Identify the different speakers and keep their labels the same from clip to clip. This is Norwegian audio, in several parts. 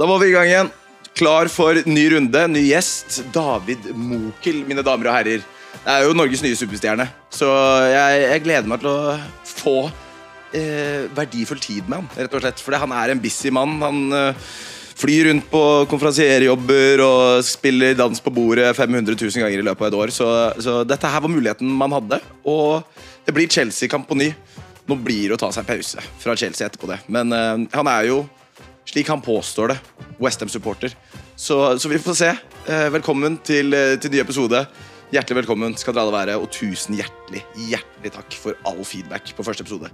Speaker 1: Da var vi i gang igjen. Klar for ny runde, ny gjest. David Mokel, mine damer og herrer. Det er jo Norges nye superstjerne, så jeg, jeg gleder meg til å få eh, verdifull tid med ham, rett og slett. For han er en busy mann. Han eh, flyr rundt på konferansierjobber og spiller dans på bordet 500 000 ganger i løpet av et år. Så, så dette her var muligheten man hadde, og det blir Chelsea-kamp på ny. Nå blir det å ta seg en pause fra Chelsea etterpå det, men eh, han er jo slik han påstår det. Westham-supporter. Så, så vi får se. Eh, Velkommen til, eh, til ny episode. Hjertelig velkommen skal dere alle være, og tusen hjertelig hjertelig takk for all feedback på første episode.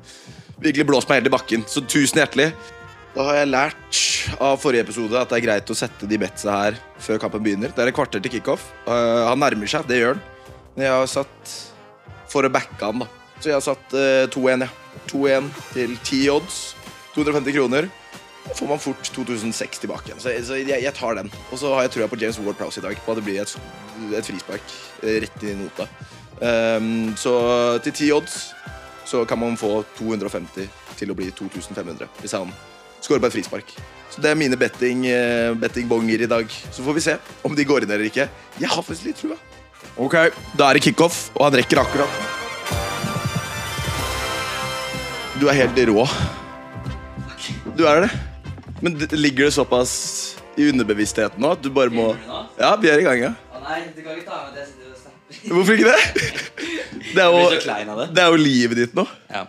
Speaker 1: Virkelig blåst meg helt i bakken, så tusen hjertelig. Da har jeg lært av forrige episode at det er greit å sette de betsa her før kampen begynner. Det er et kvarter til kickoff. Eh, Han nærmer seg, det gjør han. Men jeg har satt for å backe han, da. Så jeg har satt eh, 2-1, ja. 2-1 til 10 odds. 250 kroner får man fort 2006 tilbake igjen. Så, så jeg, jeg tar den. Og så har jeg trua på James Ward Prowse i dag, på at det blir et, et frispark eh, rett i nota. Ehm, så til ti odds så kan man få 250 til å bli 2500 hvis han skårer på et frispark. Så det er mine betting, eh, bettingbonger i dag. Så får vi se om de går inn eller ikke. Jeg har faktisk litt trua. Ok, Da er det kickoff, og han rekker akkurat. Du er helt rå. Du er det. Men d- ligger det såpass i underbevisstheten nå at du bare må Ja, vi er i gang, ja.
Speaker 2: Å nei, du kan ikke ta med at jeg sitter og snapper.
Speaker 1: Hvorfor ikke det? Det er
Speaker 2: Jeg blir så
Speaker 1: jo,
Speaker 2: klein av det.
Speaker 1: det er jo livet ditt nå.
Speaker 2: Ja.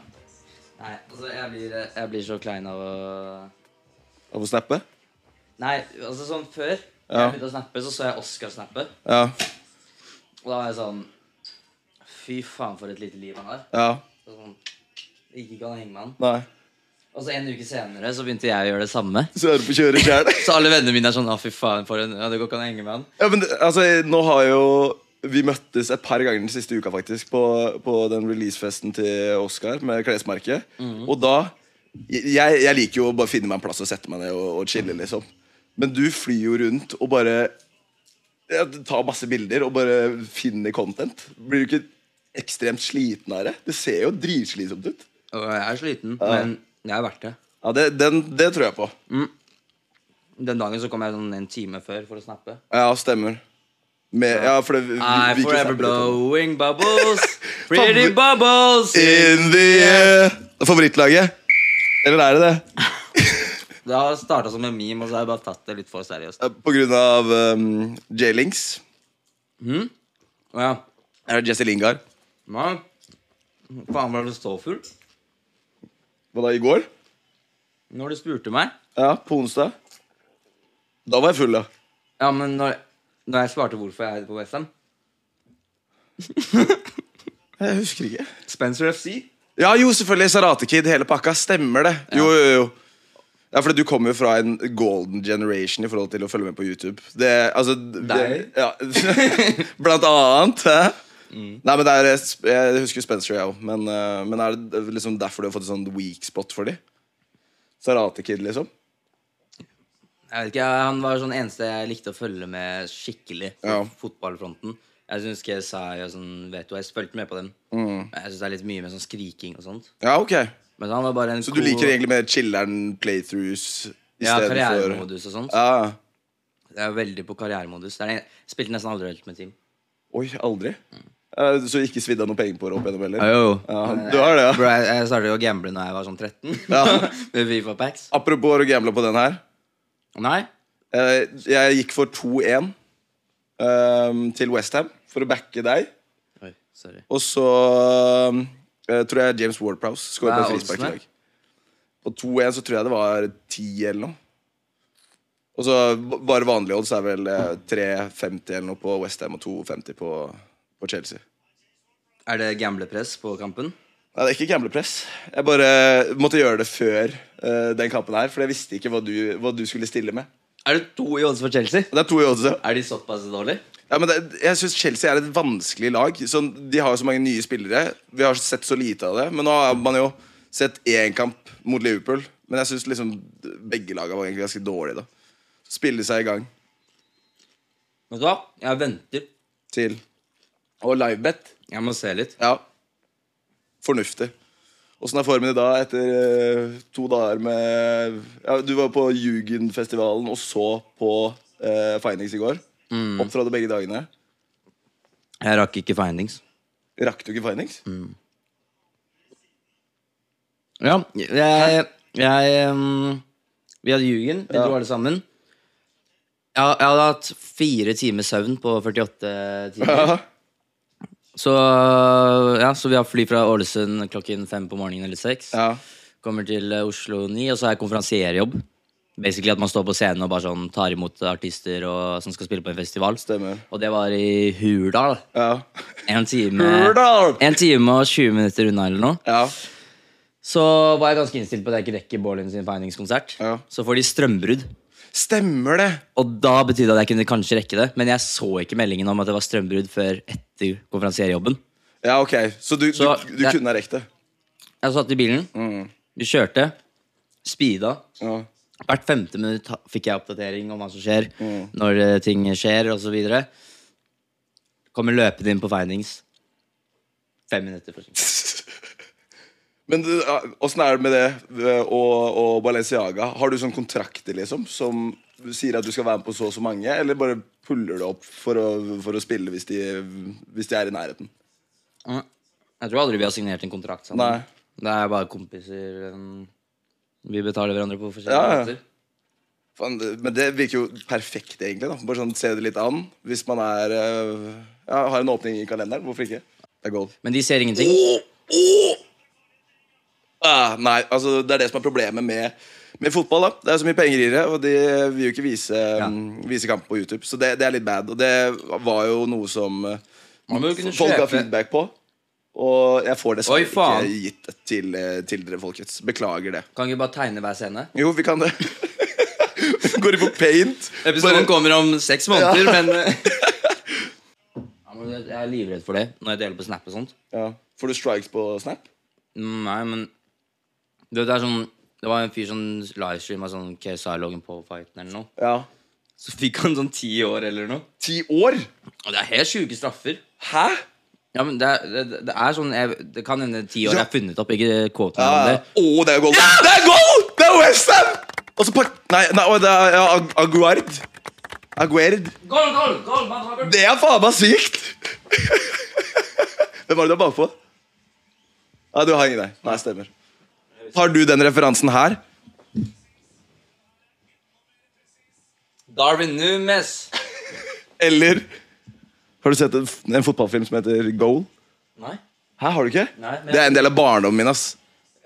Speaker 2: Nei, altså, jeg blir, jeg blir så klein av å
Speaker 1: Av å snappe?
Speaker 2: Nei, altså sånn før
Speaker 1: Ja.
Speaker 2: jeg begynte å snappe, så så jeg Oscar snappe.
Speaker 1: Ja.
Speaker 2: Og da var jeg sånn Fy faen, for et lite liv han har.
Speaker 1: Ja.
Speaker 2: Og Sånn, det gikk ikke an å henge med han.
Speaker 1: Nei.
Speaker 2: Og så en uke senere så begynte jeg å gjøre det samme.
Speaker 1: Så er du på kjøret sjæl.
Speaker 2: Så alle vennene mine er sånn Å, fy faen, for en, ja, det går ikke an å henge med han.
Speaker 1: Ja, men det- altså, nå har jo vi møttes et par ganger den siste uka faktisk på, på den releasefesten til Oscar med klesmerket. Og da jeg, jeg liker jo å bare finne meg en plass og sette meg ned og, og chille, liksom. Men du flyr jo rundt og bare ja, tar masse bilder og bare finner content. Blir du ikke ekstremt sliten av det? Det ser jo dritslitsomt ut.
Speaker 2: Og jeg er sliten, men jeg er verdt det.
Speaker 1: Ja, det, den, det tror jeg på.
Speaker 2: Den dagen så kom jeg sånn en time før for å snappe.
Speaker 1: Ja, stemmer. Med, ja, for det, vi,
Speaker 2: I'm
Speaker 1: vi ikke
Speaker 2: forever
Speaker 1: snakker litt om det.
Speaker 2: blowing bubbles. Pretty bubbles.
Speaker 1: In the air. Favorittlaget? Eller er det det?
Speaker 2: Det har starta som en meme, og så har jeg bare tatt det litt for seriøst.
Speaker 1: Eh, På grunn av um, J-Links?
Speaker 2: Ja.
Speaker 1: Er det Jesse Lingard?
Speaker 2: Men, faen, var du ståfull
Speaker 1: Hva da, i går?
Speaker 2: når du spurte meg?
Speaker 1: Ja, på onsdag. Da var jeg full, ja.
Speaker 2: Ja, men når, når jeg svarte hvorfor jeg er på Westham
Speaker 1: Jeg husker ikke.
Speaker 2: Spencer FC.
Speaker 1: Ja, jo, selvfølgelig. Sarate-kid, hele pakka. Stemmer det. Jo, jo, jo. Ja, for Du kommer jo fra en golden generation i forhold til å følge med på YouTube. Det, altså, det,
Speaker 2: Deg.
Speaker 1: ja. Blant annet. Hæ? Nei, men det er, Jeg husker Spencer, jeg òg. Men, eh, men er det liksom derfor du har fått en sånn weak spot for dem? Sarate-kid, liksom?
Speaker 2: Jeg vet ikke, Han var sånn eneste jeg likte å følge med skikkelig på
Speaker 1: Ja.
Speaker 2: fotballfronten. Jeg syns KSI og sånn vet du, Jeg fulgte med på dem.
Speaker 1: Mm.
Speaker 2: Jeg syns det er litt mye med sånn skriking og sånt.
Speaker 1: Ja, ok.
Speaker 2: Men han var bare en
Speaker 1: Så du liker egentlig mer chiller'n playthroughs
Speaker 2: ja,
Speaker 1: istedenfor
Speaker 2: karrieremodus og sånt.
Speaker 1: ja.
Speaker 2: Jeg er veldig på karrieremodus. Det er en, jeg spilte nesten aldri Ultimate Team.
Speaker 1: Oi, aldri? Eh, Så ikke svidd av noe penger på det opp gjennom heller?
Speaker 2: Mm. Jo.
Speaker 1: Ja, du har det, ja.
Speaker 2: Bro, jeg, jeg startet jo å gamble når jeg var sånn 13.
Speaker 1: Ja.
Speaker 2: Med Fifa-packs.
Speaker 1: Apropos å gamble på den her.
Speaker 2: Nei?
Speaker 1: Eh, Jeg gikk for 2-1 um, til Westham for å backe deg.
Speaker 2: Oi, sorry.
Speaker 1: Og så um, eh, tror jeg James Ward-Prowse skåret på
Speaker 2: Hva er
Speaker 1: et frispark i
Speaker 2: oddsene?
Speaker 1: dag. På 2-1 så tror jeg det var 10 eller noe. Og så b- bare vanlige odds er vel eh, 3,50 eller noe på Westham og 2,50 på, på Chelsea.
Speaker 2: Er det gamblepress på kampen?
Speaker 1: Nei, det er ikke gamblepress. Jeg bare måtte gjøre det før eh, den kampen her, for jeg visste ikke hva du, hva du skulle stille med.
Speaker 2: Er det to i odds for Chelsea?
Speaker 1: Det er to i odds, ja.
Speaker 2: Er de såpass dårlige?
Speaker 1: Ja, men det, jeg synes Chelsea er et vanskelig lag. Sånn, de har jo så mange nye spillere. Vi har sett så lite av det. Men nå har man jo sett én kamp mot Liverpool. Men jeg syns liksom begge lagene var egentlig ganske dårlige. da Spille seg i gang
Speaker 2: Vet du hva? Jeg venter.
Speaker 1: til Og livebet.
Speaker 2: Jeg må se litt.
Speaker 1: Ja. Fornuftig. Åssen er formen i dag etter eh, to dager med ja, Du var på Jugendfestivalen og så på uh, Findings i går. Opptrådte begge dagene.
Speaker 2: Jeg rakk ikke findings.
Speaker 1: Rakk du ikke Findings?
Speaker 2: Ja, jeg, jeg um, Vi hadde Jugen, vi dro alle sammen. Jeg, jeg hadde hatt fire timers søvn på 48 timer.
Speaker 1: Ja.
Speaker 2: Så, ja, så vi har fly fra Ålesund klokken fem på morgenen eller seks.
Speaker 1: ja.
Speaker 2: Kommer til eh, Oslo ni, og så har jeg konferansierjobb. Basically at man står på scenen og bare sånn tar imot artister og, som skal spille på en festival.
Speaker 1: Stemmer.
Speaker 2: Og det var i Hurdal.
Speaker 1: Ja.
Speaker 2: En time,
Speaker 1: Hurdal!
Speaker 2: en time og 20 minutter unna eller noe.
Speaker 1: Eh, Ja.
Speaker 2: Så var jeg ganske innstilt på at jeg ikke rekker Borlin sin feiningskonsert.
Speaker 1: Ja.
Speaker 2: Så får de strømbrudd.
Speaker 1: Stemmer det!
Speaker 2: Og da betydde det at jeg kunne kanskje rekke det, men jeg så ikke meldingen om at det var strømbrudd før etter konferansierjobben.
Speaker 1: Ja, ok. Så du,
Speaker 2: Så,
Speaker 1: du, du
Speaker 2: jeg-
Speaker 1: kunne ha rekt det?
Speaker 2: Jeg satt i bilen, vi kjørte, speeda.
Speaker 1: Ja.
Speaker 2: Hvert femte minutt ha- fikk jeg oppdatering om hva som skjer, når eh, ting skjer, osv. Kommer løpende inn på feinings. Fem minutter for sent.
Speaker 1: Men du, ja, åssen er det med det eh, og, og Balenciaga? Har du sånn kontrakter liksom som sier at du skal være med på så og så mange, eller bare puller du opp for å, for å spille hvis de, hvis de er i nærheten?
Speaker 2: Mm. Jeg tror aldri vi har signert en kontrakt sammen.
Speaker 1: Nei.
Speaker 2: Det er bare kompiser. eh, Vi betaler hverandre på forskjellige
Speaker 1: Ja, ja.
Speaker 2: måter.
Speaker 1: Faen, det- Men det virker jo perfekt, egentlig. da Bare sånn se det litt an. Hvis man er eh, ja, har en åpning i kalenderen, hvorfor ikke? Det er gold.
Speaker 2: Men de ser ingenting.
Speaker 1: Ah, nei, altså det er det som er problemet med, med fotball. da Det er så mye penger i det, og de vil jo ikke vise, um, vise kamp på YouTube. Så det, det er litt bad. Og det var jo noe som uh,
Speaker 2: Man må jo kunne
Speaker 1: folk har
Speaker 2: kjøpe-
Speaker 1: feedback på. Og jeg får
Speaker 2: Oi,
Speaker 1: dessverre
Speaker 2: faen.
Speaker 1: ikke gitt det til, eh, til dere, folkets. Beklager det.
Speaker 2: Kan ikke bare tegne hver scene?
Speaker 1: Jo, vi kan det. Går inn på paint.
Speaker 2: Episoden
Speaker 1: Bare-
Speaker 2: kommer om seks måneder, men eh, Jeg er livredd for det når jeg deler på Snap og sånt.
Speaker 1: ja. Får du strikes på Snap?
Speaker 2: Mm, Nei, men du vet, Det er sånn Det var en fyr som livestreama sånn KSI-loggen på fighten eller noe.
Speaker 1: Ja.
Speaker 2: Så fikk han sånn ti år eller noe.
Speaker 1: Ti år?
Speaker 2: Og det er helt sjuke straffer.
Speaker 1: Hæ?
Speaker 2: Ja, men det er, det, det er sånn jeg, Det kan hende ti år
Speaker 1: Ja.
Speaker 2: er funnet opp, ikke kåt meg
Speaker 1: Ja.
Speaker 2: om
Speaker 1: Å, Ah, det
Speaker 2: det.
Speaker 1: er gold! Det er gold! Det er Westham! Og så park... Nei, nei å, det er ja, Ag- Aguard. Aguerd.
Speaker 2: Goal, goal, goal, motherfucker!
Speaker 1: Det er faen meg sykt! Hvem var det du var bakpå? Ja, du har ingen der. Nei, stemmer. Har du den referansen her?
Speaker 2: Darwin Numes.
Speaker 1: Eller har du sett en, f- en fotballfilm som heter Goal?
Speaker 2: Nei.
Speaker 1: Hæ, har du ikke?
Speaker 2: Nei, men-
Speaker 1: Det er en del av barndommen min, ass.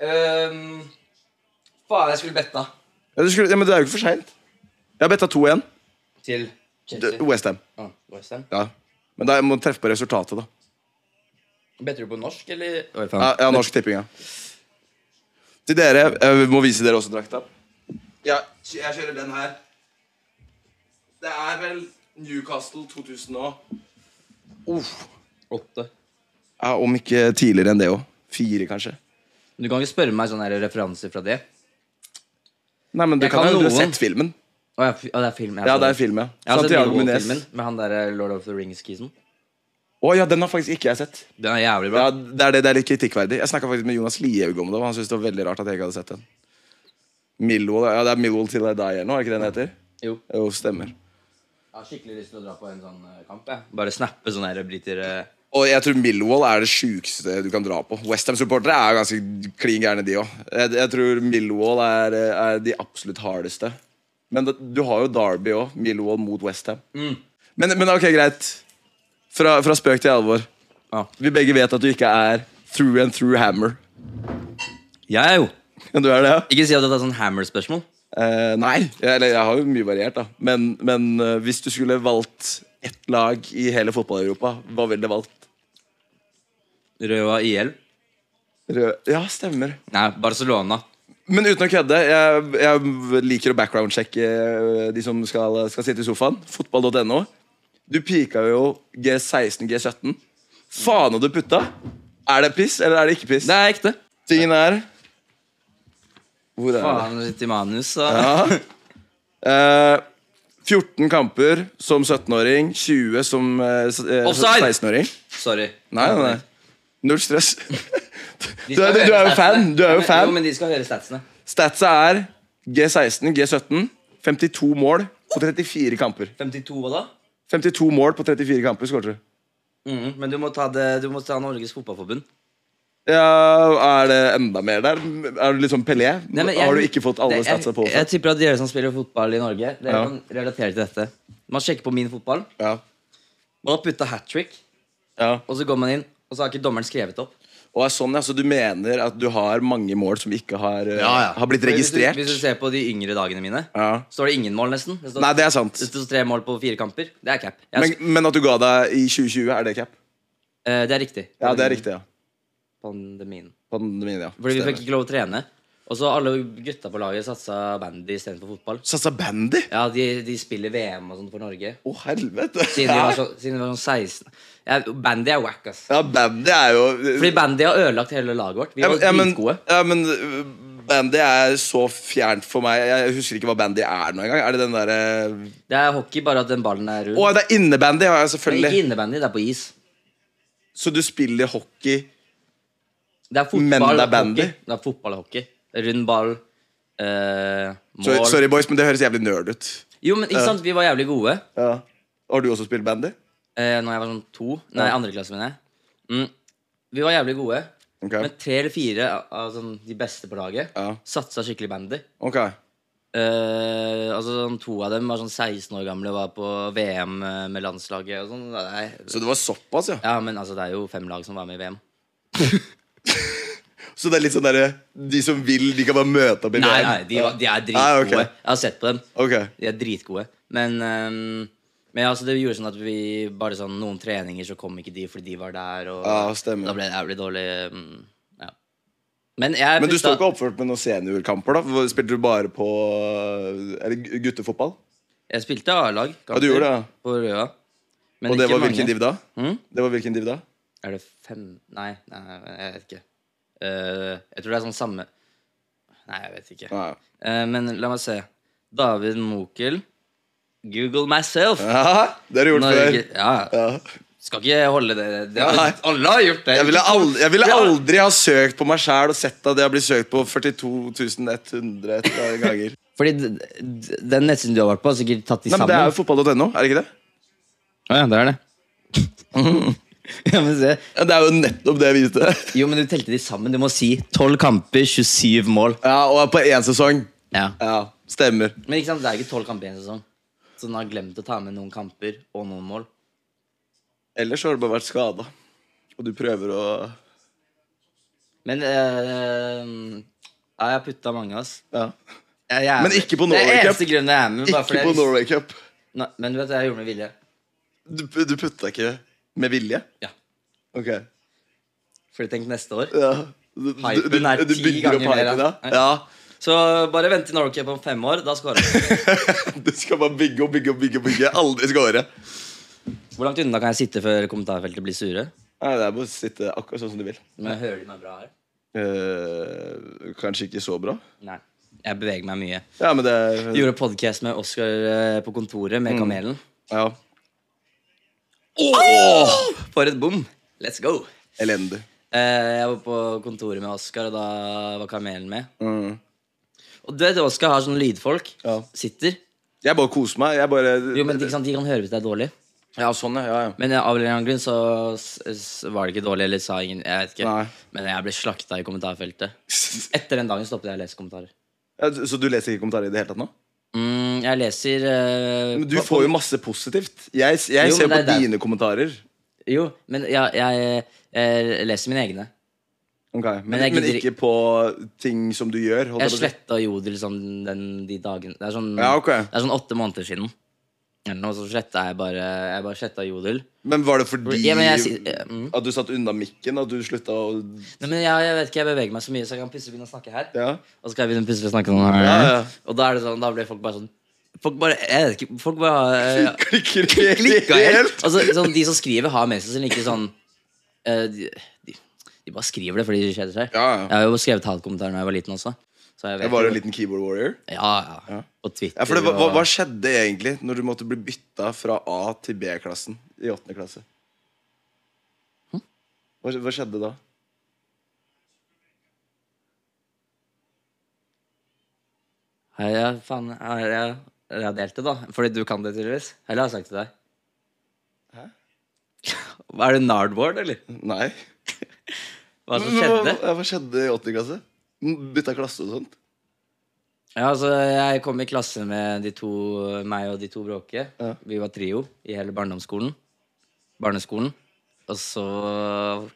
Speaker 2: Um, faen, jeg skulle betta.
Speaker 1: Ja, du skulle, ja, men det er jo ikke for seint. Jeg har betta 2-1.
Speaker 2: Til Chelsea.
Speaker 1: Westham.
Speaker 2: Ah, West Ham.
Speaker 1: Ja. Men da jeg må treffe på resultatet, da.
Speaker 2: Better du på norsk, eller? Oi, faen.
Speaker 1: Ja, ja Norsk Tipping, ja. Til dere. eh, Vi må vise dere også drakta. Ja, jeg kjører den her. Det er vel Newcastle 2000 og Uff.
Speaker 2: Åtte.
Speaker 1: Ja, Om ikke tidligere enn det òg. Fire, kanskje.
Speaker 2: Du kan ikke spørre meg sånne her referanser fra det?
Speaker 1: Nei, men Du
Speaker 2: Jeg
Speaker 1: kan
Speaker 2: kan
Speaker 1: jo du har
Speaker 2: noen.
Speaker 1: sett filmen.
Speaker 2: Å, ja, fi- å, det er film. jeg
Speaker 1: Ja,
Speaker 2: så
Speaker 1: det er film, ja.
Speaker 2: Jeg har sett
Speaker 1: Santiago Minez.
Speaker 2: Nilo-filmen altså, med han der eh, Lord of the Rings-kisen.
Speaker 1: Å ja, den har faktisk ikke jeg sett.
Speaker 2: Den er jævlig bra.
Speaker 1: Ja, det er, det, det er litt kritikkverdig. Jeg snakka faktisk med Jonas Lihaug om det. og Han syntes det var veldig rart at jeg ikke hadde sett den. Millwall, ja, det er Millwall Till I Die eller noe, er ikke det den heter?
Speaker 2: Jo.
Speaker 1: Jo, stemmer.
Speaker 2: Jeg har skikkelig lyst til å dra på en sånn eh, kamp. Jeg. Bare snappe sånne her briter eh.
Speaker 1: Og jeg tror Millwall er det sjukeste du kan dra på. Westham-supportere er jo ganske klin gærne, de òg. Jeg, jeg tror Millwall er, er de absolutt hardeste. Men det, du har jo Derby òg. Millwall mot Westham. Ham Men, men ok, greit. Fra, fra spøk til alvor.
Speaker 2: Ja.
Speaker 1: Vi begge vet at du ikke er through and through hammer.
Speaker 2: Jeg er jo.
Speaker 1: Men du er det, ja?
Speaker 2: Ikke si at det er sånn Hammer-spørsmål.
Speaker 1: Eh, nei. Jeg, eller jeg har jo mye variert, da. Men, men eh, hvis du skulle valgt ett lag i hele fotball-Europa, hva ville du valgt?
Speaker 2: Røa IL.
Speaker 1: Rød Ja, stemmer.
Speaker 2: Nei, Barcelona.
Speaker 1: Men uten å kødde, jeg, jeg liker å background-sjekke øh, de som skal, skal sitte i sofaen. Fotball.no. Du pika jo G16, G17. Faen, og du putta! Er det piss, eller er det ikke piss?
Speaker 2: Det er ekte.
Speaker 1: Tingen er Hvor er det?
Speaker 2: Faen, litt i manus, så.
Speaker 1: Ja. Eh, 14 kamper som 17-åring, 20 som eh, s- eh,
Speaker 2: Offside!
Speaker 1: 16-åring.
Speaker 2: Sorry.
Speaker 1: Nei, nei, nei. Null stress. Du er, du er jo fan. Du er jo fan.
Speaker 2: Jo, men de skal høre statsene.
Speaker 1: Statsa er G16, G17, 52 mål på 34 kamper.
Speaker 2: 52 hva da?
Speaker 1: 52 mål på 34 kamper, skåret du.
Speaker 2: Mhm, men du må, ta det, du må ta Norges Fotballforbund.
Speaker 1: Ja, er det enda mer der? Er du litt sånn Pelé?
Speaker 2: Nei, men jeg-
Speaker 1: Har du ikke fått alle
Speaker 2: det- jeg-
Speaker 1: statsa på?
Speaker 2: Jeg tipper at dere som spiller fotball i Norge, dere
Speaker 1: Ja.
Speaker 2: kan relatere til dette. Man sjekker på min fotball.
Speaker 1: Ja.
Speaker 2: Man har putta hat trick,
Speaker 1: ja.
Speaker 2: og så går man inn, og så har ikke dommeren skrevet opp.
Speaker 1: Og er sånn, ja, Så du mener at du har mange mål som ikke har, eh,
Speaker 2: Ja, ja.
Speaker 1: har blitt registrert?
Speaker 2: Hvis du, hvis du ser på de yngre dagene mine,
Speaker 1: Ja.
Speaker 2: står det ingen mål, nesten. Det står,
Speaker 1: Nei, det er sant.
Speaker 2: det står tre mål på fire kamper. Det er cap. Jeg,
Speaker 1: Men, men at du ga deg i 2020, er det cap?
Speaker 2: eh, det er riktig.
Speaker 1: Ja, det er riktig, ja.
Speaker 2: Pandemien.
Speaker 1: Pandemien, ja.
Speaker 2: Fordi vi fikk
Speaker 1: Stemmer.
Speaker 2: ikke lov å trene. Og så alle gutta på laget satsa bandy istedenfor fotball.
Speaker 1: Satsa bandy?
Speaker 2: Ja, de, de spiller VM og sånn for Norge.
Speaker 1: Å, helvete!
Speaker 2: Siden de var sånn, siden de var sånn 16 ja, Bandy er wack, ass.
Speaker 1: Ja, bandy er jo
Speaker 2: Fordi bandy har ødelagt hele laget vårt. Vi
Speaker 1: Ja,
Speaker 2: var
Speaker 1: men- ja, men,
Speaker 2: dritgode.
Speaker 1: ja, men uh, bandy er så fjernt for meg. Jeg husker ikke hva bandy er nå engang. Er det den derre
Speaker 2: Det er hockey, bare at den ballen er rund.
Speaker 1: Å, det er innebandy! Ja, ja,
Speaker 2: Men
Speaker 1: selvfølgelig.
Speaker 2: ikke innebandy, det er på is.
Speaker 1: Så du spiller hockey
Speaker 2: Det er fotball
Speaker 1: Men det er
Speaker 2: og
Speaker 1: bandy.
Speaker 2: hockey. Det er fotball og hockey. Rund ball, eh,
Speaker 1: sorry,
Speaker 2: mål
Speaker 1: sorry, boys, men det høres jævlig nerd ut.
Speaker 2: Jo, men ikke sant, vi var jævlig gode.
Speaker 1: Ja. Har du også spilt bandy?
Speaker 2: Eh, når jeg var sånn to Nei, andre klasse, mener jeg. Mm. Vi var jævlig gode.
Speaker 1: Ok.
Speaker 2: Men tre eller fire av- av sånn, de beste på laget
Speaker 1: Ja.
Speaker 2: satsa skikkelig bandy.
Speaker 1: Ok.
Speaker 2: Eh, altså sånn, To av dem var sånn 16 år gamle var på VM med landslaget. og sånn Nei,
Speaker 1: Så det var såpass, ja.
Speaker 2: Ja, men altså, det er jo fem lag som var med i VM.
Speaker 1: Så det er litt sånn derre De som vil, de kan bare møte opp i
Speaker 2: Nei,
Speaker 1: VM.
Speaker 2: nei, de, var- de er dritgode.
Speaker 1: Nei, ok.
Speaker 2: Jeg har sett på dem.
Speaker 1: Ok.
Speaker 2: De er dritgode. Men, ehm, men ja, altså, det gjorde sånn at vi bare sånn noen treninger så kom ikke de fordi de var der, og
Speaker 1: Ja, stemmer.
Speaker 2: da ble det jævlig dårlig. mm, Ja. Men jeg
Speaker 1: Men du
Speaker 2: putta-
Speaker 1: står ikke oppført med noen seniorkamper, da? Hvor- Spilte du bare på Er det guttefotball?
Speaker 2: Jeg spilte A-lag.
Speaker 1: Ja, du gjorde det, ja.
Speaker 2: På Røa. Men
Speaker 1: Og det var
Speaker 2: ikke mange.
Speaker 1: hvilken div da?
Speaker 2: Mm?
Speaker 1: Det var hvilken div da?
Speaker 2: Er det fem Nei, nei, nei jeg vet ikke. Eh, jeg tror det er sånn samme Nei, jeg vet ikke.
Speaker 1: Nei.
Speaker 2: Eh, men la meg se. David Mokel. Google myself.
Speaker 1: Ja, det har du gjort før.
Speaker 2: Norge, ja.
Speaker 1: Ja.
Speaker 2: Skal ikke holde det, det har,
Speaker 1: Nei.
Speaker 2: Alle har gjort det.
Speaker 1: Jeg ville, aldri, jeg ville
Speaker 2: Vi har-
Speaker 1: aldri ha søkt på meg sjæl og sett at jeg har blitt søkt på 42.100 ganger.
Speaker 2: Fordi d- d- den nettsiden du har vært på, har sikkert tatt de
Speaker 1: Nei, men Det
Speaker 2: sammen.
Speaker 1: er jo fotball.no, er det ikke det?
Speaker 2: Å ja, det er det. ja, men se.
Speaker 1: Ja, det er jo nettopp det jeg viste.
Speaker 2: Jo, men du telte de sammen. Du må si 12 kamper, 27 mål.
Speaker 1: Ja, Og på én sesong. Ja, Stemmer.
Speaker 2: Men ikke sant, det er ikke 12 kamper i en sesong. Så den har glemt å ta med noen kamper og noen mål.
Speaker 1: Ellers så har du bare vært skada. Og du prøver å
Speaker 2: Men eh, Ja, jeg har putta mange, ass.
Speaker 1: ja.
Speaker 2: Jeg, jeg er
Speaker 1: Men
Speaker 2: med.
Speaker 1: ikke på
Speaker 2: Det
Speaker 1: Norway
Speaker 2: er
Speaker 1: Cup.
Speaker 2: eneste grunnen jeg er med. Bare fordi
Speaker 1: Ikke på
Speaker 2: jeg visste-
Speaker 1: Norway Cup.
Speaker 2: Nei, men du vet, jeg gjorde det med vilje.
Speaker 1: Du, du putta ikke med vilje?
Speaker 2: Ja.
Speaker 1: Ok.
Speaker 2: Fordi tenk neste år.
Speaker 1: Ja. Du, du,
Speaker 2: Hypen
Speaker 1: du,
Speaker 2: er
Speaker 1: du
Speaker 2: ti
Speaker 1: bygger opp
Speaker 2: ganger mer,
Speaker 1: hypen,
Speaker 2: da.
Speaker 1: ja? Ja.
Speaker 2: Så bare vent til Norway Cup om fem år. Da scorer han.
Speaker 1: Du skal bare bygge og bygge og bygge. og bygge Aldri skåre.
Speaker 2: Hvor langt unna kan jeg sitte før kommentarfeltet blir sure?
Speaker 1: Nei, Det er bare å sitte akkurat sånn som du vil.
Speaker 2: Men hører de meg bra her?
Speaker 1: Eh, kanskje ikke så bra.
Speaker 2: Nei. Jeg beveger meg mye.
Speaker 1: Ja, men det er
Speaker 2: Gjorde podkast med Oskar på kontoret
Speaker 1: Mm.
Speaker 2: med Kamelen.
Speaker 1: ja.
Speaker 2: For et bom! Let's go!
Speaker 1: Elendig.
Speaker 2: Eh, Jeg var på kontoret med Oskar, og da var Kamelen med.
Speaker 1: Mm.
Speaker 2: Og du vet, Oskar har sånne lydfolk.
Speaker 1: Ja.
Speaker 2: Sitter.
Speaker 1: Jeg bare koser meg. Jeg bare
Speaker 2: Jo, men ikke sant, De kan høre hvis det er dårlig.
Speaker 1: Ja, sånn, ja. ja, ja.
Speaker 2: Men av en eller annen grunn så s- s- var det ikke dårlig, eller sa ingen Jeg vet ikke.
Speaker 1: Nei.
Speaker 2: Men jeg ble slakta i kommentarfeltet. Etter den dagen stoppet jeg å lese kommentarer.
Speaker 1: Ja, Så du leser ikke kommentarer i det hele tatt nå?
Speaker 2: Mm, jeg leser eh,
Speaker 1: Men du
Speaker 2: på-
Speaker 1: får jo masse positivt. Jeg, jeg
Speaker 2: Jo,
Speaker 1: ser på
Speaker 2: men det er der-
Speaker 1: dine kommentarer.
Speaker 2: Jo, men ja, jeg, eh, leser mine egne.
Speaker 1: Ok, Men,
Speaker 2: Men jeg
Speaker 1: men
Speaker 2: gidder
Speaker 1: ikke på ting som du gjør. holdt
Speaker 2: Jeg
Speaker 1: jeg på å si.
Speaker 2: sletta Jodel sånn den, de dagene det er, sånn,
Speaker 1: Ja, ok.
Speaker 2: det er sånn åtte måneder siden. Eller noe, så sletta jeg bare Jeg bare sletta Jodel.
Speaker 1: Men var det fordi
Speaker 2: Ja, men jeg sier- eh, mm.
Speaker 1: at du satt unna mikken? At du slutta å
Speaker 2: Nei, men jeg, jeg vet ikke, jeg beveger meg så mye, så jeg kan plutselig begynne å snakke her.
Speaker 1: Ja.
Speaker 2: Og så kan jeg begynne plutselig å snakke sånn her.
Speaker 1: Ja, ja.
Speaker 2: Og da er det sånn, da blir folk bare sånn Folk bare Jeg vet ikke. Folk bare eh,
Speaker 1: Klikker
Speaker 2: klikka
Speaker 1: helt.
Speaker 2: helt. Altså, sånn, de som skriver, har med seg sin ikke sånn eh, de, de, de bare skriver det fordi de kjeder seg.
Speaker 1: Ja, ja.
Speaker 2: Jeg har jo skrevet hatkommentarer da jeg var liten også. Så jeg vet
Speaker 1: Jeg var
Speaker 2: jo-
Speaker 1: en liten keyboard warrior.
Speaker 2: Ja, ja. På Twitter.
Speaker 1: Ja, for det, hva, hva-
Speaker 2: og-
Speaker 1: hva skjedde egentlig når du måtte bli
Speaker 2: Hm?
Speaker 1: bytta fra A til B-klassen i åttende klasse? Hva, hva skjedde da?
Speaker 2: Her er, faen, her er, her er delt det, da. Fordi du kan det, tydeligvis. Eller har jeg sagt til deg? Hæ? Er det Nardboard, eller?
Speaker 1: Nei.
Speaker 2: Hva som
Speaker 1: Men
Speaker 2: skjedde?
Speaker 1: Hva, hva skjedde i 8. klasse? M- Bytta klasse og sånt?
Speaker 2: Ja, altså, jeg kom i klasse med de to, meg og de to bråke.
Speaker 1: Ja.
Speaker 2: Vi var trio i hele barndomsskolen. Barneskolen. Og så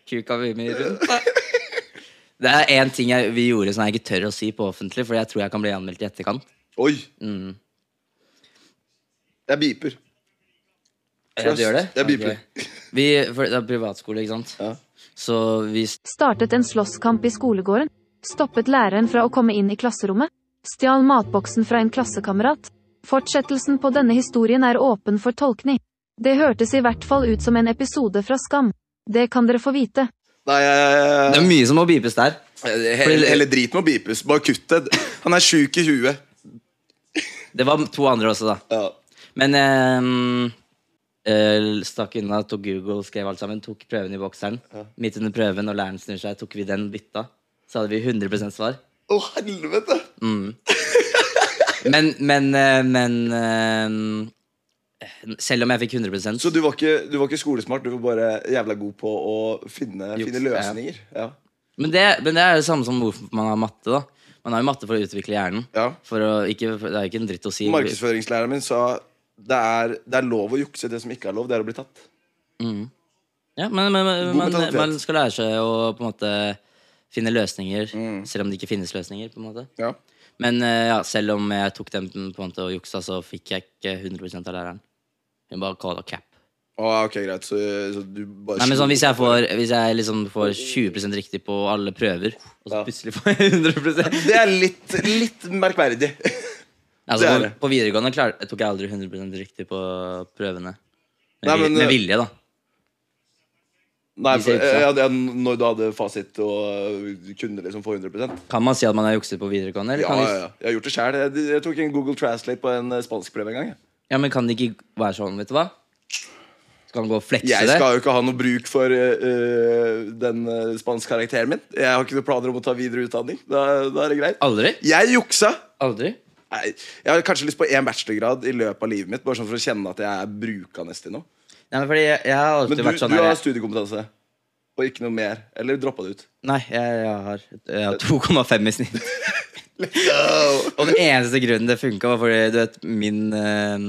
Speaker 2: kuka vi mye rundt, da. Det er én ting jeg, vi gjorde som jeg ikke tør å si på offentlig, for jeg tror jeg kan bli anmeldt i etterkant. Mm.
Speaker 1: Oi! Jeg beeper.
Speaker 2: Ja, du gjør det?
Speaker 1: Jeg beeper.
Speaker 2: Ok. Vi, for det er privatskole, ikke sant?
Speaker 1: Ja.
Speaker 2: Så vi
Speaker 3: startet en slåsskamp i skolegården, stoppet læreren fra å komme inn i klasserommet, stjal matboksen fra en klassekamerat. Fortsettelsen på denne historien er åpen for tolkning. Det hørtes i hvert fall ut som en episode fra Skam. Det kan dere få vite.
Speaker 1: Nei, jeg,
Speaker 2: Det er mye som må beepes der.
Speaker 1: Hele, hele driten må beepes. Bare kutt det. Han er sjuk i huet.
Speaker 2: Det var to andre også, da.
Speaker 1: Ja.
Speaker 2: Men ehm, eh, stakk unna, tok Google, skrev alt sammen. Tok prøven i bokseren. Midt under prøven, når læreren snur seg, tok vi den bytta. Så hadde vi 100 svar. Mm.
Speaker 1: Å, helvete!
Speaker 2: Men, men, eh, men ehm, Selv om jeg fikk 100
Speaker 1: Så du var, ikke, du var ikke skolesmart, du var bare jævla god på å finne,
Speaker 2: Juks,
Speaker 1: finne løsninger. Ja.
Speaker 2: men det, men det er det samme som hvorfor man har matte. da Man har jo matte for å utvikle hjernen.
Speaker 1: Ja.
Speaker 2: For å, ikke, for, det er jo ikke en dritt å si.
Speaker 1: Markedsføringslæreren min sa det er, det er lov å jukse. Det som ikke er lov, det er å bli tatt.
Speaker 2: Mm. Ja, men, men, men
Speaker 1: God
Speaker 2: man,
Speaker 1: mentalitet.
Speaker 2: man skal lære seg å på en måte finne løsninger,
Speaker 1: Mm.
Speaker 2: selv om det ikke finnes løsninger. på en måte
Speaker 1: Ja.
Speaker 2: Men eh, ja, selv om jeg tok den på en måte og juksa, så fikk jeg ikke 100 av læreren. Hun bare calla cap.
Speaker 1: Å, ok, greit. Så, så du bare
Speaker 2: Nei, men sånn, hvis jeg får, hvis jeg liksom får 20 riktig på alle prøver, og så
Speaker 1: Ja.
Speaker 2: plutselig får jeg 100
Speaker 1: Det er litt, litt merkverdig.
Speaker 2: altså,
Speaker 1: det er
Speaker 2: på,
Speaker 1: det.
Speaker 2: på videregående klar, tok jeg aldri 100 riktig på prøvene. Med,
Speaker 1: Nei,
Speaker 2: vil-
Speaker 1: men,
Speaker 2: med
Speaker 1: eh,
Speaker 2: vilje, da.
Speaker 1: Nei,
Speaker 2: Vi
Speaker 1: for,
Speaker 2: ser ikke sant.
Speaker 1: ja, det er når du hadde fasit og kunne liksom få 100
Speaker 2: Kan man si at man har jukset på videregående?
Speaker 1: Ja,
Speaker 2: Eller
Speaker 1: ja,
Speaker 2: kan vi,
Speaker 1: ja. Jeg har gjort det sjæl. Jeg, jeg tok en Google Translate på en eh, spanskprøve en gang. jeg.
Speaker 2: ja, men kan det ikke være sånn, vet du hva? Skal man gå og flekse
Speaker 1: Jeg
Speaker 2: det?
Speaker 1: skal jo ikke ha noe bruk for eh, eh, den eh, spanskkarakteren min. Jeg har ikke noen planer om å ta videre utdanning. Da, da er det greit.
Speaker 2: Aldri?
Speaker 1: Jeg juksa!
Speaker 2: Aldri?
Speaker 1: Nei, jeg har kanskje lyst på én bachelorgrad i løpet av livet mitt. Bare sånn for å kjenne at jeg er brukende til noe.
Speaker 2: Nei, men fordi jeg, jeg har alltid
Speaker 1: Men du,
Speaker 2: vært sånn
Speaker 1: du
Speaker 2: her,
Speaker 1: har
Speaker 2: jeg-
Speaker 1: studiekompetanse. Og ikke noe mer. Eller droppa det ut.
Speaker 2: Nei, jeg, jeg har, jeg har 2,5 i snitt. Og den eneste grunnen det funka, var fordi du vet, min, eh,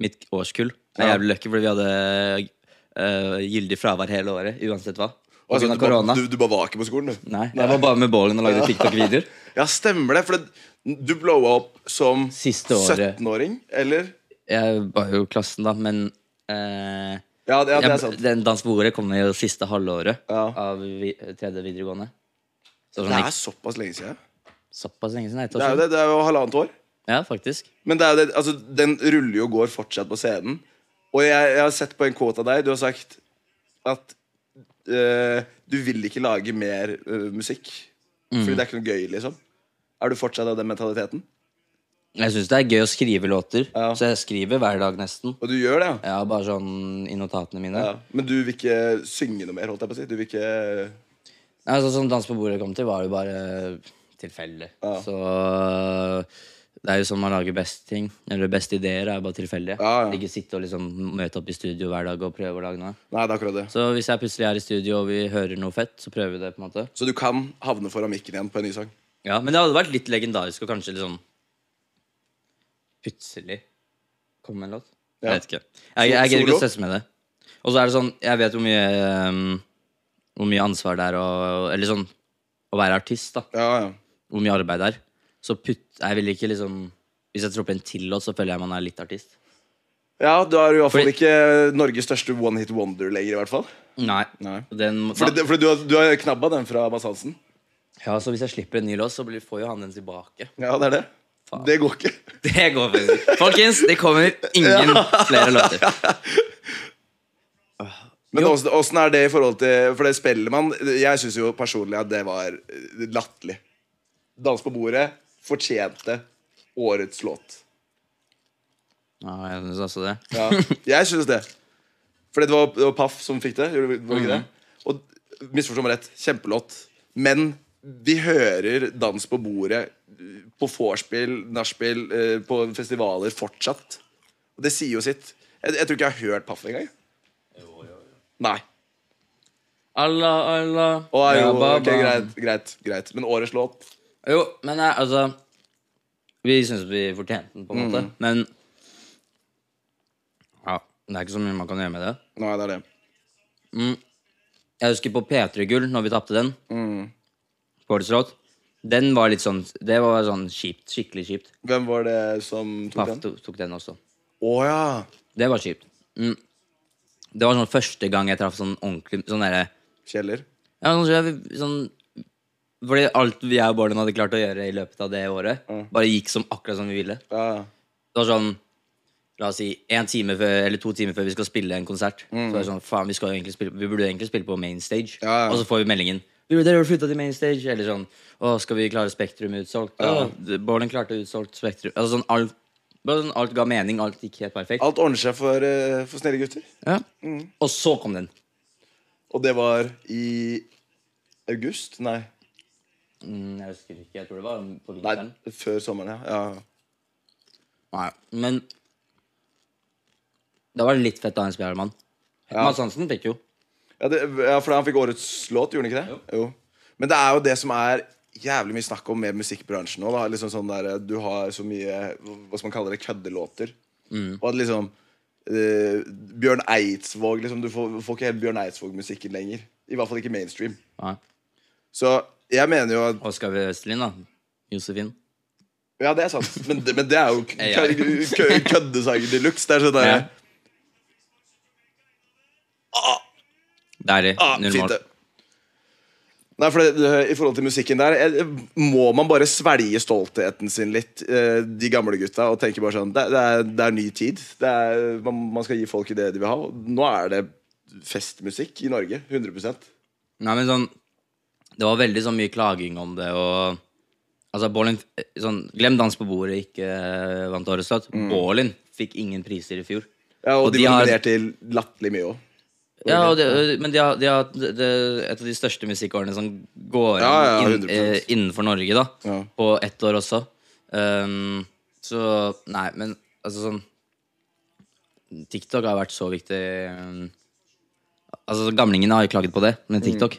Speaker 2: mitt årskull er
Speaker 1: Ja.
Speaker 2: jævlig lucky fordi vi hadde eh, gyldig fravær hele året, uansett hva. På
Speaker 1: Altså,
Speaker 2: grunn
Speaker 1: du,
Speaker 2: av
Speaker 1: bare-
Speaker 2: korona.
Speaker 1: du, du bare var ikke på skolen, du.
Speaker 2: Nei, jeg var bare med bålen og lagde TikTok-videoer.
Speaker 1: Ja, stemmer det. For det, du blowa opp som
Speaker 2: Siste året.
Speaker 1: 17-åring, eller?
Speaker 2: Jeg var jo i klassen, da, men eh,
Speaker 1: Ja, det, ja, det
Speaker 2: jeg-
Speaker 1: er sant.
Speaker 2: Den dans på bordet kom jo siste halvåret
Speaker 1: Ja.
Speaker 2: av vi, tredje videregående. Så
Speaker 1: Det
Speaker 2: sånn,
Speaker 1: er såpass lenge siden.
Speaker 2: såpass lenge siden. et år
Speaker 1: Det er jo
Speaker 2: siden.
Speaker 1: det, det er jo halvannet år.
Speaker 2: Ja, faktisk.
Speaker 1: Men det er jo det, altså, den ruller jo og går fortsatt på scenen. Og jeg, jeg har sett på en quote av deg. Du har sagt at eh, du vil ikke lage mer eh, musikk. Fordi det er ikke noe gøy, liksom. Er du fortsatt av den mentaliteten?
Speaker 2: Jeg syns det er gøy å skrive låter,
Speaker 1: Ja.
Speaker 2: så jeg skriver hver dag nesten.
Speaker 1: Og du gjør det, ja?
Speaker 2: Ja, bare sånn i notatene mine.
Speaker 1: ja. Men du vil ikke synge noe mer, holdt jeg på å si? Du vil ikke
Speaker 2: Nei, altså, sånn Dans på bordet kom til, var jo bare tilfeldig.
Speaker 1: Ja.
Speaker 2: Så det er jo sånn man lager best ting. Eller beste ideer er jo bare tilfeldige.
Speaker 1: Ja, ja.
Speaker 2: Ikke sitte og liksom møte opp i studio hver dag og prøve å lage noe.
Speaker 1: Nei, det er akkurat det.
Speaker 2: Så hvis jeg plutselig er i studio og vi hører noe fett, så prøver vi det. på en måte
Speaker 1: Så du kan havne foran mikken igjen på en ny sang?
Speaker 2: Ja, Men det hadde vært litt legendarisk å kanskje liksom plutselig komme med en låt.
Speaker 1: Ja.
Speaker 2: Jeg vet ikke. Jeg, jeg, jeg gidder ikke
Speaker 1: Solo?
Speaker 2: å stresse med det. Og så er det sånn, jeg vet hvor mye ehm, Hvor mye ansvar det er å Eller sånn å være artist, da.
Speaker 1: Ja, ja.
Speaker 2: Hvor mye arbeid det er. Så putt Jeg vil ikke liksom Hvis jeg tropper en til låt, så føler jeg man er litt artist.
Speaker 1: Ja, da er du i hvert fall
Speaker 2: Fordi-
Speaker 1: ikke Norges største one hit wonder lenger, i hvert fall.
Speaker 2: Nei.
Speaker 1: Nei.
Speaker 2: Den, må-
Speaker 1: Fordi, fordi du, har- du har knabba den fra Mads Hansen.
Speaker 2: ja, så hvis jeg slipper en ny låt, så blir, får jo han den tilbake.
Speaker 1: Ja, det er det. Det går ikke.
Speaker 2: Det går faktisk. ikke. Folkens, det kommer ingen flere låter.
Speaker 1: Men åssen åssen er det i forhold til For det Spellemann Jeg syns jo personlig at det var eh, latterlig. Dans på bordet fortjente årets låt.
Speaker 2: Ja, jeg synes også det.
Speaker 1: Ja, jeg syns det. For det var, det var Paff som fikk det. gjorde- Var det ikke det? Og Misforstå meg rett. Kjempelåt. Men vi hører dans på bordet eh, på vorspiel, nachspiel, eh, på festivaler fortsatt. Og det sier jo sitt. Jeg, jeg tror ikke jeg har hørt Paff engang. jeg. Nei.
Speaker 2: Allah, Allah.
Speaker 1: Og er jo,
Speaker 2: ja, ba,
Speaker 1: ok,
Speaker 2: ba.
Speaker 1: greit, greit, greit. Men årets låt
Speaker 2: Jo, men jeg, altså Vi syns vi fortjente den, på en
Speaker 1: Mm.
Speaker 2: måte. Men ja, det er ikke så mye man kan gjøre med det.
Speaker 1: Nei, det er det.
Speaker 2: Jeg husker på P3 Gull, når vi tapte den.
Speaker 1: Mm.
Speaker 2: På årets låt. Den var litt sånn Det var sånn kjipt. Skikkelig kjipt.
Speaker 1: Hvem var det som tok
Speaker 2: Paff
Speaker 1: den?
Speaker 2: tok, tok den også.
Speaker 1: Å ja.
Speaker 2: Det var kjipt. Mm. Det var sånn første gang jeg traff sånn ordentlig Sånn derre
Speaker 1: Kjeller.
Speaker 2: Ja, sånn, sånn, sånn Fordi alt vi jeg og Bården hadde klart å gjøre i løpet av det året,
Speaker 1: Mm.
Speaker 2: bare gikk som akkurat som vi ville.
Speaker 1: Ja.
Speaker 2: Det var sånn La oss si en time før, eller to timer før vi skal spille en konsert. Så er det sånn, faen, vi, skal jo egentlig spille, vi burde jo egentlig spille på main stage.
Speaker 1: Mm. Ja, ja.
Speaker 2: Og så får vi meldingen. Du, dere har flytta til main stage. Eller sånn Å, skal vi klare Spektrum utsolgt? Ja. Bården klarte utsolgt Spektrum. Altså sånn alt, bare sånn, alt ga mening. Alt gikk helt perfekt.
Speaker 1: Alt Mm. ordner seg for, eh, for snille gutter.
Speaker 2: Ja. Og så kom den.
Speaker 1: Og det var i august? Nei,
Speaker 2: Mm, jeg husker ikke. Jeg tror det var på
Speaker 1: Nei
Speaker 2: vinteren.
Speaker 1: før sommeren, ja. ja.
Speaker 2: Nei. Men det var litt fett av en spillermann.
Speaker 1: Ja.
Speaker 2: Mads Hansen fikk jo.
Speaker 1: Ja, det, ja, for han fikk årets låt, gjorde han ikke det? Jo. Men det er jo det som er jævlig mye snakk om med musikkbransjen nå. Da. Liksom sånn der, du har så mye hva skal man kalle det, køddelåter.
Speaker 2: Mm.
Speaker 1: Og at liksom eh, Bjørn Eidsvåg liksom, Du får, får ikke helt Bjørn Eidsvåg-musikken lenger. I hvert fall ikke mainstream.
Speaker 2: Nei.
Speaker 1: Så jeg mener jo at
Speaker 2: Oskar Østlin, da. Josefin.
Speaker 1: Ja, det er sant. Men det, men det er jo
Speaker 2: Ja, ja.
Speaker 1: køddesanger de luxe. Det er sånn der,
Speaker 2: Ja. Deilig.
Speaker 1: Ah,
Speaker 2: Null
Speaker 1: fint
Speaker 2: mål.
Speaker 1: det. Nei, for det, det- I forhold til musikken der, eh, må man bare svelge stoltheten sin litt, eh, de gamle gutta, og tenke bare sånn Det, det, er, det er ny tid. Det er, man, man skal gi folk det de vil ha. og Nå er det festmusikk i Norge. 100
Speaker 2: Nei, men sånn Det var veldig sånn mye klaging om det og Altså, Borlin sånn, Glem Dans på bordet, ikke eh, vant Årets låt.
Speaker 1: Mm.
Speaker 2: Borlin fikk ingen priser i fjor.
Speaker 1: ja, Og,
Speaker 2: Og
Speaker 1: de,
Speaker 2: de
Speaker 1: var
Speaker 2: har-
Speaker 1: nominert til latterlig mye òg.
Speaker 2: Ja, og det, men de har, de har det, det- et av de største musikkårene som går
Speaker 1: Ja, ja,
Speaker 2: inn,
Speaker 1: 100%.
Speaker 2: eh, innenfor Norge, da.
Speaker 1: Ja.
Speaker 2: På ett år også. Ehm, så Nei, men altså sånn TikTok har vært så viktig ehm, Altså, Gamlingene har jo klaget på det med TikTok,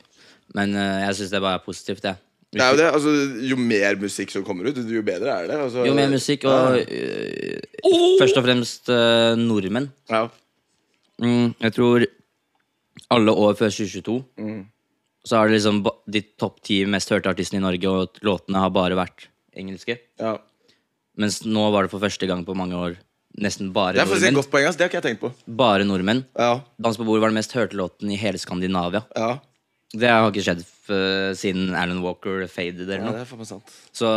Speaker 2: men eh, jeg syns det bare er positivt, jeg.
Speaker 1: Mm. Det er jo det. Altså, jo mer musikk som kommer ut, jo bedre er det. Altså,
Speaker 2: Jo mer musikk, og eh, først og fremst eh, nordmenn.
Speaker 1: ja.
Speaker 2: Mm, jeg tror alle år før 2022
Speaker 1: Mm.
Speaker 2: så er det liksom ba- de topp ti mest hørte artistene i Norge, og låtene har bare vært engelske.
Speaker 1: Ja.
Speaker 2: Mens nå var det for første gang på mange år nesten bare
Speaker 1: Det er faktisk et
Speaker 2: nordmenn.
Speaker 1: godt poeng. ass. Det har ikke jeg tenkt på.
Speaker 2: Bare nordmenn.
Speaker 1: Ja,
Speaker 2: Dans på bordet var den mest hørte låten i hele Skandinavia.
Speaker 1: ja.
Speaker 2: Det har ikke skjedd f- siden Alan Walker faded eller
Speaker 1: ja
Speaker 2: noe.
Speaker 1: det er faen meg sant.
Speaker 2: Så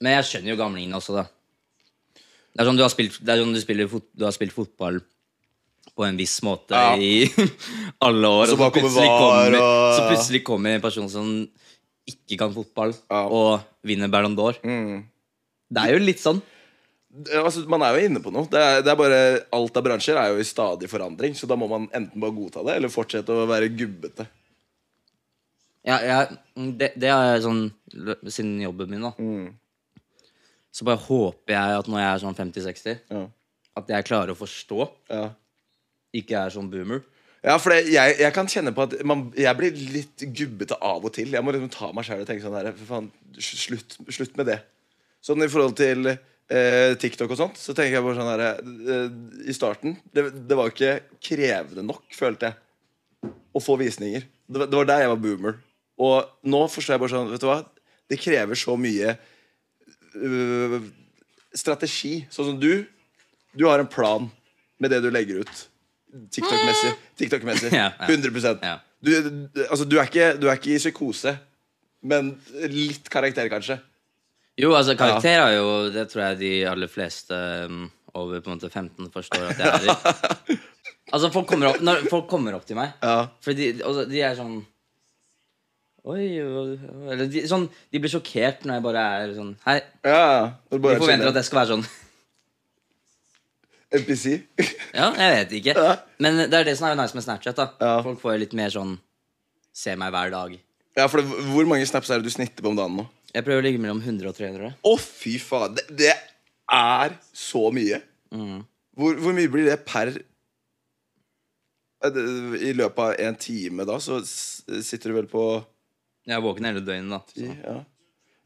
Speaker 2: Men jeg skjønner jo gamlingene også, da. Det er sånn du har spilt, det er sånn du spiller fot, du har spilt fotball på en viss måte
Speaker 1: Ja.
Speaker 2: i alle år,
Speaker 1: Så
Speaker 2: og så
Speaker 1: bare kommer
Speaker 2: plutselig,
Speaker 1: VAR,
Speaker 2: kommer,
Speaker 1: og-
Speaker 2: så plutselig kommer en person som ikke kan fotball,
Speaker 1: Ja. Mm.
Speaker 2: og vinner Ballon d'Or. Det er jo litt sånn.
Speaker 1: Ja, altså, man er jo inne på noe. Det er, det er bare, alt av bransjer er jo i stadig forandring, så da må man enten bare godta det, eller fortsette å være gubbete.
Speaker 2: Ja, jeg- det, det er sånn lø- siden jobben min, da.
Speaker 1: Mm.
Speaker 2: Så bare håper jeg at når jeg er sånn 50-60,
Speaker 1: Ja.
Speaker 2: at jeg klarer å forstå,
Speaker 1: Ja,
Speaker 2: ikke er sånn boomer.
Speaker 1: ja for det, jeg, jeg kan kjenne på at man, jeg blir litt gubbete av og til. Jeg må liksom ta meg sjæl og tenke sånn her, for faen, slutt, slutt med det. Sånn i forhold til eh, TikTok og sånt, så tenker jeg bare sånn her eh, I starten det, det var ikke krevende nok, følte jeg, å få visninger. Det, var- det var der jeg var boomer. Og nå forstår jeg bare sånn, vet du hva, det krever så mye øh, strategi. Sånn som du. Du har en plan med det du legger ut. TikTok-messig. TikTok-messig.
Speaker 2: Ja, ja.
Speaker 1: 100
Speaker 2: Ja.
Speaker 1: du, du- altså, du, er ikke, du er ikke i psykose, men litt karakter, kanskje.
Speaker 2: Jo, altså karakter er jo Det tror jeg de aller fleste um, over på en måte 15 forstår at jeg er i. altså, folk kommer opp, når folk kommer opp til meg
Speaker 1: Ja.
Speaker 2: For de, altså, de er sånn Oi og- Eller de, sånn, de blir sjokkert når jeg bare er sånn Hei.
Speaker 1: Ja,
Speaker 2: De forventer at jeg skal være sånn.
Speaker 1: NPC.
Speaker 2: Ja, jeg vet ikke.
Speaker 1: Ja.
Speaker 2: Men det er det som er nice med Snapchat. da
Speaker 1: Ja.
Speaker 2: Folk får jo litt mer sånn ser meg hver dag.
Speaker 1: Ja, for det, Hvor mange snaps er det du snitter på om dagen nå?
Speaker 2: Jeg prøver å ligge mellom 100 og 300.
Speaker 1: Å, fy faen. Det, det er så mye.
Speaker 2: Mm.
Speaker 1: Hvor, hvor mye blir det per Eh, det- I løpet av en time, da, så s- sitter du vel på
Speaker 2: Jeg er våken hele døgnet, da. Så.
Speaker 1: Ja.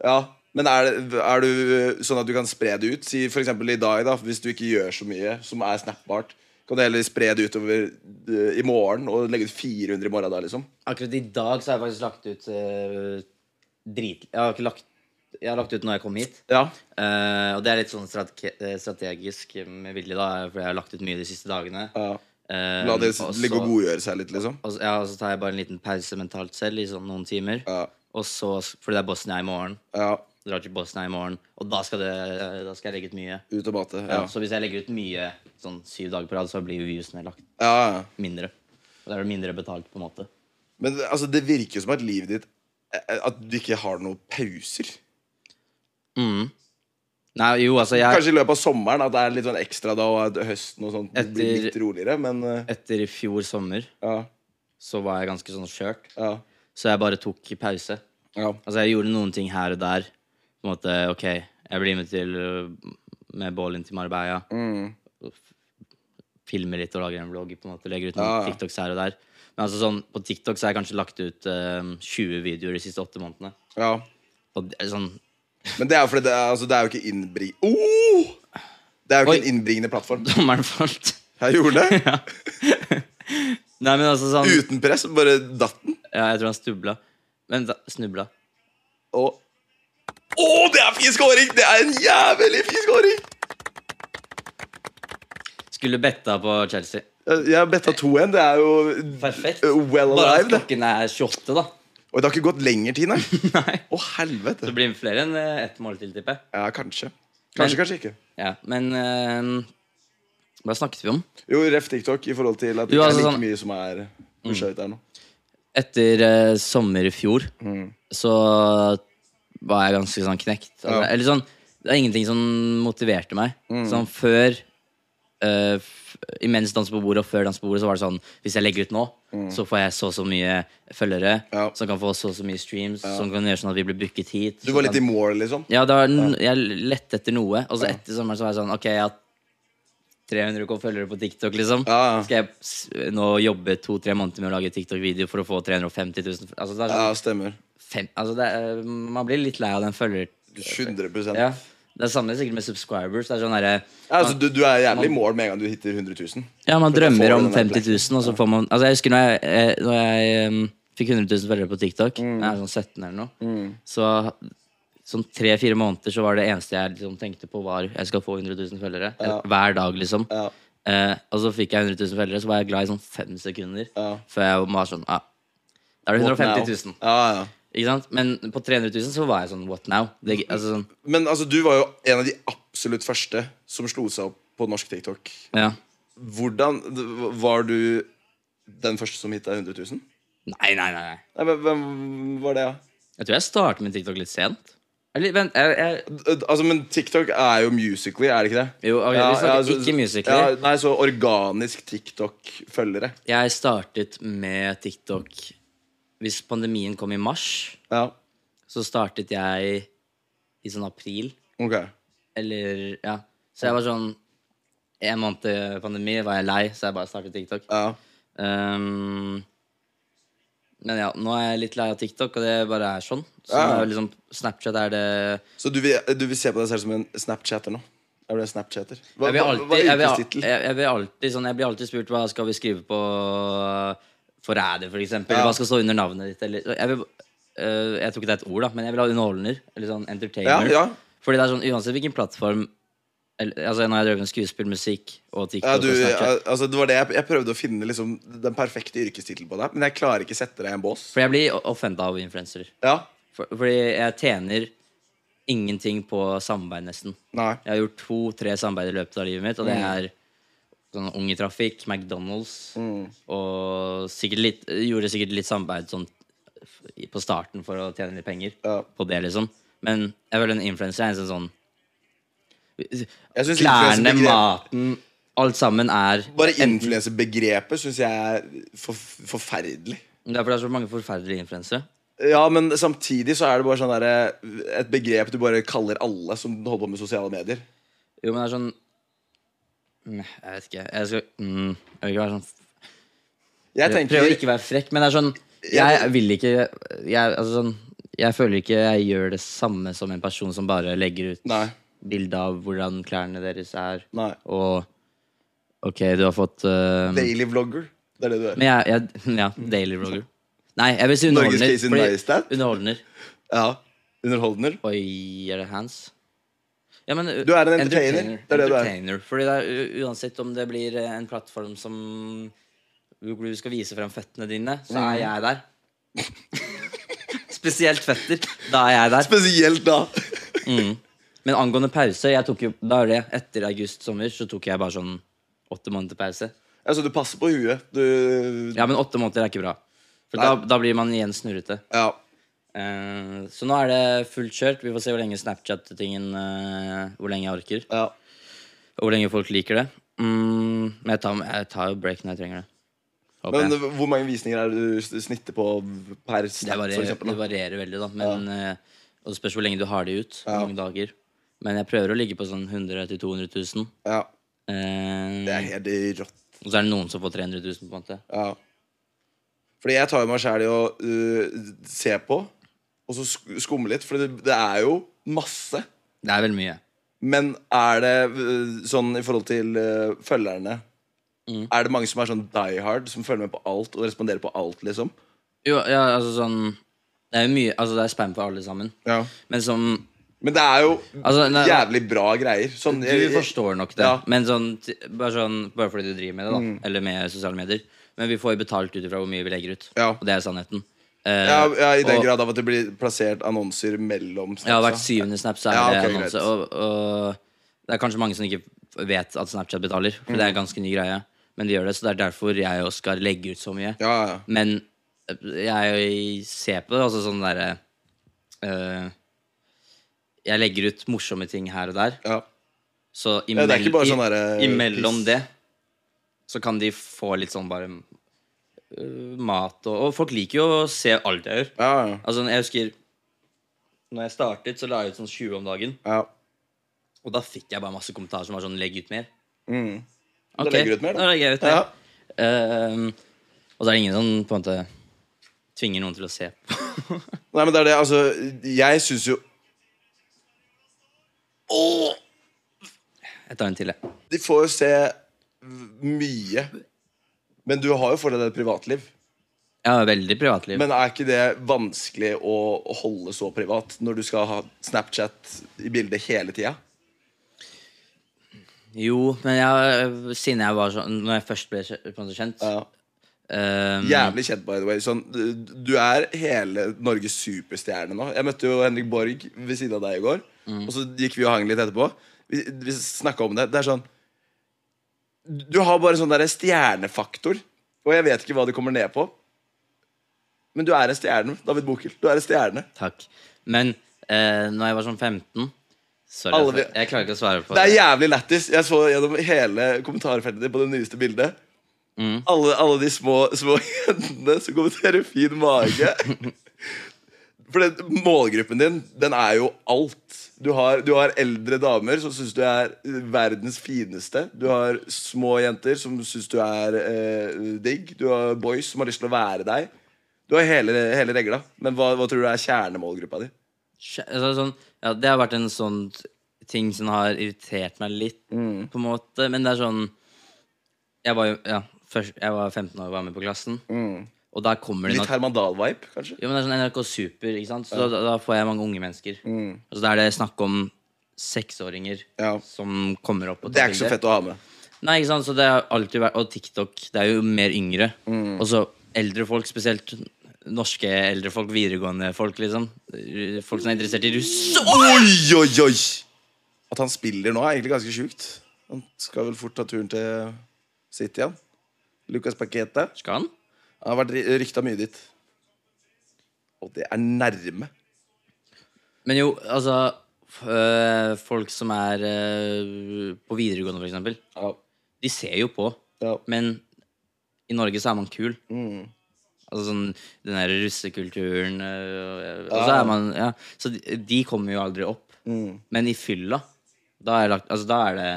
Speaker 1: ja. Men er, det, er du sånn at du kan spre det ut? Si for eksempel i dag, da, hvis du ikke gjør så mye som er snappbart, kan du heller spre det utover eh, i morgen og legge ut 400 i morgen da, liksom?
Speaker 2: Akkurat i dag så har jeg faktisk lagt ut eh, drit... Jeg har ikke lagt Jeg har lagt ut når jeg kom hit.
Speaker 1: Ja.
Speaker 2: Eh, og det er litt sånn strate eh, strategisk med vilje, da, for jeg har lagt ut mye de siste dagene.
Speaker 1: ja.
Speaker 2: Eh,
Speaker 1: La det
Speaker 2: og så-
Speaker 1: ligge og godgjøre seg litt, liksom?
Speaker 2: og så- Ja, og så tar jeg bare en liten pause mentalt selv i sånn noen timer.
Speaker 1: Ja.
Speaker 2: Og så, fordi det er Bosnia i morgen.
Speaker 1: ja.
Speaker 2: Drar til Bosnia i morgen. Og da skal, det, da skal jeg legge ut mye.
Speaker 1: Ut og bate. Ja.
Speaker 2: Ja. Så hvis jeg legger ut mye sånn syv dager på rad, så blir jo viewsene lagt
Speaker 1: ja, ja.
Speaker 2: mindre. Og da er det mindre betalt, på en måte.
Speaker 1: Men det- altså, det virker som at livet ditt eh, At du ikke har noen pauser.
Speaker 2: Mm. Nei, jo, altså jeg
Speaker 1: Kanskje i løpet av sommeren at det er litt sånn ekstra da, og at høsten og sånt blir
Speaker 2: Etter-
Speaker 1: litt roligere, men eh,
Speaker 2: Etter i fjor sommer
Speaker 1: ja,
Speaker 2: så var jeg ganske sånn skjørt,
Speaker 1: ja,
Speaker 2: så jeg bare tok pause.
Speaker 1: ja.
Speaker 2: Altså, jeg gjorde noen ting her og der. På en måte, ok, jeg blir med til øh, med Ballin til Marbella.
Speaker 1: Mm.
Speaker 2: Filmer litt og lager en vlogg. på en måte, Legger ut
Speaker 1: Ja,
Speaker 2: noen
Speaker 1: ja.
Speaker 2: TikToks her og der. Men altså sånn, på TikTok så har jeg kanskje lagt ut øhm, 20 videoer de siste åtte månedene.
Speaker 1: ja.
Speaker 2: Og det, er sånn,
Speaker 1: Men det er jo fordi det er, altså, det er jo ikke innbring... Oh! Det er jo ikke
Speaker 2: Oi.
Speaker 1: en innbringende plattform.
Speaker 2: dommeren falt.
Speaker 1: Jeg gjorde det.
Speaker 2: ja. Nei, men altså sånn
Speaker 1: Uten press, bare datt den.
Speaker 2: Ja, jeg tror han stubla. Men da, snubla.
Speaker 1: Og Å, det er fin scoring! Det er en jævlig fin scoring!
Speaker 2: Skulle betta på Chelsea.
Speaker 1: Eh, Jeg jeg har betta 2-1. Det er jo
Speaker 2: Perfekt.
Speaker 1: uh, well
Speaker 2: Bare at
Speaker 1: alive, det.
Speaker 2: klokken er 28, da.
Speaker 1: Og det har ikke gått lenger tid, nei. Å,
Speaker 2: Nei.
Speaker 1: helvete.
Speaker 2: Det blir flere enn eh, ett mål til, tipper jeg.
Speaker 1: Ja, kanskje. Kanskje,
Speaker 2: Men-
Speaker 1: kanskje ikke.
Speaker 2: Ja, men eh, Hva snakket vi om?
Speaker 1: Jo, ref TikTok i forhold til at det
Speaker 2: Jo,
Speaker 1: ikke
Speaker 2: altså
Speaker 1: er like
Speaker 2: sånn-
Speaker 1: mye som er beskjøvet der nå.
Speaker 2: Etter eh, sommer i fjor
Speaker 1: Mm.
Speaker 2: så var jeg ganske sånn knekt. Altså,
Speaker 1: Ja. Mm.
Speaker 2: Eller sånn Det er ingenting som motiverte meg. Sånn før eh, f Imens Dans på bordet og før Dans på bordet så var det sånn Hvis jeg legger ut nå, så får jeg så og så mye følgere
Speaker 1: Mm. Ja.
Speaker 2: som kan få så og så mye streams, som kan gjøre sånn at vi blir booket hit.
Speaker 1: Du var
Speaker 2: som
Speaker 1: litt i
Speaker 2: kan,
Speaker 1: mål, liksom?
Speaker 2: Ja, da, jeg lette etter noe, og så
Speaker 1: Ja.
Speaker 2: etter sommeren så var jeg sånn Ok, jeg har 300 k følgere på TikTok, liksom.
Speaker 1: Ja, ja.
Speaker 2: Skal jeg s- nå jobbe to-tre måneder med å lage TikTok-video for å få 350 000 altså, det er
Speaker 1: Ja,
Speaker 2: sånn,
Speaker 1: stemmer.
Speaker 2: fem, altså, det er, Man blir litt lei av den følger...
Speaker 1: 100
Speaker 2: Ja. Det er samme sikkert med subscribers. Det er sånn derre-
Speaker 1: Ja, altså, du, du er jævlig i mål med en gang du hitter 100 000.
Speaker 2: ja, man
Speaker 1: For da får
Speaker 2: drømmer
Speaker 1: du
Speaker 2: om
Speaker 1: den der
Speaker 2: 50 000, og så får man Altså, jeg husker når jeg, eh, når jeg em, fikk 100 000 følgere på TikTok,
Speaker 1: Mm.
Speaker 2: jeg er sånn 17 eller noe, så sånn tre-fire måneder så var det eneste jeg liksom tenkte på, var jeg skal få 100 000 følgere.
Speaker 1: Ja.
Speaker 2: Hver dag, liksom.
Speaker 1: Ja.
Speaker 2: Eh, og så fikk jeg 100 000 følgere, så var jeg glad i sånn fem sekunder.
Speaker 1: Ja.
Speaker 2: Før jeg var sånn ah, Da er det 150 000.
Speaker 1: Ja, ja.
Speaker 2: Ikke sant? Men på 300 000 så var jeg sånn what now? Det, altså sånn,
Speaker 1: Men altså, du var jo en av de absolutt første som slo seg opp på norsk TikTok.
Speaker 2: ja.
Speaker 1: Hvordan Var du den første som hitta 100 000?
Speaker 2: Nei, nei, nei. nei.
Speaker 1: Nei, men hvem var det, da?
Speaker 2: Jeg tror jeg startet med TikTok litt sent. Eller vent, jeg, jeg,
Speaker 1: D- Altså, men TikTok er jo Musically, er det ikke det?
Speaker 2: Jo, ok, vi snakker
Speaker 1: så-
Speaker 2: ikke Musical.ly.
Speaker 1: Ja, nei, så organisk TikTok-følgere.
Speaker 2: jeg startet med TikTok Hvis pandemien kom i mars,
Speaker 1: Ja,
Speaker 2: så startet jeg i sånn april.
Speaker 1: ok
Speaker 2: Eller ja. Så jeg var sånn En måned til pandemi var jeg lei, så jeg bare startet TikTok.
Speaker 1: Ja,
Speaker 2: Ehm, men ja, nå er jeg litt lei av TikTok, og det bare er sånn. Så
Speaker 1: Ja.
Speaker 2: det er liksom, Snapchat er det
Speaker 1: Så du vil, du vil se på deg selv som en Snapchatter nå? Er du en Snapchatter? Hva,
Speaker 2: Jeg blir
Speaker 1: hva-
Speaker 2: alltid,
Speaker 1: hva er
Speaker 2: jeg blir,
Speaker 1: yrkestittel?
Speaker 2: jeg, jeg blir alltid, sånn, jeg blir alltid spurt hva skal vi skrive på Forræder, for eksempel.
Speaker 1: Ja.
Speaker 2: Hva skal stå under navnet ditt? Eller, jeg, vil, øh, jeg tror ikke det er et ord, da, men jeg vil ha underholdner. Eller sånn entertainer.
Speaker 1: Ja, ja.
Speaker 2: Fordi det er sånn, uansett hvilken plattform eller, altså Nå har jeg drevet med skuespill, musikk og TikTok.
Speaker 1: Ja, du,
Speaker 2: og Snapchat.
Speaker 1: ja, altså, det var det jeg, jeg prøvde å finne liksom, den perfekte yrkestittelen på deg, men jeg klarer ikke sette deg i en bås.
Speaker 2: For jeg blir offenda av influensere.
Speaker 1: Ja,
Speaker 2: For, fordi jeg tjener ingenting på samarbeid, nesten.
Speaker 1: nei
Speaker 2: Jeg har gjort to-tre samarbeid i løpet av livet mitt, og det
Speaker 1: Mm.
Speaker 2: er sånn Ung i Trafikk, McDonald's
Speaker 1: Mm.
Speaker 2: og sikkert litt, gjorde sikkert litt samarbeid sånn på starten for å tjene litt penger
Speaker 1: Ja.
Speaker 2: på det, liksom. Men jeg føler en influenser er en sånn
Speaker 1: Jeg synes
Speaker 2: Klærne,
Speaker 1: influencerbegrep-
Speaker 2: maten, alt sammen er
Speaker 1: Bare influenserbegrepet syns jeg er for, forferdelig.
Speaker 2: Det er fordi det er så mange forferdelige influensere.
Speaker 1: Ja, men samtidig så er det bare sånn der, et begrep du bare kaller alle som holder på med sosiale medier.
Speaker 2: Jo, men det er sånn Mm, Jeg vet ikke. Jeg skal, mm, jeg vil ikke være sånn
Speaker 1: Jeg
Speaker 2: Jeg
Speaker 1: tenker
Speaker 2: prøver å ikke være frekk, men det er sånn Jeg vil ikke Jeg, altså sånn, jeg føler ikke jeg gjør det samme som en person som bare legger ut
Speaker 1: Nei.
Speaker 2: bilde av hvordan klærne deres er,
Speaker 1: Nei.
Speaker 2: og OK, du har fått eh,
Speaker 1: Daily vlogger. Det er det du er.
Speaker 2: Men jeg, jeg Ja, daily vlogger. Nei, jeg vil si
Speaker 1: Norges
Speaker 2: underholdner.
Speaker 1: Case in
Speaker 2: fordi-
Speaker 1: Majestat?
Speaker 2: underholdner.
Speaker 1: Ja. Underholdner.
Speaker 2: Oi, er det hands? Ja, men,
Speaker 1: Du er en entertainer. Det er det du er.
Speaker 2: entertainer. Fordi det er u- uansett om det blir eh, en plattform som hvor du skal vise frem føttene dine, så
Speaker 1: Mm.
Speaker 2: er jeg der. Spesielt føtter. Da er jeg der.
Speaker 1: Spesielt da.
Speaker 2: Men angående pause jeg tok jo, Da er det etter august sommer, så tok jeg bare sånn åtte måneder pause.
Speaker 1: Altså, du passer på huet. Du
Speaker 2: Ja, men åtte måneder er ikke bra. For da,
Speaker 1: Nei.
Speaker 2: da blir man igjen snurrete.
Speaker 1: Ja.
Speaker 2: Eh, så nå er det fullt kjørt. Vi får se hvor lenge Snapchat-tingen eh, Hvor lenge jeg orker.
Speaker 1: ja.
Speaker 2: Og hvor lenge folk liker det. Mm, men jeg tar, jeg tar jo break når jeg trenger det. Håper
Speaker 1: Men
Speaker 2: jeg.
Speaker 1: hvor mange visninger er det du s- snitter på per
Speaker 2: Det,
Speaker 1: snap, for
Speaker 2: varierer,
Speaker 1: eksempel?
Speaker 2: det
Speaker 1: Da?
Speaker 2: varierer veldig, da. Men, eh, og det spørs hvor lenge du har det ut. Hvor
Speaker 1: Ja.
Speaker 2: mange dager. Men jeg prøver å ligge på sånn 100 000-200 000.
Speaker 1: Ja. Det er
Speaker 2: Eh,
Speaker 1: helt rått.
Speaker 2: og så er det noen som får 300 000, på en måte.
Speaker 1: Ja. Fordi jeg tar jo meg sjæl i å øh, se på, og så sk- skumme litt. For det, det er jo masse.
Speaker 2: Det er veldig mye.
Speaker 1: Men er det øh, sånn i forhold til øh, følgerne
Speaker 2: Mm.
Speaker 1: Er det mange som er sånn die hard, som følger med på alt og responderer på alt, liksom?
Speaker 2: Jo, ja, altså sånn Det er jo mye Altså, det er spam for alle sammen.
Speaker 1: Ja.
Speaker 2: Men som
Speaker 1: Men det er jo
Speaker 2: Altså, nei,
Speaker 1: jævlig bra greier. Sånn,
Speaker 2: Du forstår nok det.
Speaker 1: Ja. Mm.
Speaker 2: Men sånn, t- bare, sånn, bare fordi du driver med det, da. Eller med sosiale medier. Men vi får jo betalt ut ifra hvor mye vi legger ut.
Speaker 1: Ja.
Speaker 2: Og det er sannheten. Eh,
Speaker 1: Ja, ja, I den
Speaker 2: og-
Speaker 1: grad av at det blir plassert annonser mellom
Speaker 2: Ja, hvert
Speaker 1: snapsa.
Speaker 2: syvende snap så er
Speaker 1: Ja, ok,
Speaker 2: det annonse.
Speaker 1: greit.
Speaker 2: Og, og det er kanskje mange som ikke vet at Snapchat betaler, for
Speaker 1: Mm.
Speaker 2: det er en ganske ny greie. Men de gjør det, så det er derfor jeg og Oskar legger ut så mye.
Speaker 1: Ja, ja.
Speaker 2: Men eh, jeg ser på det, altså sånn derre eh, Jeg legger ut morsomme ting her og der,
Speaker 1: ja.
Speaker 2: så
Speaker 1: Ja, det er
Speaker 2: imell-
Speaker 1: ikke bare
Speaker 2: i-
Speaker 1: sånn derre
Speaker 2: imellom
Speaker 1: piss.
Speaker 2: det så kan de få litt sånn bare eh, mat og Og folk liker jo å se alt jeg gjør.
Speaker 1: ja, ja.
Speaker 2: Altså, jeg husker Når jeg startet, så la jeg ut sånn 20 om dagen.
Speaker 1: ja.
Speaker 2: Og da fikk jeg bare masse kommentarer som var sånn 'legg ut mer'.
Speaker 1: Mm. Da
Speaker 2: Ok,
Speaker 1: legger du ut mer,
Speaker 2: da.
Speaker 1: da.
Speaker 2: legger jeg ut mer.
Speaker 1: Ja.
Speaker 2: Ehm, og så er det ingen som på en måte tvinger noen til å se på.
Speaker 1: Nei, men det er det, altså Jeg syns jo
Speaker 2: Jeg tar en til, jeg.
Speaker 1: De får jo se mye. Men du har jo fortsatt et privatliv.
Speaker 2: Jeg har veldig privatliv.
Speaker 1: Men er ikke det vanskelig å holde så privat når du skal ha Snapchat i bildet hele tida?
Speaker 2: Jo, men jeg, siden jeg var sånn Når jeg først ble kje- på en måte kjent
Speaker 1: Ja.
Speaker 2: ehm,
Speaker 1: Jævlig kjent, by the way. Sånn, du- du er hele Norges superstjerne nå. Jeg møtte jo Henrik Borg ved siden av deg i går. Og så gikk vi og hang litt etterpå. Vi, vi snakka om det. Det er sånn Du har bare sånn der stjernefaktor. Og jeg vet ikke hva det kommer ned på. Men du er en stjerne, David Bokel. Du er en stjerne.
Speaker 2: Takk. Men uh, når jeg var sånn 15 Sorry,
Speaker 1: Alle
Speaker 2: jeg,
Speaker 1: vet-
Speaker 2: jeg klarer ikke å svare på
Speaker 1: Det
Speaker 2: det.
Speaker 1: er jævlig lættis. Jeg så gjennom hele kommentarfeltet ditt på det nyeste bildet. Alle, alle de små, små jentene som kommenterer 'fin mage'. For det, målgruppen din, den er jo alt. Du har, du har eldre damer som syns du er verdens fineste. Du har små jenter som syns du er eh, digg. Du har boys som har lyst til å være deg. Du har hele, hele regla. Men hva, hva tror du er kjernemålgruppa di?
Speaker 2: Kje- altså, sånn, ja, det har vært en sånn ting som har irritert meg litt,
Speaker 1: Mm.
Speaker 2: på en måte. Men det er sånn Jeg var jo ja, først, jeg var 15 år og var med på klassen. Og da kommer det
Speaker 1: Mm. Litt
Speaker 2: nok
Speaker 1: Herman Dahl-vibe, kanskje?
Speaker 2: jo, men det er sånn NRK Super, ikke sant? så da, da får jeg mange unge mennesker. Altså, da er det snakk om seksåringer
Speaker 1: Mm. Ja.
Speaker 2: som kommer opp. Og
Speaker 1: Det er ikke så fett å ha med.
Speaker 2: Nei, ikke sant, så det har alltid vært Og TikTok, det er jo mer yngre Og så eldre folk, spesielt Norske eldre folk, videregående folk liksom Folk som er interessert i russ
Speaker 1: Oi, oi, oi! At han spiller nå, er egentlig ganske sjukt. Han skal vel fort ta turen til City igjen. Lucas Paqueta.
Speaker 2: Skal han?
Speaker 1: Han har vært ry- rykta mye dit. Og det er nærme.
Speaker 2: Men jo, altså f- øh, Folk som er øh, på videregående for eksempel
Speaker 1: Ja.
Speaker 2: De ser jo på
Speaker 1: Ja.
Speaker 2: Men i Norge så er man kul Altså sånn, Den der russekulturen øh, og, og så er man, ja, Så de, de kommer jo aldri opp. Men i fylla, da er, lagt, altså, da er det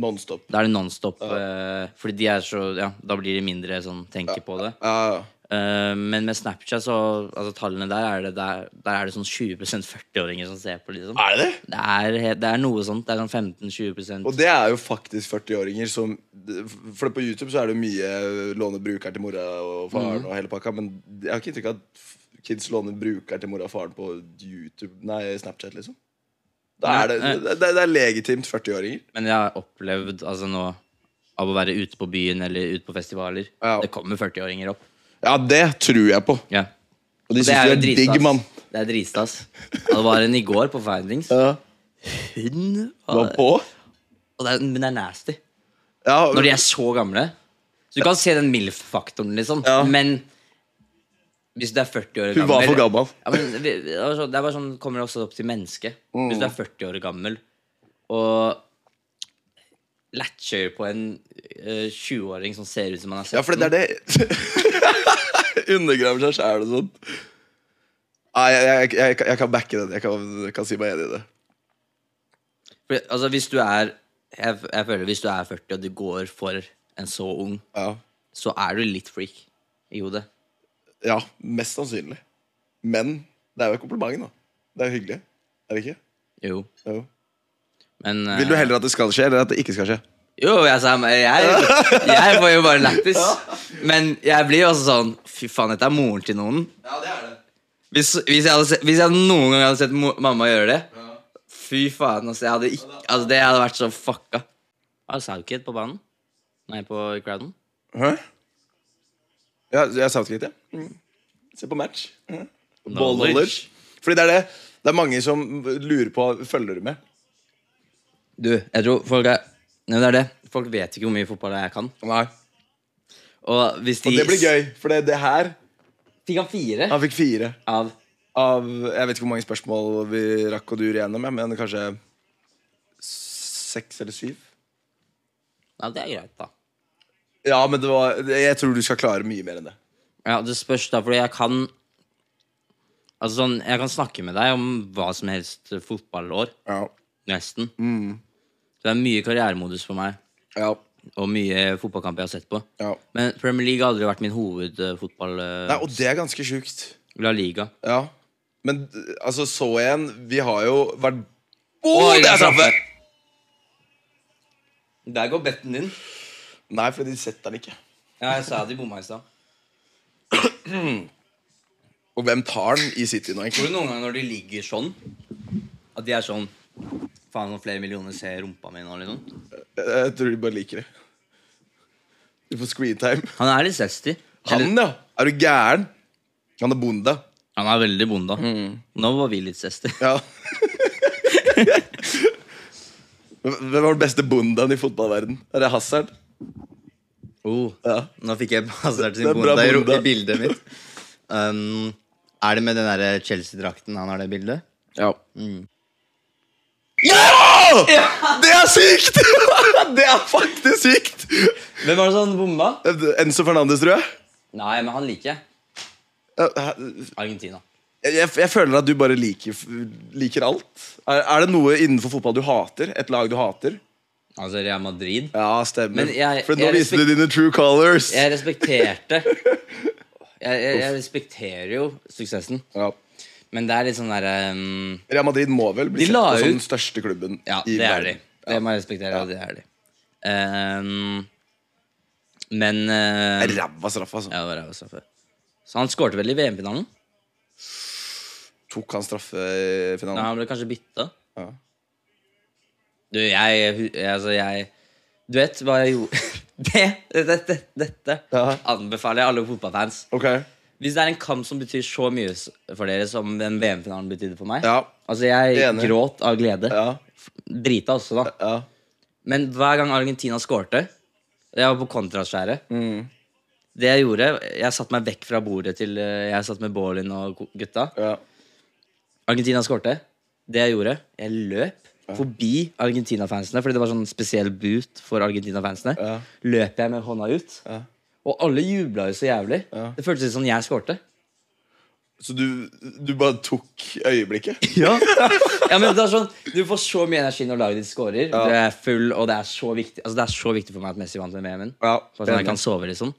Speaker 1: Nonstop.
Speaker 2: da er det nonstop. eh, fordi de er så Ja, da blir de mindre sånn tenker på det.
Speaker 1: Ja,
Speaker 2: Eh, men med Snapchat, så Altså tallene der, er det, der, der er det sånn 20 40-åringer som ser på, liksom.
Speaker 1: er det det?
Speaker 2: Det er, helt- det er noe sånt. Det er sånn 15-20
Speaker 1: Og det er jo faktisk 40-åringer som For på YouTube så er det jo mye låne bruker til mora og faren
Speaker 2: Mm.
Speaker 1: og hele pakka, men jeg har ikke inntrykk av at f- kids låner bruker til mora og faren på YouTube Nei, Snapchat, liksom. Da er det,
Speaker 2: Nei, nei.
Speaker 1: det, det, det er legitimt 40-åringer.
Speaker 2: Men jeg har opplevd altså nå av å være ute på byen eller ute på festivaler.
Speaker 1: Ja.
Speaker 2: Det kommer 40-åringer opp.
Speaker 1: Ja, det tror jeg på.
Speaker 2: Ja.
Speaker 1: Og de
Speaker 2: Det er
Speaker 1: syns
Speaker 2: jo
Speaker 1: du er
Speaker 2: dritstas.
Speaker 1: digg, mann.
Speaker 2: Det er dritstas. Ja, Det var en i går på Findings.
Speaker 1: Ja.
Speaker 2: Hun
Speaker 1: Du
Speaker 2: var,
Speaker 1: var på?
Speaker 2: og det er, Men det er nasty.
Speaker 1: Ja,
Speaker 2: Når de er så gamle. Så du kan se den MILF-faktoren, liksom.
Speaker 1: Ja.
Speaker 2: Men hvis du er 40 år gammel
Speaker 1: Hun var for gammel.
Speaker 2: Ja, men vi- det er sånn- det er bare sånn, kommer det også opp til mennesket.
Speaker 1: Mm.
Speaker 2: Hvis du er 40 år gammel og latcher på en eh, 20-åring som ser ut som han er 17
Speaker 1: Ja, for det er det Undergraver seg sjæl og sånt. Nei, jeg, jeg, jeg, jeg kan backe den. Jeg kan, jeg kan si meg enig i det.
Speaker 2: Fordi, altså, hvis du er jeg, jeg føler hvis du er 40 og du går for en så ung,
Speaker 1: Ja,
Speaker 2: så er du litt freak i hodet.
Speaker 1: ja mest sannsynlig. Men det er jo et kompliment, da. Det er jo hyggelig. Er det ikke?
Speaker 2: Jo.
Speaker 1: Jo.
Speaker 2: Men eh,
Speaker 1: Vil du heller at det skal skje, eller at det ikke skal skje?
Speaker 2: Jo, jeg sa men jeg, jeg får jo bare lættis. Men jeg blir jo også sånn Fy faen, dette er moren til noen.
Speaker 1: Ja, det er det.
Speaker 2: Hvis, hvis, jeg, hadde sett, hvis jeg noen gang hadde sett mo mamma gjøre det Fy faen, altså, jeg hadde ikke, altså det hadde vært så fucka. Var det Southgate på banen? Nei, på crowden?
Speaker 1: Hæ? Ja, jeg sa det litt, ja. Mm. Se på match. Hæ? Ball
Speaker 2: Knowledge.
Speaker 1: knowledge. Fordi det er det. Det er mange som lurer på følger du med.
Speaker 2: Du, jeg tror folk er Nei, det er det. Folk vet ikke hvor mye fotball jeg kan.
Speaker 1: Nei.
Speaker 2: Og hvis de
Speaker 1: Og det blir gøy, for det, det her
Speaker 2: Fikk han fire
Speaker 1: Han fikk fire.
Speaker 2: av
Speaker 1: av Jeg vet ikke hvor mange spørsmål vi rakk å dure gjennom, jeg, men kanskje seks eller syv?
Speaker 2: Ja, det er greit, da.
Speaker 1: Ja, men det var, jeg tror du skal klare mye mer enn det.
Speaker 2: Ja, Det spørs, da, fordi jeg kan Altså sånn, Jeg kan snakke med deg om hva som helst eh, fotballår.
Speaker 1: Ja.
Speaker 2: Nesten.
Speaker 1: Mm.
Speaker 2: Så det er mye karrieremodus for meg,
Speaker 1: ja,
Speaker 2: og mye fotballkamp jeg har sett på.
Speaker 1: ja.
Speaker 2: Men Premier League har aldri vært min hovedfotball... eh,
Speaker 1: Nei, og det er ganske sjukt.
Speaker 2: La Liga.
Speaker 1: Ja. Men altså, så igjen Vi har jo vært Å,
Speaker 2: Oi,
Speaker 1: det er straffe!
Speaker 2: Der går betten din.
Speaker 1: Nei, for de setter den ikke.
Speaker 2: Ja, jeg sa de bomma i stad.
Speaker 1: Og hvem tar den i City nå,
Speaker 2: Tror
Speaker 1: egentlig?
Speaker 2: du noen ganger når de ligger sånn, at de er sånn Faen, om flere millioner ser rumpa mi nå, eller noe?
Speaker 1: Jeg tror de bare liker det. Du får screentime.
Speaker 2: Han er litt sesty.
Speaker 1: Han, ja! Er du gæren? Han er bonde.
Speaker 2: Han er veldig bonda. Nå var vi litt sesty.
Speaker 1: Ja. Hvem var den beste bondaen i fotballverden? Er det Hazard?
Speaker 2: Oh,
Speaker 1: Ja.
Speaker 2: Nå fikk jeg Hazard
Speaker 1: Det
Speaker 2: sin
Speaker 1: er bra
Speaker 2: bonda i, ro-
Speaker 1: bonda.
Speaker 2: i bildet mitt. Um, er det med den der Chelsea-drakten han har det bildet?
Speaker 1: Ja.
Speaker 2: Mm.
Speaker 1: ja! Det er sykt! det er faktisk sykt!
Speaker 2: Hvem var det som bomba?
Speaker 1: Enzo Fernandes, tror jeg.
Speaker 2: Nei, men han liker jeg. Argentina.
Speaker 1: Jeg, jeg, jeg føler at du bare liker, liker alt. Er, er det noe innenfor fotball du hater? Et lag du hater?
Speaker 2: Altså Real Madrid.
Speaker 1: Ja, stemmer.
Speaker 2: Men jeg-
Speaker 1: For nå
Speaker 2: jeg
Speaker 1: viste du dine true colors.
Speaker 2: Jeg respekterte jeg, jeg, jeg respekterer jo suksessen,
Speaker 1: Ja.
Speaker 2: men det er litt sånn derre um,
Speaker 1: Real Madrid må vel bli
Speaker 2: De
Speaker 1: sett
Speaker 2: la
Speaker 1: på som
Speaker 2: ut-
Speaker 1: den største klubben
Speaker 2: Ja,
Speaker 1: i
Speaker 2: det er de.
Speaker 1: verden.
Speaker 2: Det må jeg respektere. og Det er de. Um, men uh,
Speaker 1: Det er Ræva straff, altså.
Speaker 2: Ja, det var ræva straffe. Så han skårte vel i VM-finalen?
Speaker 1: Tok han
Speaker 2: Ja,
Speaker 1: straffefinalen?
Speaker 2: han ble kanskje bytta.
Speaker 1: Ja.
Speaker 2: Du, jeg, hu- altså, jeg Du vet hva jeg gjorde det, Dette, dette
Speaker 1: Ja.
Speaker 2: anbefaler jeg alle fotballfans.
Speaker 1: Ok.
Speaker 2: Hvis det er en kamp som betyr så mye s- for dere som den VM-finalen betydde for meg
Speaker 1: Ja.
Speaker 2: Altså, jeg
Speaker 1: Enig.
Speaker 2: gråt av glede.
Speaker 1: Ja.
Speaker 2: Drita også, da.
Speaker 1: ja.
Speaker 2: Men hver gang Argentina skårte Jeg var på kontraskjæret.
Speaker 1: Mm.
Speaker 2: Det jeg gjorde Jeg satte meg vekk fra bordet til eh, Jeg satt med Bålin og ko- gutta.
Speaker 1: ja.
Speaker 2: Argentina skårte. Det jeg gjorde, jeg løp forbi Argentina-fansene, fordi det var sånn spesiell boot for Argentina-fansene.
Speaker 1: Ja.
Speaker 2: Løp jeg med hånda ut
Speaker 1: Ja.
Speaker 2: Og alle jubla jo så jævlig.
Speaker 1: Ja.
Speaker 2: Det føltes ut som jeg skårte.
Speaker 1: Så du, du bare tok øyeblikket?
Speaker 2: Ja. men det er sånn, du får så mye energi når laget ditt scorer.
Speaker 1: Ja.
Speaker 2: Du er full, og det er så viktig Altså det er så viktig for meg at Messi vant med VM-en.
Speaker 1: Ja,
Speaker 2: Sånn at jeg kan sove, liksom.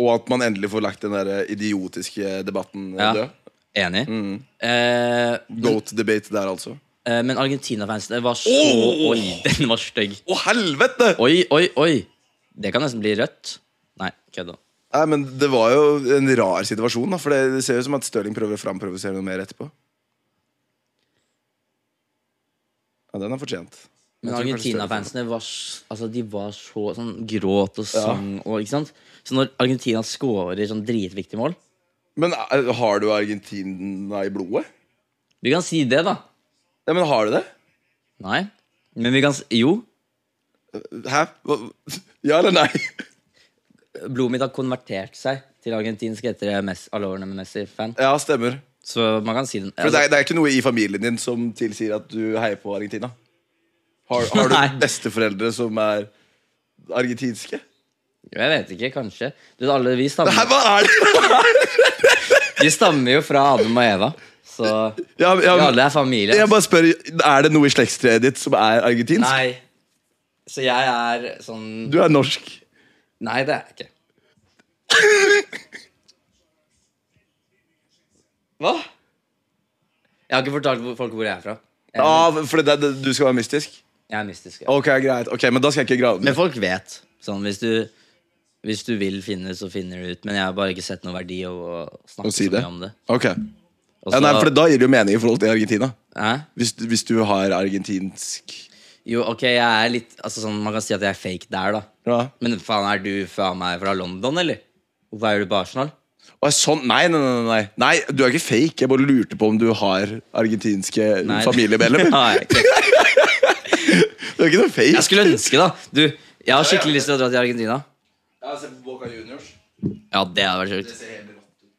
Speaker 1: Og at man endelig får lagt den der idiotiske debatten eh,
Speaker 2: Ja.
Speaker 1: død.
Speaker 2: Enig.
Speaker 1: Mm.
Speaker 2: Eh,
Speaker 1: Goat-debate der, altså. Å,
Speaker 2: eh, men Argentina-fansen var så
Speaker 1: Åh!
Speaker 2: Oi, den var stygg.
Speaker 1: helvete!
Speaker 2: Oi, oi, oi. Det kan nesten bli rødt. Nei, kødda.
Speaker 1: Nei, men Det var jo en rar situasjon, da, for det, det ser jo ut som at Stirling prøver å framprovosere noe mer etterpå. Ja, den er fortjent. Jeg
Speaker 2: Men
Speaker 1: tror kanskje
Speaker 2: Argentina-fansene var, s- altså, de var så sånn gråt og sang. Og, ikke sant? Så når Argentina scorer sånn dritviktig mål
Speaker 1: Stirling- Men eh, har du Argentina i blodet?
Speaker 2: Vi kan si det, da.
Speaker 1: Ja, men har du det?
Speaker 2: Nei. Men vi kan s- Jo.
Speaker 1: Hæ? Hva- Ja eller nei?
Speaker 2: Blodet mitt har konvertert seg til argentinsk etter Messi, alle årene med Messi-fan.
Speaker 1: Ja, stemmer.
Speaker 2: Så man kan si den.
Speaker 1: For det
Speaker 2: Altså,
Speaker 1: er, det er ikke noe i familien din som tilsier at du heier på Argentina? Har, har
Speaker 2: Nei.
Speaker 1: du besteforeldre som er argentinske?
Speaker 2: Altså, jeg vet ikke, kanskje. Du, vet, alle, vi,
Speaker 1: Hæ,
Speaker 2: stammer,
Speaker 1: hva er det?!
Speaker 2: vi stammer jo fra Adam og Eva, så
Speaker 1: Ja,
Speaker 2: vi
Speaker 1: ja,
Speaker 2: alle er familie.
Speaker 1: jeg bare spør, Er det noe i slektstreet ditt som er argentinsk?
Speaker 2: Nei. Så jeg er sånn
Speaker 1: Du er norsk.
Speaker 2: Nei, det er jeg ikke. Hva? Jeg har ikke fortalt hvor- folk hvor jeg er fra. Jeg,
Speaker 1: Ja, for det, det, du skal være mystisk?
Speaker 2: jeg er mystisk. Ja.
Speaker 1: Ok, greit. Ok, Men da skal jeg ikke grave
Speaker 2: Men
Speaker 1: den.
Speaker 2: folk vet. Sånn, hvis du, hvis du vil finne, så finner du ut. Men jeg har bare ikke sett noe verdi i å snakke
Speaker 1: Å si
Speaker 2: så
Speaker 1: det. Altså-
Speaker 2: mye om det.
Speaker 1: Ok.
Speaker 2: Og
Speaker 1: Ja,
Speaker 2: så-
Speaker 1: nei, for da gir det jo mening i forhold til Argentina.
Speaker 2: Hæ?
Speaker 1: Hvis, du- hvis du har argentinsk
Speaker 2: Jo, ok, jeg er litt altså, sånn, Man kan si at jeg er fake der, da.
Speaker 1: ja.
Speaker 2: Men faen, er du faen meg fra London, eller? Hvorfor er du på Arsenal?
Speaker 1: Å, sånn, nei, nei, nei, nei. nei, du er ikke fake. Jeg bare lurte på om du har argentinske
Speaker 2: Nei.
Speaker 1: familiemedlemmer.
Speaker 2: Ja, jeg-
Speaker 1: Du er ikke noe fake.
Speaker 2: Jeg skulle ønske, da. Du, jeg har skikkelig lyst til å dra til Argentina.
Speaker 1: har sett på Boca Juniors.
Speaker 2: Ja, det hadde vært sjukt.
Speaker 1: ser helt rått ut.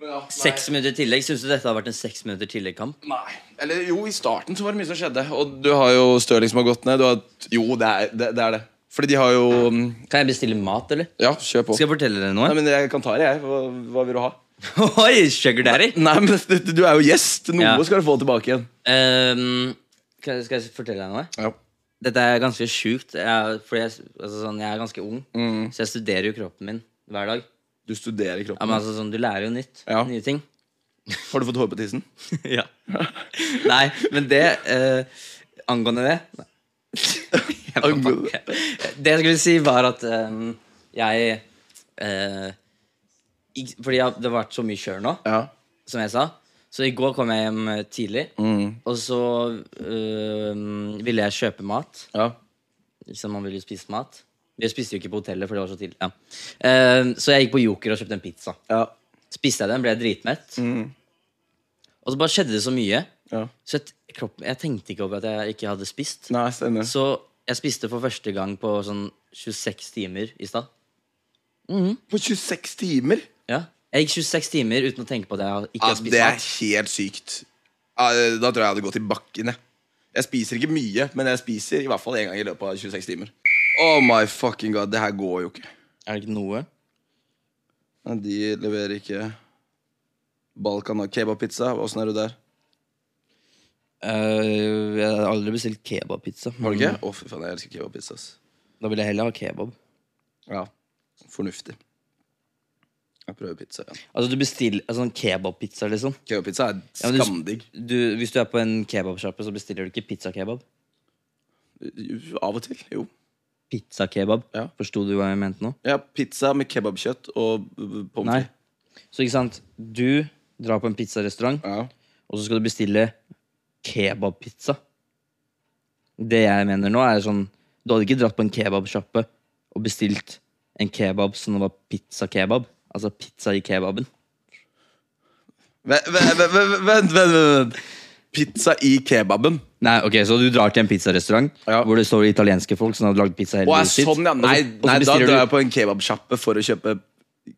Speaker 1: Men ja, nei.
Speaker 2: Seks minutter tillegg. Syns du dette hadde vært en seks minutter tillegg-kamp?
Speaker 1: Nei. Eller jo, i starten så var det mye som skjedde. Og du har jo Stirling som har gått ned. Du har, jo, det er, det, det er det. Fordi de har jo mm,
Speaker 2: Kan jeg bestille mat, eller?
Speaker 1: Ja, kjør på.
Speaker 2: Skal jeg fortelle dere
Speaker 1: Nei,
Speaker 2: noe?
Speaker 1: men Jeg kan ta det, jeg. Hva, hva vil du ha?
Speaker 2: Oi, sugar daddy!
Speaker 1: Nei, men du- Du er jo gjest. Noe
Speaker 2: Ja.
Speaker 1: skal du få tilbake igjen.
Speaker 2: Ehm, skal, jeg- skal jeg fortelle deg noe?
Speaker 1: Ja.
Speaker 2: Dette er ganske sjukt. Jeg, er- fordi jeg, altså, sånn, jeg er ganske ung, så jeg studerer jo kroppen min hver dag.
Speaker 1: Du studerer
Speaker 2: Ja,
Speaker 1: kroppen.
Speaker 2: men altså sånn, Du lærer jo nytt.
Speaker 1: Ja.
Speaker 2: Nye ting.
Speaker 1: Har du fått hår på tissen?
Speaker 2: ja. Nei, men det eh, Angående det Nei. Jeg bare-
Speaker 1: Angående
Speaker 2: Det jeg skulle si, var at eh, jeg eh, ikk- Fordi jeg, det har vært så mye kjør nå,
Speaker 1: Ja.
Speaker 2: som jeg sa. Så i går kom jeg hjem eh, tidlig,
Speaker 1: Mm.
Speaker 2: og så eh, ville jeg kjøpe mat.
Speaker 1: ja.
Speaker 2: Liksom Man ville jo spise mat. Vi spiste jo ikke på hotellet, for det var så tidlig. Ja. Eh, så jeg gikk på Joker og kjøpte en pizza.
Speaker 1: Ja.
Speaker 2: Spiste jeg den, ble jeg dritmett.
Speaker 1: Mm.
Speaker 2: Og så bare skjedde det så mye.
Speaker 1: ja.
Speaker 2: Så jeg, t- kroppen, jeg tenkte ikke over at jeg ikke hadde spist.
Speaker 1: Nei, stemmer.
Speaker 2: Så jeg spiste for første gang på sånn 26 timer i stad.
Speaker 1: På 26 timer?
Speaker 2: Ja. Jeg gikk 26 timer uten å tenke på at jeg ikke
Speaker 1: Ja,
Speaker 2: har spist
Speaker 1: det er
Speaker 2: mat.
Speaker 1: helt sykt. Ja, Da tror jeg jeg hadde gått i bakken. Jeg. jeg spiser ikke mye, men jeg spiser i hvert fall én gang i løpet av 26 timer. Oh my fucking god, det her går jo ikke.
Speaker 2: Er det ikke noe?
Speaker 1: Nei, De leverer ikke Balkan og kebabpizza. Åssen er du der?
Speaker 2: Eh, jeg har aldri bestilt kebabpizza. Mm.
Speaker 1: Har du ikke? Å, Mm. fy faen, jeg elsker kebabpizza. ass.
Speaker 2: Da vil jeg heller ha kebab.
Speaker 1: Ja, fornuftig. Jeg prøver pizza igjen.
Speaker 2: Altså du bestiller altså, en kebabpizza, liksom.
Speaker 1: Kebabpizza er
Speaker 2: Ja, men du-
Speaker 1: skamdigg.
Speaker 2: Du, hvis du er på en kebabsjappe, så bestiller du ikke pizzakebab.
Speaker 1: Av og til, jo.
Speaker 2: Pizzakebab.
Speaker 1: Ja.
Speaker 2: Forsto du hva jeg mente nå?
Speaker 1: Ja, Pizza med kebabkjøtt og b- b- pommes
Speaker 2: Nei.
Speaker 1: frites.
Speaker 2: Så ikke sant, du drar på en pizzarestaurant,
Speaker 1: Ja.
Speaker 2: og så skal du bestille kebabpizza. Det jeg mener nå, er sånn Du hadde ikke dratt på en kebabsjappe og bestilt en kebab som var pizzakebab. Altså pizza i kebaben.
Speaker 1: Vent, vent, vent, vent, vent, vent, vent. Pizza i kebaben.
Speaker 2: Nei, ok, Så du drar til en pizzarestaurant
Speaker 1: Ja.
Speaker 2: hvor det står italienske folk som har lagd pizza hele
Speaker 1: Å, er
Speaker 2: livet sitt.
Speaker 1: sånn, ja.
Speaker 2: og så-
Speaker 1: Nei,
Speaker 2: og så
Speaker 1: nei da drar
Speaker 2: bestiller du-
Speaker 1: jeg på en kebabsjappe for å kjøpe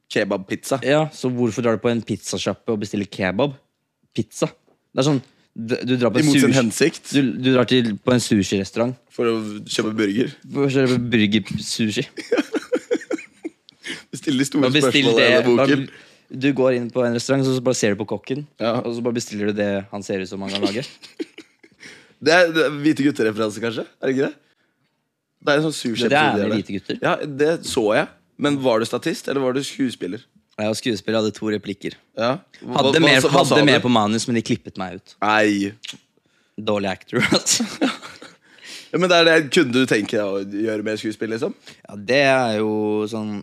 Speaker 1: kebabpizza.
Speaker 2: Ja, så hvorfor drar du på en pizzasjappe og bestiller kebab? Pizza. Det er sånn Du, du drar på
Speaker 1: I
Speaker 2: en
Speaker 1: motsatt
Speaker 2: sushi
Speaker 1: hensikt
Speaker 2: du, du drar til, på en sushirestaurant
Speaker 1: for å kjøpe burger.
Speaker 2: for å kjøpe burgersushi.
Speaker 1: bestille de store
Speaker 2: Man bestiller
Speaker 1: spørsmålene i denne
Speaker 2: det
Speaker 1: boken.
Speaker 2: man, Du går inn på en restaurant, så bare ser du på kokken.
Speaker 1: Ja.
Speaker 2: Og så bare bestiller du det han ser ut som han kan lage.
Speaker 1: Det er, det er Hvite gutter-referanse, kanskje? Er det ikke det? Det er en sånn
Speaker 2: Det er
Speaker 1: sursjef.
Speaker 2: med hvite gutter.
Speaker 1: Ja, det så jeg. Men var du statist, eller var du skuespiller?
Speaker 2: Jeg og skuespiller hadde to replikker.
Speaker 1: Ja. Hva-
Speaker 2: Hadde,
Speaker 1: hva-
Speaker 2: mer,
Speaker 1: hva sa
Speaker 2: hadde
Speaker 1: du?
Speaker 2: mer på manus, men de klippet meg ut.
Speaker 1: Nei.
Speaker 2: Dårlig actor, altså.
Speaker 1: Ja, men det er det, Kunne du tenke deg å gjøre mer skuespill, liksom?
Speaker 2: Ja, det er jo sånn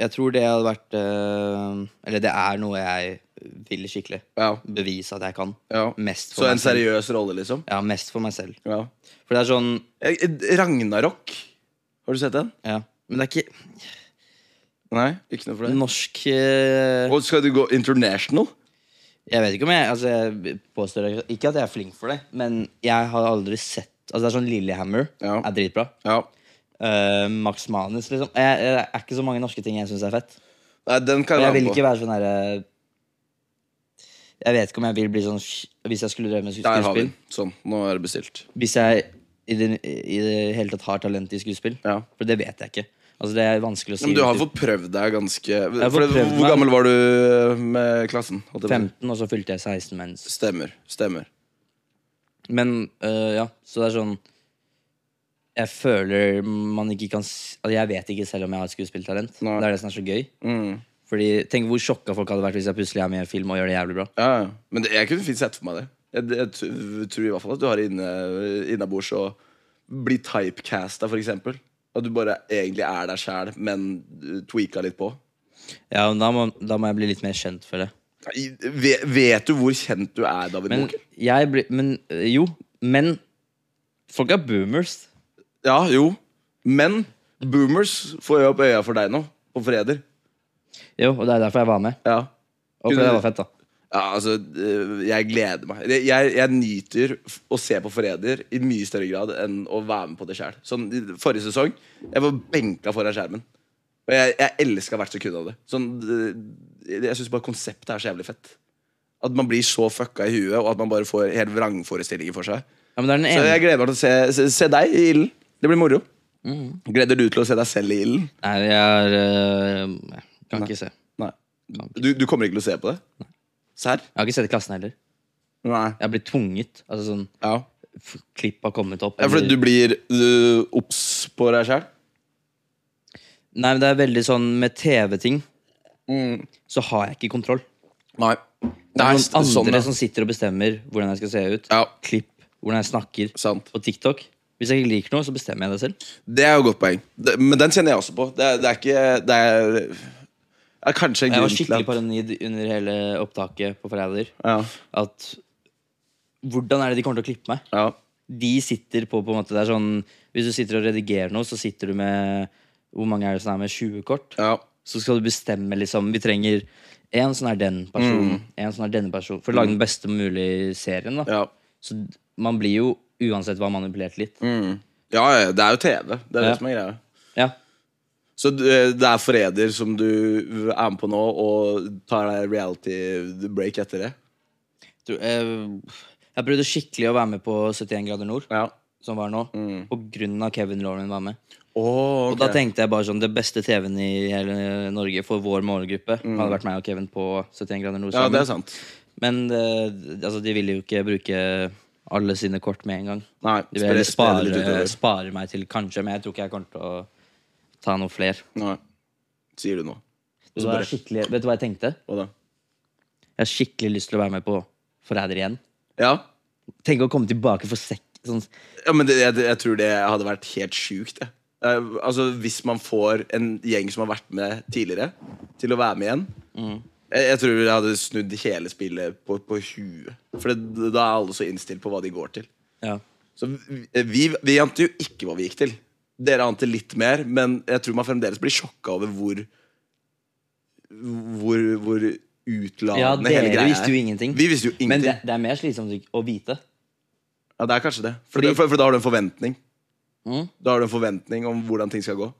Speaker 2: Jeg tror det hadde vært eh, Eller det er noe jeg vil skikkelig.
Speaker 1: Ja.
Speaker 2: Bevise at jeg kan.
Speaker 1: ja.
Speaker 2: Mest
Speaker 1: Så
Speaker 2: for
Speaker 1: en
Speaker 2: meg selv.
Speaker 1: seriøs rolle, liksom?
Speaker 2: Ja, mest for meg selv.
Speaker 1: Ja.
Speaker 2: For det er sånn
Speaker 1: Jeg- Ragnarok. Har du sett den?
Speaker 2: ja. Men det er ikke
Speaker 1: Nei. Ikke noe for det?
Speaker 2: norsk eh,
Speaker 1: Og skal du gå international?
Speaker 2: Jeg vet ikke om jeg altså Jeg påstår ikke at jeg er flink for det, men jeg har aldri sett Altså Det er sånn Lillehammer
Speaker 1: Ja.
Speaker 2: er dritbra.
Speaker 1: Ja.
Speaker 2: Eh, Max Manus, liksom. Jeg, jeg, det er ikke så mange norske ting jeg syns er fett.
Speaker 1: Nei, den kan
Speaker 2: Men jeg
Speaker 1: være
Speaker 2: vil
Speaker 1: med på.
Speaker 2: ikke være sånn herre Jeg vet ikke om jeg vil bli sånn sk- Hvis jeg skulle drevet med
Speaker 1: Der har vi
Speaker 2: skuespill.
Speaker 1: den. Sånn. Nå er det bestilt.
Speaker 2: Hvis jeg i det, i det hele tatt har talent i skuespill.
Speaker 1: Ja.
Speaker 2: For det vet jeg ikke. Altså Det er vanskelig å si.
Speaker 1: Men du har
Speaker 2: ut-
Speaker 1: fått prøvd deg ganske
Speaker 2: har
Speaker 1: for
Speaker 2: fått
Speaker 1: det,
Speaker 2: prøvd
Speaker 1: Hvor
Speaker 2: meg.
Speaker 1: gammel var du eh, med klassen? holdt jeg på å si?
Speaker 2: 15, og så fylte jeg 16 mens.
Speaker 1: Stemmer. stemmer
Speaker 2: Men øh, ja, så det er sånn Jeg føler man ikke kan s- altså, Jeg vet ikke selv om jeg har et skuespilltalent.
Speaker 1: Nei.
Speaker 2: Det er det som er så gøy.
Speaker 1: Mm.
Speaker 2: Fordi Tenk hvor sjokka folk hadde vært hvis jeg plutselig er med i en film og gjør det jævlig bra.
Speaker 1: Ja, ja. Men det, jeg kunne fint sett for meg det. Jeg, jeg t- tror i hvert fall at du har inne, innabords å bli typecasta, for eksempel. At du bare egentlig er deg sjæl, men uh, tweaka litt på.
Speaker 2: Ja, men da må, da må jeg bli litt mer kjent for det.
Speaker 1: I- Vet, vet du hvor kjent du er, David
Speaker 2: Men
Speaker 1: Moker?
Speaker 2: jeg blir Men øh, jo. Men folk er boomers.
Speaker 1: Ja, jo. Men boomers får jo opp øya for deg nå, på Freder.
Speaker 2: Jo, og det er derfor jeg var med.
Speaker 1: Ja.
Speaker 2: Og
Speaker 1: Kunne-
Speaker 2: fordi det var fett, da.
Speaker 1: Ja, altså, øh, jeg gleder meg. Jeg, jeg, jeg nyter f- å se på Forræder i mye større grad enn å være med på det sjøl. Sånn, i forrige sesong jeg var benka foran skjermen. Og jeg, jeg elska hvert sekund av det. Sånn, øh, jeg syns bare konseptet er så jævlig fett. At man blir så fucka i huet, og at man bare får helt vrangforestillinger for seg.
Speaker 2: Ja, men det er den
Speaker 1: Så
Speaker 2: ene
Speaker 1: jeg gleder meg til å se, se, se deg i ilden. Det blir moro. Gleder du til å se deg selv i ilden?
Speaker 2: Nei, jeg er øh, jeg Kan ikke se. Jeg
Speaker 1: Nei. Du, du kommer ikke til å se på det? Serr?
Speaker 2: har ikke sett klassen heller.
Speaker 1: Nei.
Speaker 2: Jeg har blitt tvunget. Altså sånn
Speaker 1: Ja.
Speaker 2: f- Klipp har kommet opp.
Speaker 1: Ja, for
Speaker 2: eller-
Speaker 1: du blir øh, obs på deg sjæl?
Speaker 2: Nei, men det er veldig sånn med TV-ting så har jeg ikke kontroll.
Speaker 1: Nei.
Speaker 2: Mm. Det er
Speaker 1: s-
Speaker 2: noen
Speaker 1: sånn,
Speaker 2: andre
Speaker 1: ja.
Speaker 2: som sitter og bestemmer hvordan jeg skal se ut.
Speaker 1: Ja.
Speaker 2: Klipp, hvordan jeg snakker.
Speaker 1: Sant.
Speaker 2: På TikTok. Hvis jeg ikke liker noe, så bestemmer jeg det selv.
Speaker 1: Det er jo et godt poeng. Det, men den kjenner jeg også på. Det, er- det er ikke Det er, det er kanskje en
Speaker 2: Jeg var
Speaker 1: grunn til
Speaker 2: skikkelig
Speaker 1: at
Speaker 2: paranoid under hele opptaket på Forræder.
Speaker 1: ja,
Speaker 2: At hvordan er det de kommer til å klippe meg?
Speaker 1: ja.
Speaker 2: De sitter på på en måte Det er sånn Hvis du sitter og redigerer noe, så sitter du med Hvor mange er det som er med? 20 kort?
Speaker 1: ja.
Speaker 2: Så skal du bestemme, liksom. Vi trenger en som er den personen, en som er denne personen. For å lage den beste mulige serien, da.
Speaker 1: Ja.
Speaker 2: Så d- man blir jo uansett hva manipulert litt.
Speaker 1: Mm. ja, ja, det er jo TV. Det er
Speaker 2: Ja.
Speaker 1: det som er greia.
Speaker 2: Ja.
Speaker 1: Så du- eh, det er forræder som du er med på nå, og tar deg reality break etter det?
Speaker 2: Du, eh, Jeg prøvde skikkelig å være med på 71 grader nord,
Speaker 1: Ja. mm.
Speaker 2: som var nå. Mm. På grunn av Kevin Lauren var med.
Speaker 1: Oh,
Speaker 2: Og da tenkte jeg bare sånn Det beste TV-en i hele Norge for vår målgruppe hadde vært meg og Kevin på 71 grader
Speaker 1: Mm.
Speaker 2: nord
Speaker 1: ja,
Speaker 2: sammen.
Speaker 1: det er sant.
Speaker 2: Men eh, altså, de ville jo ikke bruke alle sine kort med en gang.
Speaker 1: Nei,
Speaker 2: De vil heller
Speaker 1: spre- spre det litt
Speaker 2: spare, eh,
Speaker 1: utover.
Speaker 2: spare meg til kanskje, men jeg tror ikke jeg kommer til å ta noe fler.
Speaker 1: Nei. Sier du nå.
Speaker 2: Så da er jeg skikkelig- Vet du hva jeg tenkte?
Speaker 1: Hva da?
Speaker 2: Jeg har skikkelig lyst til å være med på Forræder igjen.
Speaker 1: Ja?
Speaker 2: Tenk å komme tilbake for sekk. Sånn,
Speaker 1: Ja, men det, jeg, jeg tror det hadde vært helt sjukt. Det. Eh, altså, hvis man får en gjeng som har vært med tidligere, til å være med igjen
Speaker 2: Mm.
Speaker 1: jeg, jeg tror jeg hadde snudd hele spillet på, på huet. For det, da er alle så innstilt på hva de går til.
Speaker 2: ja.
Speaker 1: Så vi, vi, vi ante jo ikke hva vi gikk til. Dere ante litt mer, men jeg tror man fremdeles blir sjokka over hvor Hvor, hvor utladende
Speaker 2: ja,
Speaker 1: hele
Speaker 2: dere
Speaker 1: greia
Speaker 2: visste jo
Speaker 1: er.
Speaker 2: ingenting.
Speaker 1: Vi visste jo
Speaker 2: Men
Speaker 1: ingenting.
Speaker 2: det, det er mer slitsomt å vite.
Speaker 1: Ja, det er kanskje det. For,
Speaker 2: Fordi-
Speaker 1: for, for da har du en forventning.
Speaker 2: Mm.
Speaker 1: Da har du en forventning om hvordan ting skal gå.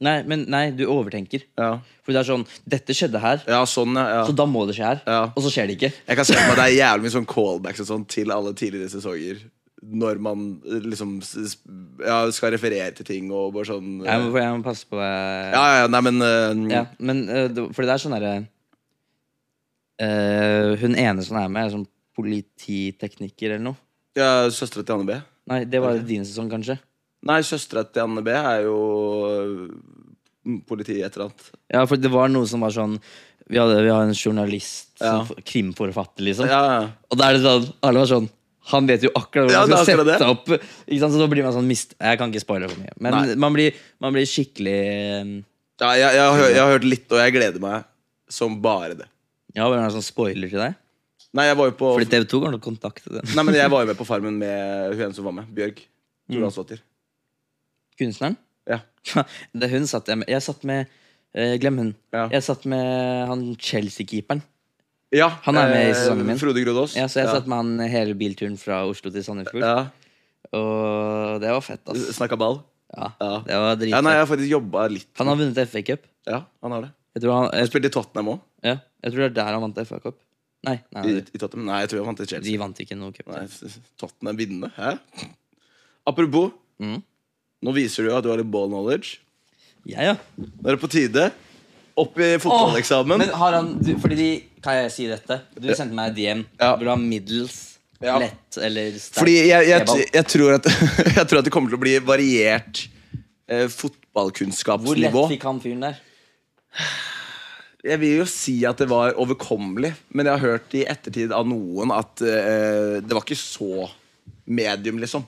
Speaker 2: Nei, men nei, du overtenker.
Speaker 1: Ja,
Speaker 2: For det er sånn Dette skjedde her,
Speaker 1: ja sånn, ja.
Speaker 2: så
Speaker 1: ja.
Speaker 2: da må det skje her.
Speaker 1: Ja.
Speaker 2: Og så skjer det ikke.
Speaker 1: Jeg kan se for meg at det er jævlig mye sånn callbacks og sånn til alle tidligere sesonger. når man eh, liksom s- s- ja, skal referere til ting og bare sånn eh,
Speaker 2: Jeg må, jeg må passe på eh,
Speaker 1: Ja, ja, nei, men eh,
Speaker 2: Ja, men eh, det- fordi det er sånn derre eh, Hun ene som er med, er sånn polititekniker eller noe.
Speaker 1: ja, Søstera til Anne B.
Speaker 2: Nei, det var din sesong, kanskje.
Speaker 1: Nei, søstera til Anne B er jo eh, politi et eller annet.
Speaker 2: Ja, for det var noe som var sånn Vi, hadde, vi har en journalist,
Speaker 1: Ja.
Speaker 2: som, krimforfatter, liksom.
Speaker 1: Ja, ja.
Speaker 2: Og da er det sånn, alle var sånn Han vet jo akkurat
Speaker 1: Ja,
Speaker 2: hvordan
Speaker 1: det
Speaker 2: han
Speaker 1: er
Speaker 2: skal
Speaker 1: akkurat
Speaker 2: sette opp ikke sant? Så da blir man sånn mist Jeg kan ikke spoile for mye.
Speaker 1: Nei.
Speaker 2: Men man blir, man blir skikkelig eh,
Speaker 1: ja jeg, jeg, har, hø- jeg har hørt litt, og jeg gleder meg som bare det.
Speaker 2: Ja, hvordan er det sånn spoiler til deg?
Speaker 1: Nei, jeg var jo på
Speaker 2: Fordi TV2 kan du kontakte den
Speaker 1: Nei, men jeg var jo med på Farmen med hun ene som var med. Bjørg. Johansdatter.
Speaker 2: kunstneren.
Speaker 1: Ja.
Speaker 2: Det er hun satt jeg med. Jeg satt med eh, Glem hun.
Speaker 1: Ja.
Speaker 2: Jeg satt med han Chelsea-keeperen.
Speaker 1: ja.
Speaker 2: Han er med i
Speaker 1: eh,
Speaker 2: sesongen min.
Speaker 1: Frode Grodås.
Speaker 2: Ja, så jeg satt med han hele bilturen fra Oslo til Sandefjord.
Speaker 1: ja.
Speaker 2: Og det var fett, ass.
Speaker 1: Snakka ball.
Speaker 2: Ja,
Speaker 1: Ja.
Speaker 2: det
Speaker 1: Ja,
Speaker 2: var
Speaker 1: nei,
Speaker 2: dritfett.
Speaker 1: jeg har faktisk jobba litt.
Speaker 2: Han har vunnet FA-cup.
Speaker 1: Ja, han har det.
Speaker 2: Jeg, tror han-
Speaker 1: Han
Speaker 2: jeg,
Speaker 1: spilte i Tottenham òg.
Speaker 2: ja, jeg tror det er der han vant FA-cup. Nei, nei,
Speaker 1: I,
Speaker 2: nei,
Speaker 1: i Tottenham. Nei, jeg tror jeg vant i Chelsea.
Speaker 2: de vant ikke noe cup.
Speaker 1: Nei, s- s- Tottenham vinnende. Hæ? Apropos,
Speaker 2: Mm.
Speaker 1: nå viser du jo at du har litt ball knowledge.
Speaker 2: Ja, ja.
Speaker 1: Nå er det på tide. Opp i
Speaker 2: Åh,
Speaker 1: fotballeksamen.
Speaker 2: Men har han du, Fordi de, Kan jeg si dette? Du sendte meg DM.
Speaker 1: Ja.
Speaker 2: Vil du ha middels,
Speaker 1: Ja.
Speaker 2: lett eller sterk?
Speaker 1: Fordi jeg, jeg,
Speaker 2: kebab?
Speaker 1: jeg, tror at, jeg tror at det kommer til å bli variert eh,
Speaker 2: Hvor lett
Speaker 1: fotballkunnskapsnivå.
Speaker 2: fikk han fyren der?
Speaker 1: Jeg vil jo si at det var overkommelig, men jeg har hørt i ettertid av noen at eh, det var ikke så medium, liksom.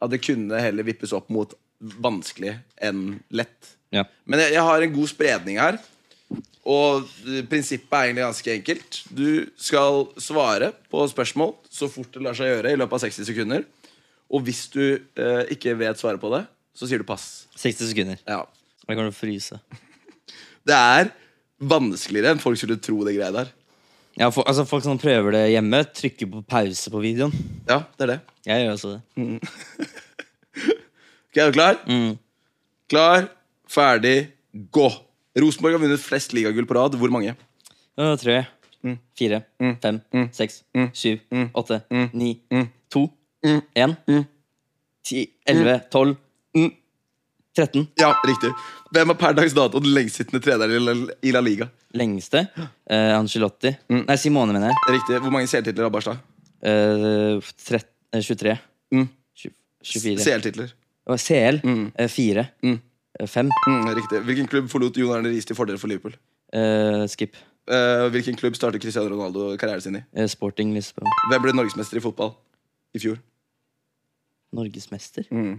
Speaker 1: At det kunne heller vippes opp mot vanskelig enn lett.
Speaker 2: Ja.
Speaker 1: Men jeg, jeg har en god spredning her, og eh, prinsippet er egentlig ganske enkelt. Du skal svare på spørsmål så fort det lar seg gjøre i løpet av 60 sekunder. Og hvis du eh, ikke vet svaret på det, så sier du pass.
Speaker 2: 60 sekunder.
Speaker 1: Ja.
Speaker 2: Jeg kommer til å fryse.
Speaker 1: Det er vanskeligere enn folk skulle tro det greia der.
Speaker 2: Ja, for, altså Folk som prøver det hjemme, trykker på pause på videoen.
Speaker 1: Ja, det er det.
Speaker 2: Jeg gjør også det.
Speaker 1: Ok, er du klar?
Speaker 2: Mm.
Speaker 1: Klar, ferdig, gå! Rosenborg har vunnet flest ligagull på rad. Hvor mange?
Speaker 2: Nå, tre,
Speaker 1: Mm.
Speaker 2: fire, fem, seks, syv, åtte,
Speaker 1: Mm.
Speaker 2: ni, to, én, ti, elleve,
Speaker 1: Mm.
Speaker 2: tolv, tretten.
Speaker 1: Ja, riktig. Hvem er per dags dato den lengstsittende treneren i La- i La Liga?
Speaker 2: Lengste. Eh, Angelotti.
Speaker 1: Mm.
Speaker 2: Nei, Simone, mener jeg.
Speaker 1: Riktig. Hvor mange seertitler har Barstad?
Speaker 2: Eh, trett- eh, 23.
Speaker 1: Mm.
Speaker 2: Tju- 24.
Speaker 1: CL-titler.
Speaker 2: Å, CL.
Speaker 1: Mm.
Speaker 2: 4.
Speaker 1: Mm.
Speaker 2: 5.
Speaker 1: Mm, riktig. Hvilken klubb forlot Jon Arne Riis til fordel for Liverpool?
Speaker 2: skip.
Speaker 1: Eh, hvilken klubb startet Cristiano Ronaldo karrieren sin i?
Speaker 2: Eh, Sporting Lisboa.
Speaker 1: Hvem ble norgesmester i fotball i fjor?
Speaker 2: Norgesmester?
Speaker 1: Mm.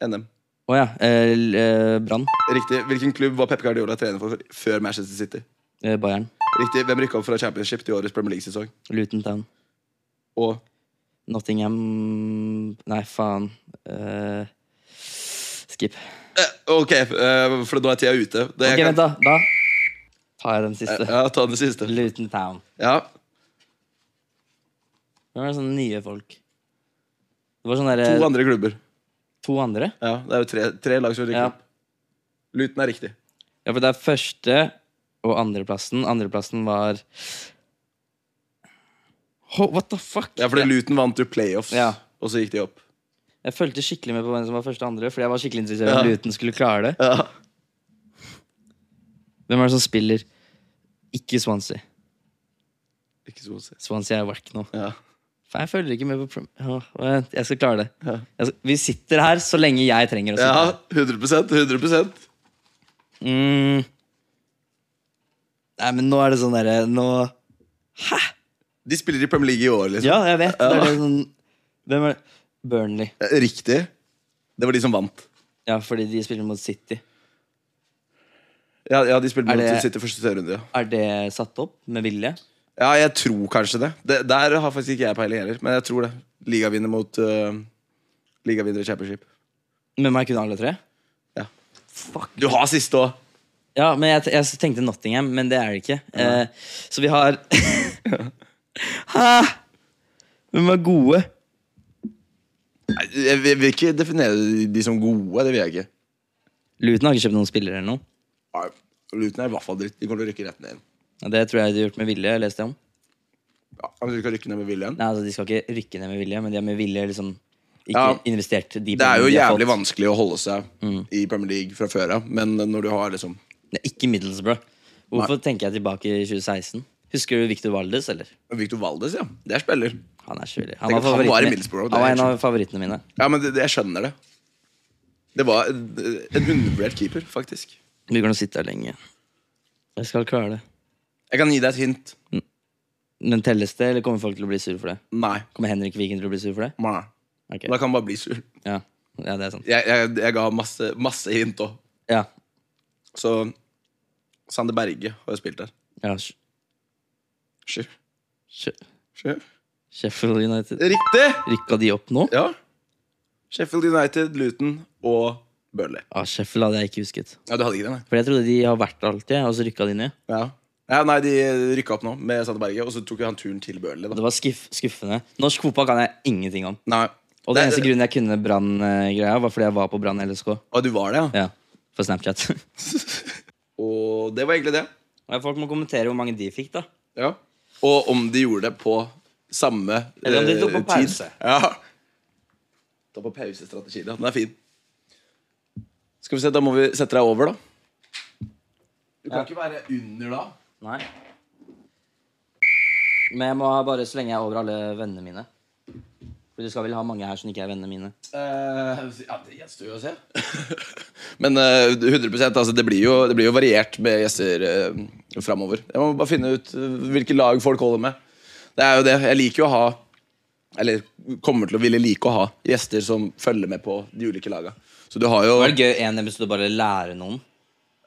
Speaker 1: NM.
Speaker 2: Å ja. eh, l- eh, Brann.
Speaker 1: Riktig. Hvilken klubb var Pep Guardiola trener for før Manchester City?
Speaker 2: Eh, Bayern.
Speaker 1: Riktig. Hvem rykka opp fra championship til årets Premier League-sesong?
Speaker 2: Luton Town.
Speaker 1: Og
Speaker 2: Nottingham Nei, faen. Eh, skip.
Speaker 1: Eh, Ok, eh, for da er tida ute. Det
Speaker 2: Ok,
Speaker 1: jeg kan-
Speaker 2: vent, da. Da tar jeg den siste.
Speaker 1: Ja, ta den siste.
Speaker 2: Luton Town.
Speaker 1: Ja.
Speaker 2: Det var sånne nye folk. Det var sånn
Speaker 1: To
Speaker 2: derre
Speaker 1: andre klubber.
Speaker 2: To andre?
Speaker 1: Ja, Det er jo tre, tre lag som rykker
Speaker 2: Ja.
Speaker 1: opp. Luton er riktig.
Speaker 2: Ja, for det er første og andreplassen. Andreplassen var Ho- What the fuck?
Speaker 1: Ja, fordi Luton vant jo playoffs,
Speaker 2: Ja.
Speaker 1: og så gikk de opp.
Speaker 2: Jeg fulgte skikkelig med på hvem som var første og andre, fordi jeg var skikkelig interessert i om
Speaker 1: Ja.
Speaker 2: Luton skulle klare det.
Speaker 1: Ja.
Speaker 2: Hvem er det som spiller ikke Swansea?
Speaker 1: Ikke så å si.
Speaker 2: Swansea er whack nå.
Speaker 1: Ja.
Speaker 2: For jeg følger ikke med på prom... Åh, vent, Jeg skal klare det.
Speaker 1: Ja.
Speaker 2: Jeg skal... Vi sitter her så lenge jeg trenger å sitte
Speaker 1: ja,
Speaker 2: her.
Speaker 1: 100 100
Speaker 2: Mm. Nei, men nå er det sånn derre Nå
Speaker 1: De spiller i Premier League i år, liksom.
Speaker 2: Ja, jeg vet. Det er det sånn... Hvem er det? Burnley.
Speaker 1: Eh, Riktig. Det var de som vant.
Speaker 2: Ja, fordi de spiller mot City.
Speaker 1: Ja, ja de spilte mot
Speaker 2: Er det-
Speaker 1: City første serierunde. Ja.
Speaker 2: Er det satt opp med vilje?
Speaker 1: ja, jeg tror kanskje det. det. Der har faktisk ikke jeg peiling heller, men jeg tror det. Ligavinner mot uh, Ligavinner i Championship.
Speaker 2: Med meg kunne alle tre?
Speaker 1: Ja.
Speaker 2: Fuck.
Speaker 1: Du har siste òg!
Speaker 2: Ja, men jeg, t- jeg tenkte Nottingham, men det er det ikke. Eh, så vi har Hæ? Hvem er gode?
Speaker 1: Nei, Jeg vil jeg vil ikke definere de som gode. Det vil jeg ikke.
Speaker 2: Luton har ikke kjøpt noen spillere eller noe.
Speaker 1: Nei, Luton er i hvert fall dritt. De kommer til å rykke rett ned.
Speaker 2: Ja, Det tror jeg de har gjort med vilje. leste jeg om.
Speaker 1: Ja, men de skal rykke ned med viljen.
Speaker 2: altså, Nei, altså De skal ikke rykke ned med vilje, men de har med vilje liksom Ikke
Speaker 1: Ja.
Speaker 2: investert de
Speaker 1: Det er jo
Speaker 2: pengene de har
Speaker 1: jævlig
Speaker 2: fått. Mm.
Speaker 1: vanskelig å holde seg i Premier League fra før av, men når du har liksom
Speaker 2: Det er ikke Middlesbrough. Hvorfor tenker jeg tilbake i 2016? Husker du Victor Valdes, eller?
Speaker 1: Victor Valdes, ja. Det er spiller.
Speaker 2: Han er skyldig.
Speaker 1: Tenk
Speaker 2: Han, var
Speaker 1: at han var i
Speaker 2: favoritten min.
Speaker 1: Middlesbrough, det
Speaker 2: han var
Speaker 1: er
Speaker 2: en av favorittene mine.
Speaker 1: Ja, men det, det- jeg skjønner det. Det var en en undervurdert keeper, faktisk.
Speaker 2: Vi kan sitte her lenge. Jeg skal klare det.
Speaker 1: Jeg kan gi deg et hint.
Speaker 2: Men telles det, eller kommer folk til å bli sur for det?
Speaker 1: Nei.
Speaker 2: Kommer Henrik Viken til å bli sur for det?
Speaker 1: Nei.
Speaker 2: Ok.
Speaker 1: Da kan man bare bli sur.
Speaker 2: Ja. ja, det er sant.
Speaker 1: Jeg, jeg, jeg ga masse, masse hint òg.
Speaker 2: Ja.
Speaker 1: Så Sander Berge har jo spilt der.
Speaker 2: ja. Sh
Speaker 1: Sju.
Speaker 2: sh
Speaker 1: Sju.
Speaker 2: Sheffield United.
Speaker 1: Riktig!
Speaker 2: Rykka de opp nå?
Speaker 1: Ja. Sheffield United, Luton og Burnley.
Speaker 2: Ah, Sheffield hadde jeg ikke husket.
Speaker 1: Ja, du hadde ikke det, nei?
Speaker 2: For jeg trodde de har vært der alltid, og så rykka de ned.
Speaker 1: Ja. Ja, nei, De rykka opp nå med Sander Berge, og så tok jo han turen til Burnley. da
Speaker 2: Det var skuff skuffende. Norsk fotball kan jeg ingenting om.
Speaker 1: Nei.
Speaker 2: Og den
Speaker 1: Nei,
Speaker 2: eneste grunnen jeg kunne Brann-greia, var fordi jeg var på Brann LSK.
Speaker 1: Og du var det, ja.
Speaker 2: Ja, For Snapchat.
Speaker 1: Og det var egentlig det.
Speaker 2: Ja, Folk må kommentere hvor mange de fikk, da.
Speaker 1: Ja. Og om de gjorde det på samme
Speaker 2: Eller om de tok på
Speaker 1: eh,
Speaker 2: pause.
Speaker 1: Tid. Ja. Ta på pausestrategi. da. Den er fin. Skal vi se, Da må vi sette deg over, da. Du kan ikke være under da.
Speaker 2: Nei. Men jeg må ha bare så lenge jeg er over alle vennene mine. For du skal vel ha mange her som ikke er vennene mine.
Speaker 1: Eh, ja, Det gjenstår jo å se. Men eh, 100 altså, det, blir jo, det blir jo variert med gjester uh, framover. Jeg må bare finne ut eh, hvilke lag folk holder med. Det er jo det. Jeg liker jo å ha Eller kommer til å ville like å ha gjester som følger med på de ulike laga. Så du har jo
Speaker 2: Det var gøy en episode å bare lære noen.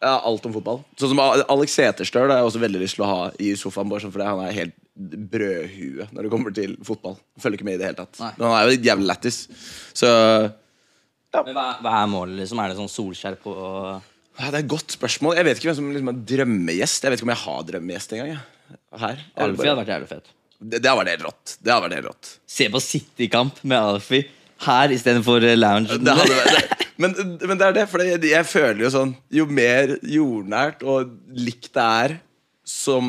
Speaker 1: ja, alt om fotball. Sånn som A- Alex Seterstøl har jeg også veldig lyst til å ha i sofaen. Bare sånn fordi Han er helt brødhue når det kommer til fotball. Følger ikke med i det hele tatt.
Speaker 2: Nei.
Speaker 1: Men han er jo jævlig lættis. Så
Speaker 2: Men hva, hva er målet, liksom? Er det sånn Solskjær på
Speaker 1: ja, Det er et godt spørsmål. Jeg vet ikke hvem som liksom er drømmegjest. Jeg vet ikke om jeg har drømmegjest engang. jeg. Her. Jeg er
Speaker 2: Alfie
Speaker 1: bare-
Speaker 2: hadde vært jævlig fett.
Speaker 1: Det, det har vært helt rått. Det har vært helt rått.
Speaker 2: Se på City-kamp med Alfie her istedenfor loungen.
Speaker 1: Det hadde vært det. Men, men det er det, for jeg, jeg føler jo sånn Jo mer jordnært og likt det er som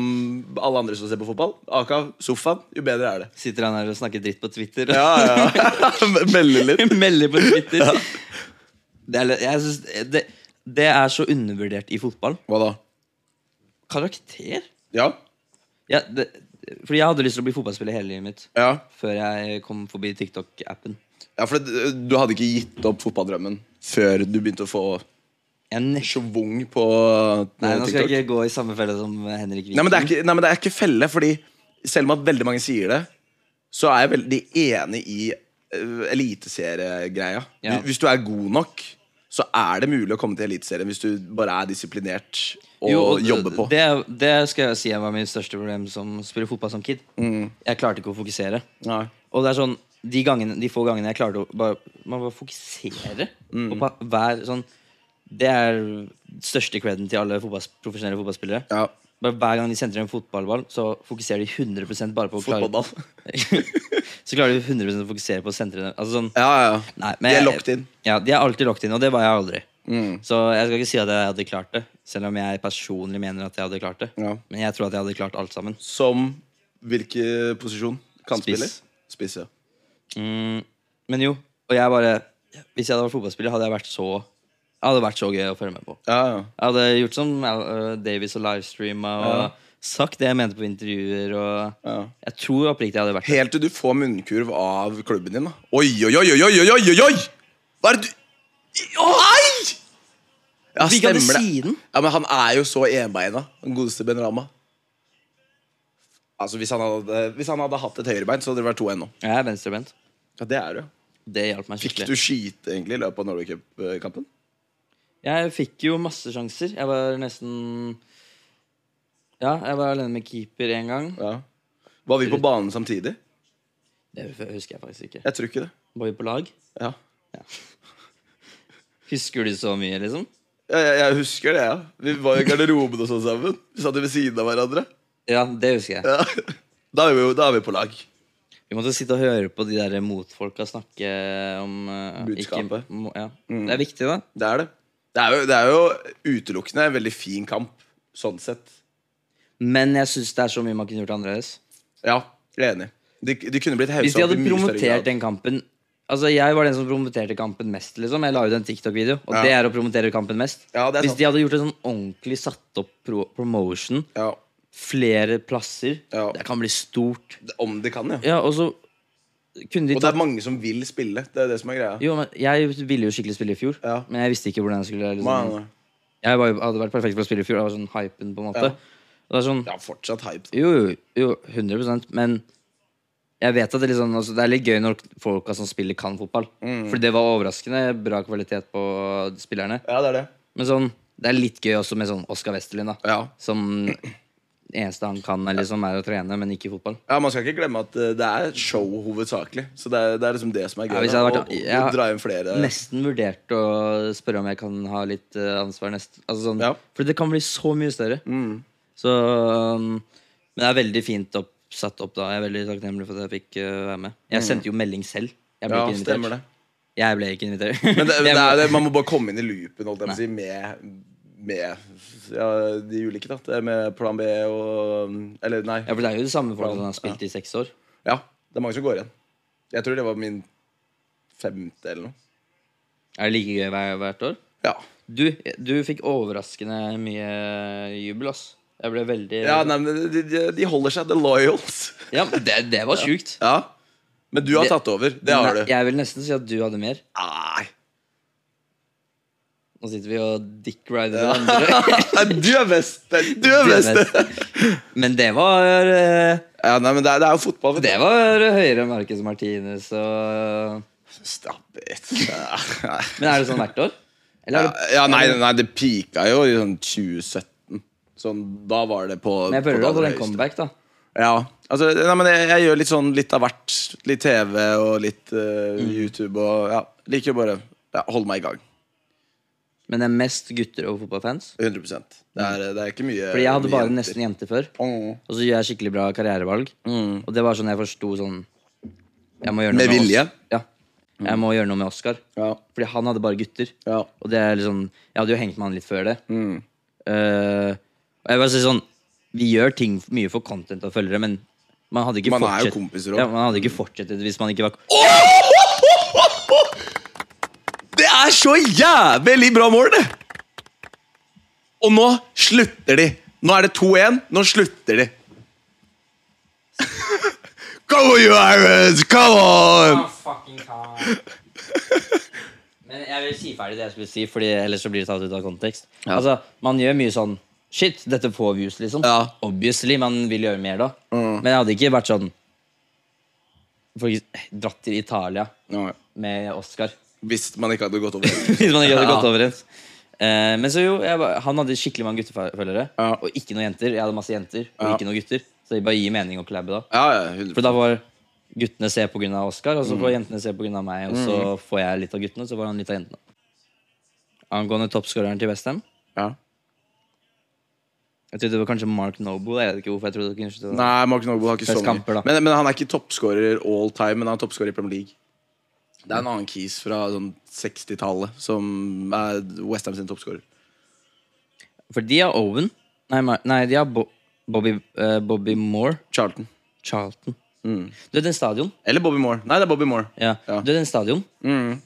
Speaker 1: alle andre som ser på fotball, aka sofaen, jo bedre er det.
Speaker 2: Sitter han her og snakker dritt på Twitter?
Speaker 1: Ja, ja. Melde litt.
Speaker 2: Melder på Twitter. Det, er, litt- jeg synes, det, det er så undervurdert i fotball.
Speaker 1: Hva da?
Speaker 2: Karakter?
Speaker 1: Ja.
Speaker 2: Ja, det, fordi jeg hadde lyst til å bli fotballspiller hele livet mitt.
Speaker 1: Ja,
Speaker 2: Før jeg kom forbi TikTok-appen.
Speaker 1: ja for det, du hadde ikke gitt opp fotballdrømmen før du begynte å få
Speaker 2: Jeg nek-
Speaker 1: schwung på
Speaker 2: Nei, nå skal
Speaker 1: TikTok?
Speaker 2: jeg ikke gå i samme felle som Henrik Viken.
Speaker 1: Nei, men det er ikke, nei, men det er ikke felle, fordi selv om at veldig mange sier det, så er jeg veldig enig i eh, eliteseriegreia.
Speaker 2: Ja.
Speaker 1: Hvis- Hvis du er god nok, så er det mulig å komme til eliteserien hvis du bare er disiplinert og,
Speaker 2: Jo, og
Speaker 1: jobber på.
Speaker 2: Det, det skal jeg si var mitt største problem som spiller fotball som kid.
Speaker 1: Mm.
Speaker 2: Jeg klarte ikke å fokusere.
Speaker 1: Nei.
Speaker 2: Og det er sånn, de, gangene, de få gangene jeg klarte å bare, man bare fokusere
Speaker 1: Mm.
Speaker 2: og bare være sånn Det er største creden til alle fotballs, profesjonelle fotballspillere.
Speaker 1: Ja.
Speaker 2: Bare Hver gang de sentrer en fotballball, så fokuserer de 100 bare på å klare
Speaker 1: Fotballball.
Speaker 2: Så klarer de 100 å fokusere på å sentre den. Altså sånn,
Speaker 1: Ja, ja.
Speaker 2: Nei, men
Speaker 1: De er
Speaker 2: jeg-
Speaker 1: locked in. Mm.
Speaker 2: Ja, de er alltid locked in, og det var jeg aldri. Så jeg skal ikke si at jeg hadde klart det, selv om jeg personlig mener at jeg hadde klart det.
Speaker 1: Ja.
Speaker 2: Men jeg tror at jeg hadde klart alt sammen.
Speaker 1: Som hvilken posisjon? Kantspiller?
Speaker 2: Spiss.
Speaker 1: Spiss, ja.
Speaker 2: Men jo, og jeg bare Hvis jeg hadde vært fotballspiller, hadde jeg vært så Jeg hadde vært så gøy å følge med på.
Speaker 1: ja, ja.
Speaker 2: Jeg hadde gjort som uh, Davies og livestreama og sagt det jeg mente på intervjuer og
Speaker 1: Ja.
Speaker 2: Jeg tror oppriktig jeg hadde vært det.
Speaker 1: Helt til du får munnkurv av klubben din, da. Oi, oi, oi, oi, oi, oi, oi, oi! Hva er det du Oi! Ja,
Speaker 2: Fikk han til
Speaker 1: stemmer det.
Speaker 2: siden?
Speaker 1: Ja, men han er jo så enbeina, den godeste Ben Rama. Altså, hvis han hadde, hvis han hadde hatt et høyrebein, så hadde det vært 2-1 nå.
Speaker 2: Jeg er venstrebeint.
Speaker 1: Ja, det er det.
Speaker 2: Det hjalp meg
Speaker 1: Fikk
Speaker 2: skikkelig.
Speaker 1: du skite egentlig i løpet av Norway Cup-kampen?
Speaker 2: Jeg fikk jo masse sjanser. Jeg var nesten Ja, jeg var alene med keeper én gang.
Speaker 1: Ja. Var vi på banen samtidig?
Speaker 2: Det husker jeg faktisk ikke.
Speaker 1: Jeg tror ikke det.
Speaker 2: Var vi på lag?
Speaker 1: Ja.
Speaker 2: Husker du så mye, liksom?
Speaker 1: Jeg, jeg, jeg husker det, ja. Vi var i garderoben og sånn sammen. Vi satt jo ved siden av hverandre.
Speaker 2: Ja, det husker jeg.
Speaker 1: Ja. Da er vi, jo- da er vi på lag.
Speaker 2: Vi måtte sitte og høre på de der motfolka snakke om eh,
Speaker 1: Budskapet. Mm.
Speaker 2: Ikke, må- ja. Det er viktig, da.
Speaker 1: Det er det. Det er jo, det er jo utelukkende en veldig fin kamp, sånn sett.
Speaker 2: Men jeg syns det er så mye man kunne gjort annerledes.
Speaker 1: Ja, jeg er enig. De, de kunne blitt haussa
Speaker 2: Hvis de
Speaker 1: opp i
Speaker 2: hadde
Speaker 1: mye større grad.
Speaker 2: promotert den kampen Altså, jeg var den som promoterte kampen mest. liksom Jeg la ut en TikTok-video, og
Speaker 1: Ja.
Speaker 2: det er å promotere kampen mest.
Speaker 1: Ja, det er
Speaker 2: Hvis
Speaker 1: sant.
Speaker 2: de hadde gjort en sånn ordentlig satt opp pro promotion,
Speaker 1: Ja.
Speaker 2: flere plasser,
Speaker 1: Ja.
Speaker 2: det kan bli stort.
Speaker 1: Om det kan, ja.
Speaker 2: Ja, og så kunne de
Speaker 1: Og det er mange som vil spille. Det er det som er greia.
Speaker 2: Jo, men Jeg ville jo skikkelig spille i fjor,
Speaker 1: Ja.
Speaker 2: men jeg visste ikke hvordan jeg skulle
Speaker 1: Man,
Speaker 2: liksom, Jeg var, jo- hadde vært perfekt for å spille i fjor. Jeg var sånn hypen, på en måte.
Speaker 1: Ja.
Speaker 2: Og det er sånn,
Speaker 1: det er fortsatt hype.
Speaker 2: Jo, jo, jo, 100 Men jeg vet at det, er litt sånn- altså, det er litt gøy når folka som spiller, kan fotball. For det var overraskende bra kvalitet på spillerne.
Speaker 1: Ja, det er det.
Speaker 2: Men sånn, det er litt gøy også med sånn Oskar Westerlin, da.
Speaker 1: Ja.
Speaker 2: Som eneste han kan, er, liksom, er å trene, men ikke fotball.
Speaker 1: Ja, Man skal ikke glemme at eh, det er show hovedsakelig. Så det er, det er liksom det som er gøy.
Speaker 2: Ja, hvis
Speaker 1: da,
Speaker 2: jeg hadde vært-
Speaker 1: å- å-
Speaker 2: jeg-
Speaker 1: å dra inn flere
Speaker 2: Nesten vurdert å spørre om jeg kan ha litt eh, ansvar neste altså, sånn,
Speaker 1: Ja. Mm.
Speaker 2: For det kan bli så mye større. Så um, Men det er veldig fint opp, satt opp da. Jeg er veldig takknemlig for at jeg fikk eh, være med. Jeg sendte jo melding selv. Jeg
Speaker 1: Mm.
Speaker 2: ble
Speaker 1: Ja,
Speaker 2: ikke invitert.
Speaker 1: stemmer det.
Speaker 2: Jeg ble ikke invitert.
Speaker 1: Men det,
Speaker 2: Jeg
Speaker 1: det
Speaker 2: må-
Speaker 1: er, det, man må bare komme inn i loopen holdt jeg på å si, med, med ja, de ulike. da Det er Med plan B og Eller, nei.
Speaker 2: Ja, for det er jo det samme folk som har spilt i seks år.
Speaker 1: Ja, det er mange som går igjen. Jeg tror det var min femte eller noe.
Speaker 2: Er det like gøy hver- hvert år?
Speaker 1: Ja,
Speaker 2: Du, du fikk overraskende mye jubel, ass. Jeg ble veldig
Speaker 1: ja nei, men de, de, de holder seg. The Loyals.
Speaker 2: Ja, men det, det var sjukt.
Speaker 1: Ja. Men du har
Speaker 2: Det-
Speaker 1: tatt over. Det har
Speaker 2: Nei,
Speaker 1: du.
Speaker 2: Jeg vil nesten si at du hadde mer.
Speaker 1: Nei.
Speaker 2: Nå sitter vi og dick-rider hverandre.
Speaker 1: Nei, Du er best! Du er best!
Speaker 2: Men det var eh,
Speaker 1: Ja, nei, men det er, det er jo fotball. vet du.
Speaker 2: Det var høyere enn Marcus Martinez og
Speaker 1: Slapp it. Ja.
Speaker 2: Men er det sånn hvert år? Eller
Speaker 1: Ja,
Speaker 2: er det
Speaker 1: ja, nei, nei, det pika jo i sånn 2017. Sånn, da var det på
Speaker 2: Men jeg
Speaker 1: på
Speaker 2: føler
Speaker 1: det
Speaker 2: du hadde
Speaker 1: aller
Speaker 2: en
Speaker 1: høyeste.
Speaker 2: comeback, da.
Speaker 1: Ja, altså, nei, men jeg, jeg gjør litt sånn litt av hvert. Litt TV og litt eh,
Speaker 2: Mm.
Speaker 1: YouTube og ja, Liker jo bare ja, holde meg i gang.
Speaker 2: Men det er mest gutter og fotballfans.
Speaker 1: 100 Det er, det er ikke mye
Speaker 2: Fordi jeg hadde
Speaker 1: mye
Speaker 2: bare
Speaker 1: jenter. Mm.
Speaker 2: nesten jenter før.
Speaker 1: Åh.
Speaker 2: Og så gjør jeg skikkelig bra karrierevalg. Og det var sånn jeg forsto sånn jeg må gjøre noe
Speaker 1: Med vilje?
Speaker 2: Os- Ja. Jeg må gjøre noe med Oskar.
Speaker 1: Ja,
Speaker 2: Fordi han hadde bare gutter.
Speaker 1: ja.
Speaker 2: Og det er liksom Jeg hadde jo hengt med han litt før det.
Speaker 1: Mm.
Speaker 2: Eh, og jeg bare sier sånn Vi gjør ting mye for content og følgere, men man hadde ikke
Speaker 1: Man er jo
Speaker 2: fortsett-
Speaker 1: kompiser også.
Speaker 2: Ja, man hadde ikke fortsatt det hvis man ikke var
Speaker 1: Det er så jævlig bra mål, det! Og nå slutter de. Nå er det 2-1. Nå slutter de. Come on, you Irons! Come on!
Speaker 2: Men jeg vil si ferdig det jeg skulle si, Fordi ellers så blir det tatt ut av kontekst. Altså, Man gjør mye sånn Shit, dette får views, liksom.
Speaker 1: Ja. Mm.
Speaker 2: Obviously, man vil gjøre mer da. Men jeg hadde ikke vært sånn For eksempel, Dratt til Italia med Oscar.
Speaker 1: Hvis man ikke hadde gått over.
Speaker 2: Hvis man ikke hadde
Speaker 1: Ja.
Speaker 2: gått overens. Eh, men så jo, jeg, var- han hadde skikkelig mange guttefølgere.
Speaker 1: Ja.
Speaker 2: Og ikke noen jenter. Jeg hadde masse jenter, og
Speaker 1: Ja.
Speaker 2: ikke noen gutter. Så det bare gir mening å klabbe da.
Speaker 1: Ja, ja, 100%.
Speaker 2: For da får guttene se på grunn av Oscar, og
Speaker 1: Mm.
Speaker 2: så får jentene se på grunn av meg, og så får jeg litt av guttene, og så får han litt av jentene. Angående toppskåreren til Westham
Speaker 1: ja.
Speaker 2: Jeg trodde det var kanskje Mark Noble. Jeg vet ikke hvorfor jeg trodde det sånn. kanskje det var
Speaker 1: Nei, Mark Noble har ikke så
Speaker 2: Flest
Speaker 1: mye.
Speaker 2: kamper, da.
Speaker 1: Men, men han er ikke toppskårer all time, men han er toppskårer i Premier League. Det er en annen kis fra sånn 60-tallet som er Westham sin toppskårer.
Speaker 2: For de har Owen. Nei, Mar- nei de har Bo Bobby, eh, Bobby Moore.
Speaker 1: Charlton.
Speaker 2: Charlton.
Speaker 1: Mm.
Speaker 2: Du vet den stadion?
Speaker 1: Eller Bobby Moore. Nei, det er Bobby Moore.
Speaker 2: Ja.
Speaker 1: Ja. Mm.
Speaker 2: Du vet den stadion?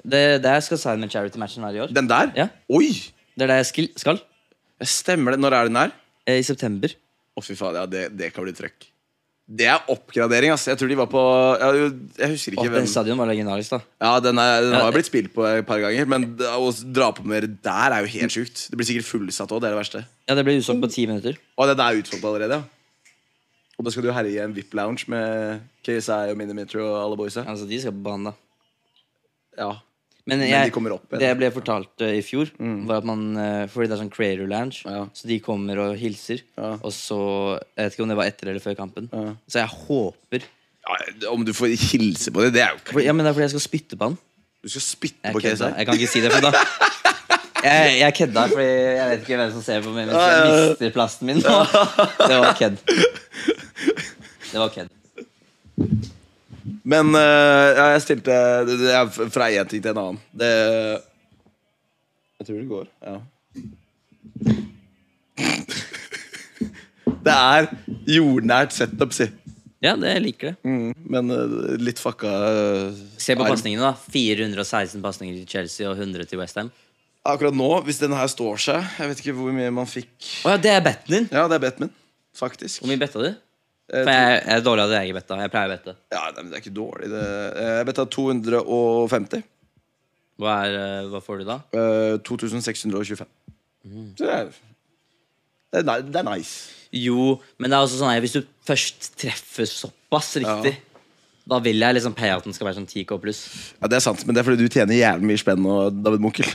Speaker 2: Det, der skal Sign med Charity-matchen være i år.
Speaker 1: Den der?
Speaker 2: Ja.
Speaker 1: Oi!
Speaker 2: Det er der jeg skal. skal.
Speaker 1: Stemmer det. Når er den her?
Speaker 2: Eh, I september.
Speaker 1: Å, fy faen, ja, det, det kan bli trøkk. Det er oppgradering, ass. Jeg tror de var på Jeg, jeg husker
Speaker 2: Og
Speaker 1: ikke
Speaker 2: den
Speaker 1: hvem
Speaker 2: stadion var legendarisk, da.
Speaker 1: Ja, Den, er, den
Speaker 2: Ja,
Speaker 1: har jo
Speaker 2: det-
Speaker 1: blitt spilt på et par ganger, men d- å dra på med det der er jo helt sjukt. Det blir sikkert fullsatt òg, det er det verste.
Speaker 2: Ja, det ble utsolgt på ti minutter.
Speaker 1: Og det der er utsolgt allerede, ja. Og da skal du herje i en VIP-lounge med KSI og Minimeter og alle boysa.
Speaker 2: Altså, de skal på banen, da.
Speaker 1: Ja.
Speaker 2: Men,
Speaker 1: Men
Speaker 2: jeg,
Speaker 1: de kommer opp igjen.
Speaker 2: det jeg ble fortalt eh, i fjor, var at man eh, Fordi det er sånn Creator Lounge,
Speaker 1: Ja.
Speaker 2: så de kommer og hilser.
Speaker 1: Ja.
Speaker 2: Og så Jeg vet ikke om det var etter eller før kampen.
Speaker 1: Ja.
Speaker 2: Så jeg håper
Speaker 1: ja. Om du får hilse på det, det er jo
Speaker 2: for,
Speaker 1: ikke
Speaker 2: Ja, men det er fordi jeg skal spytte på han.
Speaker 1: Du skal spytte
Speaker 2: Jeg,
Speaker 1: på
Speaker 2: kødda.
Speaker 1: KSI.
Speaker 2: jeg kan ikke si det, for da jeg, jeg kødda, fordi jeg vet ikke hvem som ser på meg mens
Speaker 1: Ja,
Speaker 2: jeg
Speaker 1: ja.
Speaker 2: mister plasten min. nå. Det var kødd. Det var kødd.
Speaker 1: Men øh, ja, jeg stilte det- det er f- fra én ting til en annen. Det Jeg tror det går. Ja. Det er jordnært setup, si.
Speaker 2: Ja, det jeg liker det.
Speaker 1: Mm, men eh, litt fucka eh,
Speaker 2: Se på
Speaker 1: arm.
Speaker 2: pasningene, da. 416 pasninger til Chelsea og 100 til Westham.
Speaker 1: Akkurat nå, hvis denne her står seg Jeg vet ikke hvor mye man fikk
Speaker 2: Å ja, det er betten din!
Speaker 1: Ja, det er Batman, faktisk
Speaker 2: Hvor mye betta du?
Speaker 1: Eh,
Speaker 2: For jeg, jeg er dårlig av det jeg ikke betta. Jeg pleier å bette.
Speaker 1: Ja, nei, men det er ikke dårlig det. eh, Jeg betta 250
Speaker 2: Hva, er, eh, hva får du da?
Speaker 1: eh, 2625 Så det er, det er, ni- det er nice
Speaker 2: Jo, men det er også sånn her, hvis du først treffer såpass riktig, da vil jeg liksom payouten skal være sånn 10K pluss.
Speaker 1: Ja, det er sant, men det er fordi du tjener jævlig mye spenn nå, David Munkel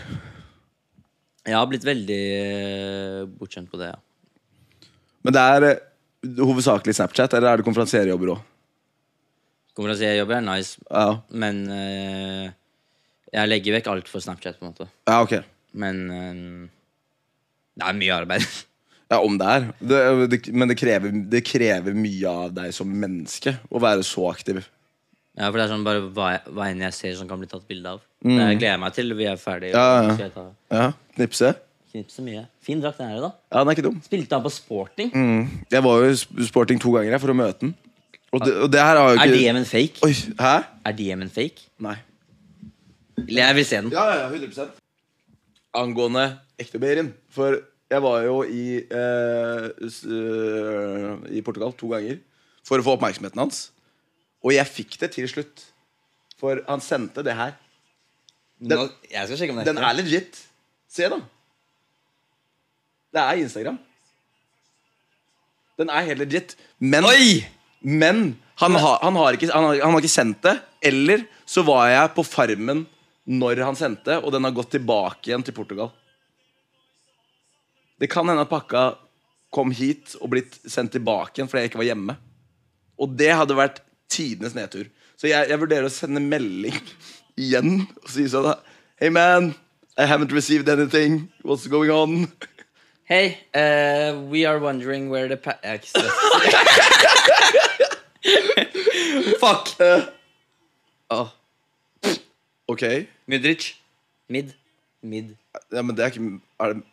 Speaker 2: Jeg har blitt veldig eh, bortskjemt på det, ja.
Speaker 1: Men det er eh, hovedsakelig Snapchat, eller er det konferansierjobber også?
Speaker 2: Kommer til å si jeg jobber, er nice,
Speaker 1: Ja,
Speaker 2: men eh, jeg legger vekk alt for Snapchat, på en måte.
Speaker 1: ja ok
Speaker 2: Men eh, det er mye arbeid.
Speaker 1: Ja, om det er. Det, det, men det krever, det krever mye av deg som menneske å være så aktiv.
Speaker 2: ja, for det er sånn bare hva, jeg- hva enn jeg ser som kan bli tatt bilde av. Det jeg gleder meg til vi er ferdige.
Speaker 1: Mm. Ja, ja.
Speaker 2: Skal jeg ta-
Speaker 1: Ja, Knipse?
Speaker 2: Knipse mye. Fin drakt den her, da.
Speaker 1: Ja, den er ikke dum.
Speaker 2: Spilte han på sporting?
Speaker 1: Mm. Jeg var jo i sp- sporting to ganger jeg, for å møte den. Og det, og det her har jo
Speaker 2: Er
Speaker 1: ikke
Speaker 2: DM en fake?
Speaker 1: Oi, Hæ?
Speaker 2: Er DM en fake?
Speaker 1: Nei.
Speaker 2: Eller jeg vil se den.
Speaker 1: Ja, ja, ja, 100 Angående ekte Behrin. For jeg var jo i, eh, s- eh, i Portugal to ganger for å få oppmerksomheten hans. Og jeg fikk det til slutt. For han sendte det her. Den-
Speaker 2: Nå- jeg skal sjekke om Sånn det
Speaker 1: Den er legit. Se, da. Det er Instagram. Den er helt legit. Men, men han, har- han, har ikke, han, har, han har ikke sendt det. Eller så var jeg på Farmen når han sendte, og den har gått tilbake igjen til Portugal. Det kan hende at pakka kom hit og blitt sendt tilbake igjen fordi jeg ikke var hjemme. Og det hadde vært tidenes nedtur. Så jeg, jeg vurderer å sende melding igjen og si sånn Hey man, I haven't received anything. What's going on?
Speaker 2: Hey, eh, we are wondering where the pa... Jeg er ikke stress.
Speaker 1: Fuck! Eh,
Speaker 2: Åh,
Speaker 1: ok.
Speaker 2: Mudric. Mid. Mid.
Speaker 1: Ja, men det er ikke Er det Åh!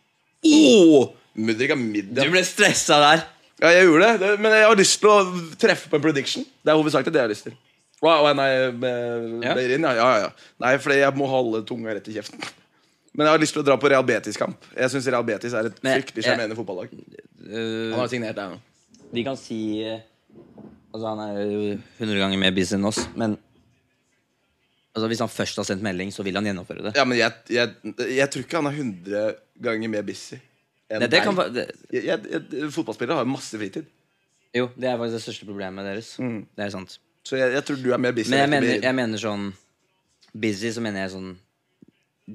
Speaker 1: Mudrik er
Speaker 2: Oh! Du
Speaker 1: middag.
Speaker 2: ble stressa der.
Speaker 1: Ja, jeg gjorde det, det, men jeg har lyst til å treffe på en prediction. Det er hovedsakelig det jeg har lyst til. Wow, wow, nei, med,
Speaker 2: Ja.
Speaker 1: Beirin, eh, ja, ja, ja. nei, fordi jeg må holde tunga rett i kjeften. Men jeg har lyst til å dra på Real Betis-kamp. Jeg syns Real Betis er et
Speaker 2: Men-
Speaker 1: fryktelig sjarmerende fotballag. Han har signert der nå.
Speaker 2: Eh, vi kan si eh, Altså, han er jo 100 ganger mer busy enn oss, men Altså, Hvis han først har sendt melding, så vil han gjennomføre det.
Speaker 1: Ja, men jeg, jeg, jeg tror ikke han er 100 ganger mer busy enn
Speaker 2: Nei, det kan,
Speaker 1: deg.
Speaker 2: fa- det,
Speaker 1: Jeg, jeg, jeg, fotballspillere har jo masse fritid,
Speaker 2: jo, det er faktisk det største problemet deres. Det er sant.
Speaker 1: så jeg, jeg tror du er mer busy.
Speaker 2: Men jeg
Speaker 1: enn
Speaker 2: mener,
Speaker 1: Beirin.
Speaker 2: jeg mener sånn Busy, så mener jeg sånn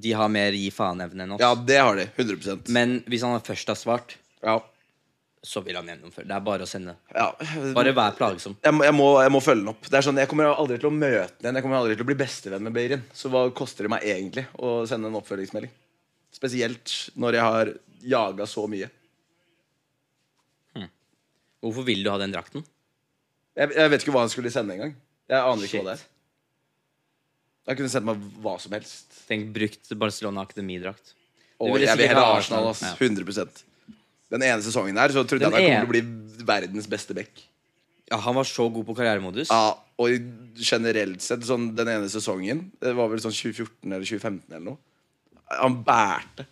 Speaker 2: De har mer gi faen-evne enn oss.
Speaker 1: Ja, det har de. 100
Speaker 2: Men hvis han først har svart,
Speaker 1: ja.
Speaker 2: så vil han gjennomføre. Det er bare å sende.
Speaker 1: Ja.
Speaker 2: Bare vær plagsom.
Speaker 1: Jeg, må- jeg, må, jeg må følge den opp. Det er sånn, Jeg kommer aldri til å møte den igjen. Jeg kommer aldri til å bli bestevenn med Beirin. Så hva koster det meg egentlig å sende en oppfølgingsmelding? Spesielt når jeg har jaga så mye.
Speaker 2: Hvorfor vil du ha den drakten?
Speaker 1: Jeg, jeg vet ikke hva han skulle sende engang. Jeg aner ikke hva det er.
Speaker 2: Shit.
Speaker 1: Han kunne sendt meg hva som helst.
Speaker 2: Tenk brukt Barcelona Akademidrakt. Du
Speaker 1: Og
Speaker 2: ville
Speaker 1: jeg vil
Speaker 2: sikkert
Speaker 1: heller
Speaker 2: ha
Speaker 1: ha Arsenal, ass.
Speaker 2: Arsenal,
Speaker 1: 100 Den ene sesongen her så trodde
Speaker 2: Den
Speaker 1: jeg han
Speaker 2: ene.
Speaker 1: kom til å bli verdens beste back.
Speaker 2: Ja, han var så god på karrieremodus.
Speaker 1: Ja, og i- generelt sett, sånn den ene sesongen Det var vel sånn 2014 eller 2015 eller noe. Han bærte.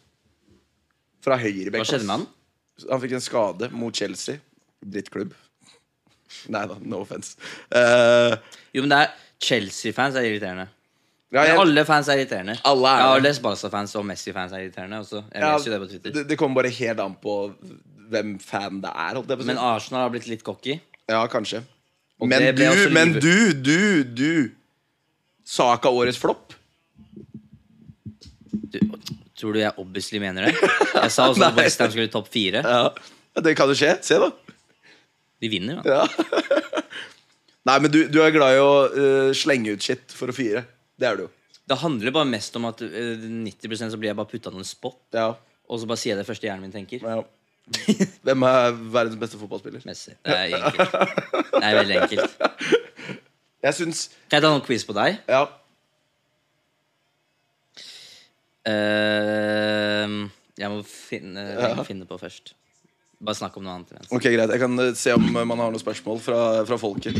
Speaker 1: Fra høyre back.
Speaker 2: Hva skjedde med han?
Speaker 1: ass. Han fikk en skade mot Chelsea. Drittklubb. Nei da, no offense. Eh,
Speaker 2: Jo, men det er Chelsea-fans er irriterende.
Speaker 1: ja,
Speaker 2: Men
Speaker 1: jeg-
Speaker 2: alle fans er irriterende.
Speaker 1: Alle er
Speaker 2: ja, og
Speaker 1: det.
Speaker 2: Les Barca-fans og Messi-fans er irriterende også. Jeg
Speaker 1: ja,
Speaker 2: leser jo det på Twitter.
Speaker 1: det, det kommer bare helt an på hvem fan det er. Holdt jeg på å si.
Speaker 2: Men Arsenal har blitt litt cocky.
Speaker 1: Ja, kanskje.
Speaker 2: Og
Speaker 1: Men
Speaker 2: det
Speaker 1: du,
Speaker 2: ble også
Speaker 1: men
Speaker 2: livet.
Speaker 1: du, du, du Saka årets flopp?
Speaker 2: Du, tror du jeg obviously mener det? Jeg sa også at
Speaker 1: Nei.
Speaker 2: Westham skulle topp fire.
Speaker 1: Ja. Det kan jo skje. Se, da.
Speaker 2: De vinner, da.
Speaker 1: Ja. Nei, men du, du er glad i å eh, slenge ut shit for å fire. Det er du jo.
Speaker 2: Det handler bare mest om at eh, 90 så blir jeg bare putta noen spot.
Speaker 1: Ja.
Speaker 2: Og så bare sier jeg det første hjernen min tenker.
Speaker 1: ja. Hvem er verdens beste fotballspiller?
Speaker 2: Messi. Det er enkelt. Det er veldig enkelt.
Speaker 1: Jeg syns
Speaker 2: Kan jeg ta noen quiz på deg?
Speaker 1: Ja.
Speaker 2: Ehm, Eh, jeg må finne, jeg må finne på først. Bare snakk om noe annet. imens.
Speaker 1: Ok, greit. Jeg kan eh, se om eh, man har noen spørsmål fra, fra folket.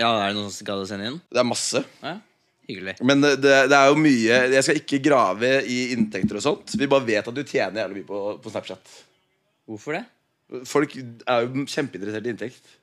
Speaker 2: Ja, er det noen som skal sende inn?
Speaker 1: Det er masse.
Speaker 2: Ja, hyggelig.
Speaker 1: Men eh, det, det er jo mye Jeg skal ikke grave i inntekter og sånt. Vi bare vet at du tjener jævlig mye på, på Snapchat.
Speaker 2: Hvorfor det?
Speaker 1: Folk er jo kjempeinteressert i inntekt.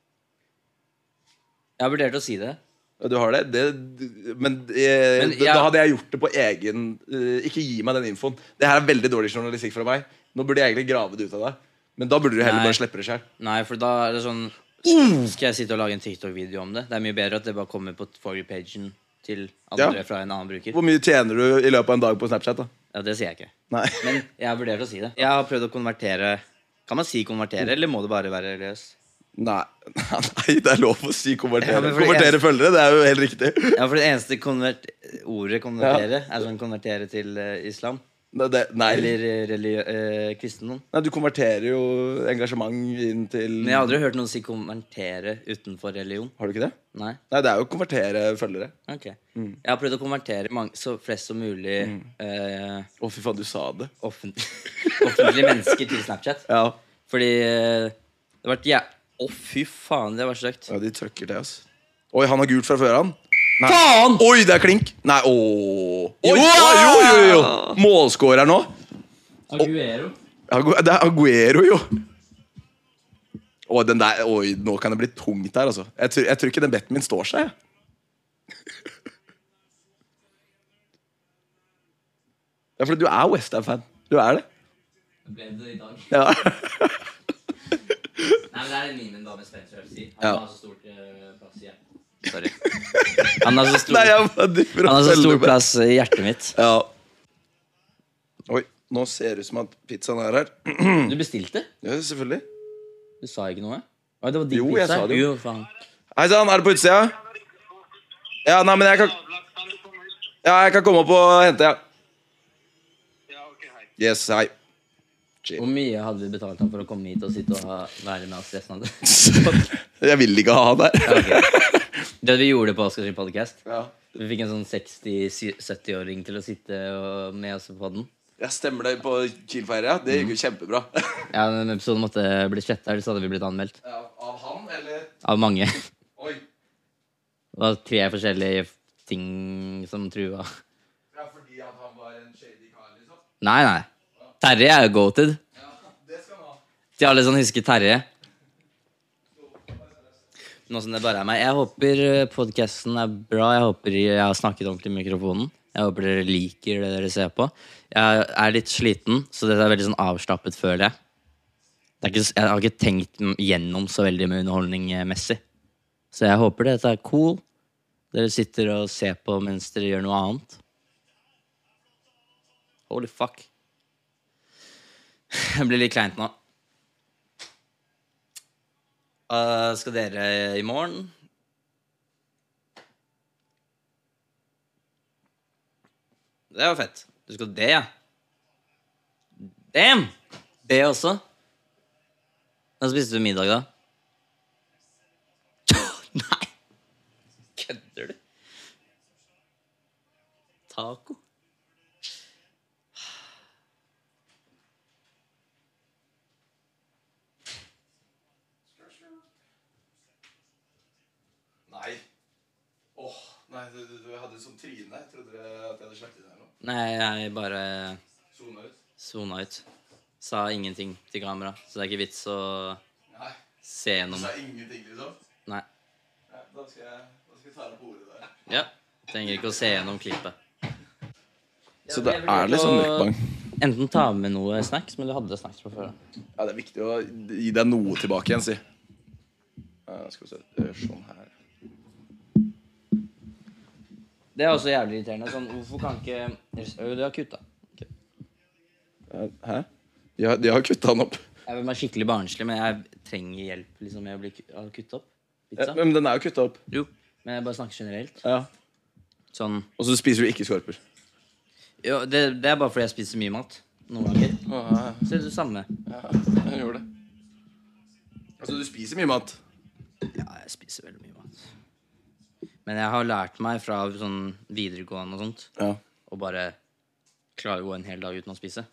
Speaker 2: Jeg har vurdert å si det.
Speaker 1: Ja, Du har det? det men, eh, da-
Speaker 2: Men jeg-
Speaker 1: da hadde jeg gjort det på egen eh, Ikke gi meg den infoen. Det her er veldig dårlig journalistikk fra meg. Nå burde jeg egentlig grave det ut av deg. Men da burde du heller
Speaker 2: Nei.
Speaker 1: bare slippe det sjøl.
Speaker 2: Nei, for da er det sånn Skal jeg sitte og lage en TikTok-video om det? Det er mye bedre at det bare kommer på for you-pagen til andre
Speaker 1: Ja.
Speaker 2: fra en annen bruker.
Speaker 1: Hvor mye tjener du i løpet av en dag på Snapchat? da?
Speaker 2: Ja, Det sier jeg ikke.
Speaker 1: Nei.
Speaker 2: Men jeg har vurdert å si det. Jeg har prøvd å konvertere. Kan man si konvertere, eller må det bare være løs?
Speaker 1: Nei. Nei, det er lov å si konvertere.
Speaker 2: Ja, men for det
Speaker 1: konvertere følgere, det er jo helt riktig.
Speaker 2: Ja, for det eneste konvert ordet konvertere er sånn konvertere til eh, islam.
Speaker 1: Nei, det, nei.
Speaker 2: Eller eh, religiø eh, kristendom.
Speaker 1: nei, du konverterer jo engasjement inn til
Speaker 2: Men jeg har aldri hørt noen si konvertere utenfor religion.
Speaker 1: Har du ikke det?
Speaker 2: Nei,
Speaker 1: Nei, det er jo å konvertere følgere.
Speaker 2: ok Jeg har prøvd å konvertere mange, så flest som mulig eh,
Speaker 1: Å, fy faen, du sa det.
Speaker 2: offent offentlige mennesker til Snapchat.
Speaker 1: Ja,
Speaker 2: Fordi eh, det har vært jæ... Å, fy faen, det var stygt.
Speaker 1: ja de trøkker det, ass. Oi, han har gult fra før, han. Nei.
Speaker 2: Faen!
Speaker 1: Oi, det er klink! Nei, ååå. Oi,
Speaker 2: Wow!
Speaker 1: oi, jo, jo, jo. Målskårer nå.
Speaker 2: Aguero.
Speaker 1: Agu- Det er Aguero, jo. Å, den der, oi, nå kan det bli tungt her, altså. Jeg tror, jeg tror ikke den betten min står seg. jeg. Ja, for du er Westham-fan. Du er det.
Speaker 2: Ble det i dag?
Speaker 1: Ja.
Speaker 2: Nei, men det er en meme da med Spencer Elsie. Han
Speaker 1: Ja.
Speaker 2: har så stor plass i hjertet. Sorry. Han har så stor,
Speaker 1: Nei, jeg bare driver
Speaker 2: han har så
Speaker 1: selger
Speaker 2: stor
Speaker 1: meg.
Speaker 2: plass i hjertet mitt.
Speaker 1: Ja. Oi, nå ser det ut som at pizzaen er her.
Speaker 2: Du bestilte?
Speaker 1: Ja, selvfølgelig.
Speaker 2: Du sa ikke noe? Oi, det var din
Speaker 1: Jo, jeg
Speaker 2: pizza.
Speaker 1: sa det jo.
Speaker 2: Jo, faen.
Speaker 1: Hei sann, er du på utsida? Ja, nei, men jeg kan, ja, jeg kan komme opp og hente, ja. Yes, hei.
Speaker 2: Hvor mye hadde vi betalt han for å komme hit og sitte og ha, være med oss resten av det?
Speaker 1: Jeg vil ikke ha han der.
Speaker 2: Ok. Det vi gjorde på Oskars podcast
Speaker 1: Ja.
Speaker 2: Vi fikk en sånn 60-70-åring til å sitte og, med oss på den.
Speaker 1: Jeg stemmer deg på Kiel-feira. ja. Det gikk jo kjempebra.
Speaker 2: Ja, Den episoden måtte bli sletta, ellers hadde vi blitt anmeldt.
Speaker 1: Ja, Av han, eller
Speaker 2: Av mange. Det
Speaker 1: Oi.
Speaker 2: var tre forskjellige ting som trua.
Speaker 1: Ja, fordi at han var en shady kar, liksom.
Speaker 2: Nei, nei. Terje er jo goated.
Speaker 1: Ja, det skal han ha.
Speaker 2: Til alle som husker Terje. Nå som det bare er meg. Jeg håper podkasten er bra. Jeg håper jeg har snakket ordentlig i mikrofonen. Jeg håper dere liker det dere ser på. Jeg er litt sliten, så dette er veldig sånn avslappet, føler jeg. Det er ikke, s- jeg har ikke tenkt m- gjennom så veldig med underholdningmessig. Så jeg håper dette er cool. Dere sitter og ser på mens dere gjør noe annet. Holy fuck. Det blir litt kleint nå. Eh, skal dere i morgen? Det var fett. Du skal det, ja. Damn! Det også. Hva spiste du middag, da? Nei! Kødder du? Taco?
Speaker 1: Nei. Åh, nei, du, du, du hadde et sånt tryne. Jeg trodde at jeg hadde slettet det her nå.
Speaker 2: Nei, jeg bare
Speaker 1: Sona ut.
Speaker 2: sona ut. Sa ingenting til kamera, så det er ikke vits å
Speaker 1: Nei,
Speaker 2: se
Speaker 1: du
Speaker 2: gjennom.
Speaker 1: sa ingenting, liksom.
Speaker 2: Nei.
Speaker 1: Nei, da skal jeg, da skal jeg ta deg på ordet der.
Speaker 2: Ja. Trenger ikke å se gjennom klippet.
Speaker 1: Så det er litt sånn mukbang.
Speaker 2: Enten ta med noe snacks, men du hadde snacks fra før. da.
Speaker 1: Ja, det er viktig å gi deg noe tilbake igjen, si. Eh, skal vi se eh, Sånn her.
Speaker 2: Det er også jævlig irriterende. Sånn, hvorfor kan ikke Ø, Du har kutta. Ok.
Speaker 1: Eh, Hæ? De har, de har kutta den opp.
Speaker 2: Jeg vil være skikkelig barnslig, men jeg trenger hjelp liksom, med å bli ku- å kutte opp.
Speaker 1: Ja,
Speaker 2: Pizza.
Speaker 1: men den er jo kutta opp.
Speaker 2: Jo, men jeg bare snakker generelt.
Speaker 1: Ja.
Speaker 2: Sånn
Speaker 1: Og så spiser du ikke skorper.
Speaker 2: jo, det, det er bare fordi jeg spiser mye mat. Noen ganger. Så det er det samme.
Speaker 1: jeg gjorde det. Altså, du spiser mye mat.
Speaker 2: Ja, jeg spiser veldig mye mat. Men jeg har lært meg fra sånn videregående og sånt
Speaker 1: Ja.
Speaker 2: å bare klare å gå en hel dag uten å spise.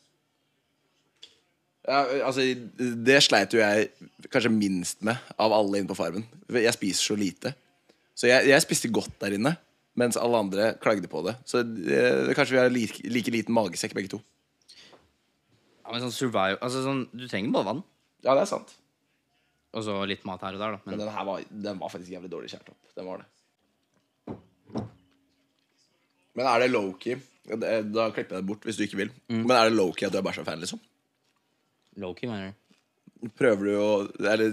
Speaker 1: Ja, altså, det sleit jo jeg kanskje minst med av alle inne på Farmen. Jeg spiser så lite. Så jeg, jeg spiste godt der inne, mens alle andre klagde på det. Så eh, kanskje vi har like, like liten magesekk begge to.
Speaker 2: Ja, men sånn survival Altså sånn, Du trenger bare vann.
Speaker 1: Ja, det er sant.
Speaker 2: Og så litt mat her og der, da.
Speaker 1: Men
Speaker 2: Men
Speaker 1: den her var, den var faktisk jævlig dårlig skjært opp. Den var det. Men er det lowkey Ja, det- Da klipper jeg det bort hvis du ikke vil. Men er det lowkey at du er bæsja-fan, liksom?
Speaker 2: lowkey, mener du?
Speaker 1: Prøver du å Eller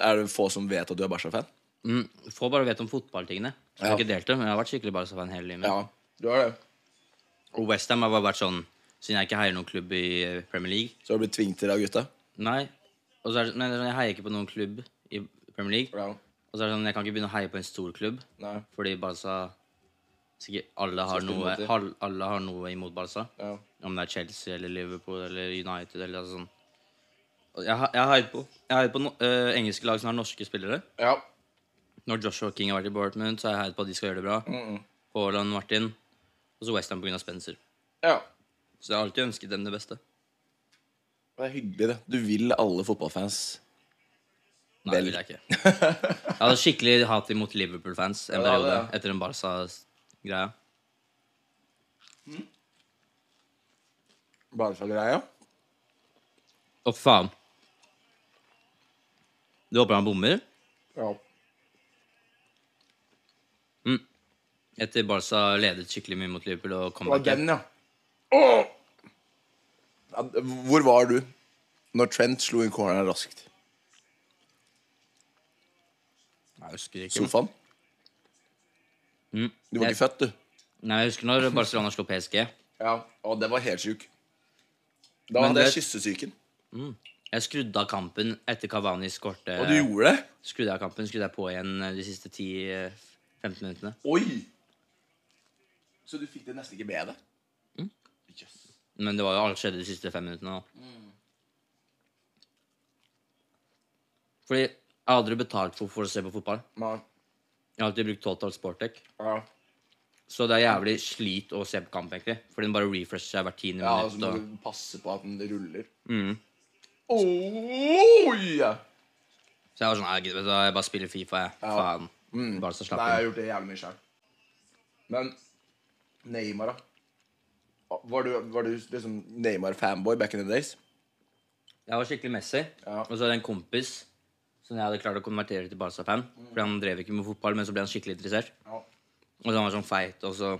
Speaker 1: er det få som vet at du er bæsja-fan?
Speaker 2: Mm, få bare vet om fotballtingene. Jeg
Speaker 1: Ja.
Speaker 2: har ikke delt det, men jeg har vært skikkelig Barca-fan hele livet. mitt.
Speaker 1: Ja, du har det.
Speaker 2: Og Westham har bare vært sånn Siden jeg ikke heier noen klubb i eh, Premier League.
Speaker 1: Så har du blitt tvunget til det av gutta?
Speaker 2: Nei. Og så er det, men det er sånn, jeg heier ikke på noen klubb i Premier League.
Speaker 1: Ja.
Speaker 2: Og så er det sånn, jeg kan ikke begynne å heie på en stor klubb.
Speaker 1: Nei.
Speaker 2: Fordi Barca Sikkert alle har,
Speaker 1: Sikkert
Speaker 2: noe,
Speaker 1: imot det.
Speaker 2: hal- alle har noe imot Barca.
Speaker 1: Ja.
Speaker 2: Om det er Chelsea eller Liverpool eller United eller altså sånn. Og Jeg, har- jeg har heiet på, jeg har heiet på no, eh, engelske lag som har norske spillere.
Speaker 1: ja.
Speaker 2: Når Joshua King har vært i Bournemouth, så har jeg heiet på at de skal gjøre det bra. Haaland, Martin. Og så Westham pga. Spencer.
Speaker 1: ja.
Speaker 2: Så jeg har alltid ønsket dem det beste.
Speaker 1: Det er hyggelig, det. Du vil alle fotballfans.
Speaker 2: Nei, det vil jeg ikke. Jeg hadde skikkelig hat imot Liverpool-fans en
Speaker 1: Ja, det hadde
Speaker 2: periode
Speaker 1: jeg.
Speaker 2: etter den Barca-greia.
Speaker 1: Barca-greia?
Speaker 2: Å, faen. Du håper han bommer?
Speaker 1: Ja.
Speaker 2: Etter Barca ledet skikkelig mye mot Liverpool og
Speaker 1: Det var
Speaker 2: comebacket.
Speaker 1: den, ja. Åh! ja. d- Hvor var du når Trent slo inn corneren raskt?
Speaker 2: Jeg husker ikke.
Speaker 1: Sofaen?
Speaker 2: Mm.
Speaker 1: Du var
Speaker 2: Jeg-
Speaker 1: ikke født, du.
Speaker 2: Nei, jeg husker når Barcelona slo PSG.
Speaker 1: Ja, og den var helt sjuk. Da
Speaker 2: Men
Speaker 1: hadde jeg
Speaker 2: det-
Speaker 1: kyssesyken.
Speaker 2: Jeg skrudde av kampen etter Cavani skårte.
Speaker 1: Og du gjorde det?
Speaker 2: Skrudde av kampen, skrudde jeg på igjen eh, de siste 10-15 minuttene.
Speaker 1: Oi! Så du fikk det nesten ikke med deg?
Speaker 2: Mm.
Speaker 1: Jøss.
Speaker 2: Men det var jo alt skjedde de siste fem minuttene. da. Fordi jeg har aldri betalt for, for å se på fotball.
Speaker 1: Nei.
Speaker 2: Jeg har alltid brukt Total Sportec.
Speaker 1: Ja.
Speaker 2: Så det er jævlig slit å se på kamp, egentlig. Fordi den bare refresher seg hvert tiende
Speaker 1: ja, så
Speaker 2: minutt.
Speaker 1: må
Speaker 2: Og...
Speaker 1: du passe på at den ruller.
Speaker 2: Mm.
Speaker 1: Oi!
Speaker 2: Så jeg var sånn, «Nei, gud, vet du hva, jeg bare spiller Fifa, jeg.
Speaker 1: Ja.
Speaker 2: Faen.
Speaker 1: Mm.
Speaker 2: Bare så slapp
Speaker 1: Nei, jeg har
Speaker 2: inn.
Speaker 1: gjort det jævlig mye sjøl. Men Neymar, da? Var du, var du liksom Neymar-fanboy back in the days?
Speaker 2: Jeg var skikkelig Messi.
Speaker 1: Ja.
Speaker 2: Og så hadde jeg en kompis som jeg hadde klart å konvertere til Barca-fan. Fordi han drev ikke med fotball, men så ble han skikkelig interessert.
Speaker 1: Ja.
Speaker 2: Og så han var sånn feit, og så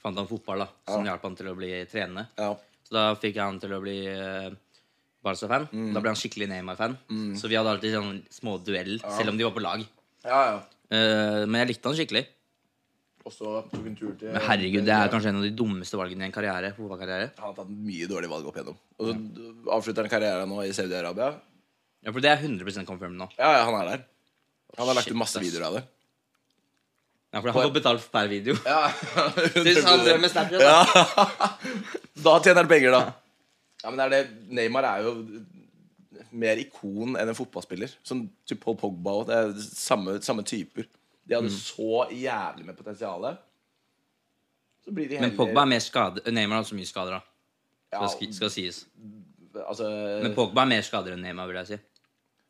Speaker 2: fant han fotball, da. Som hjalp han til å bli trenende.
Speaker 1: ja.
Speaker 2: Så da fikk jeg han til å bli eh, Barca-fan. Da ble han skikkelig Neymar-fan. Så vi hadde alltid sånn små duell, selv om de var på lag.
Speaker 1: Ja, ja.
Speaker 2: Eh, men jeg likte han skikkelig.
Speaker 1: Og så tok en tur til
Speaker 2: Men herregud, det er kanskje en av de dummeste valgene i en karriere. fotballkarriere.
Speaker 1: Han har tatt mye dårlige valg opp igjennom. Og så avslutter han karrieren nå i Saudi-Arabia.
Speaker 2: Ja, For det er 100 confirmed nå.
Speaker 1: Ja, ja, han er der. Han har lagt
Speaker 2: Shit,
Speaker 1: ut masse
Speaker 2: ass.
Speaker 1: videoer av det.
Speaker 2: Ja, for han får betalt per video.
Speaker 1: Ja,
Speaker 2: Synes han drev med Snapchat, da.
Speaker 1: Da tjener han penger, da. Ja, men det er det. Neymar er jo mer ikon enn en fotballspiller. Sånn typ Paul Pogba og det er samme, samme typer. De hadde så jævlig med potensial. Så blir de
Speaker 2: Men
Speaker 1: heller
Speaker 2: Pogba er mer skade. Neymar har så mye skader, da.
Speaker 1: ja,
Speaker 2: Skal, sk- skal sies.
Speaker 1: altså,
Speaker 2: Men Pogba er mer skader enn Neymar, vil jeg si.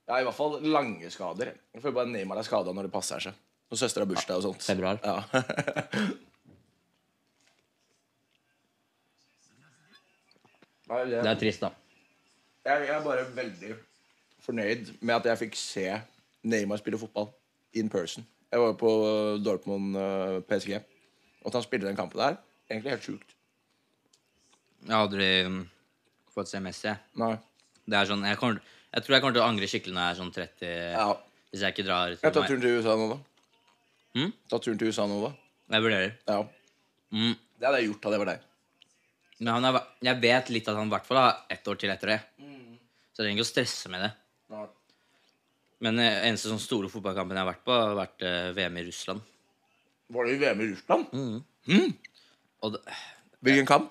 Speaker 1: ja, I hvert fall lange skader. Jeg føler bare Neymar er skada når det passer seg. Når søstera har bursdag og sånt.
Speaker 2: Februar.
Speaker 1: Ja. Nei, det-
Speaker 2: Det er trist, da.
Speaker 1: jeg, jeg er bare veldig fornøyd med at jeg fikk se Neymar spille fotball in person. Jeg var jo på øh, Dortmund øh, PSG. Og at han spilte den kampen der, egentlig helt sjukt.
Speaker 2: Jeg har aldri mm, fått se Messi. jeg.
Speaker 1: Nei.
Speaker 2: Det er sånn, jeg, kommer, jeg tror jeg kommer til å angre skikkelig når jeg er sånn 30
Speaker 1: Ja.
Speaker 2: Hvis jeg ikke drar
Speaker 1: Jeg tar
Speaker 2: til
Speaker 1: turen til USA nå, da.
Speaker 2: Mm?
Speaker 1: Ta turen til USA nå, da.
Speaker 2: Jeg vurderer.
Speaker 1: Ja.
Speaker 2: Mm.
Speaker 1: Det hadde jeg gjort hadde jeg vært deg.
Speaker 2: Men han er, jeg vet litt at han i hvert fall har ett år til etter det.
Speaker 1: Mm.
Speaker 2: Så jeg trenger ikke å stresse med det. Men eh, eneste sånn store fotballkampen jeg har vært på, har vært eh, VM i Russland.
Speaker 1: Var det i VM i Russland?
Speaker 2: Og det,
Speaker 1: Mm. Hvilken kamp?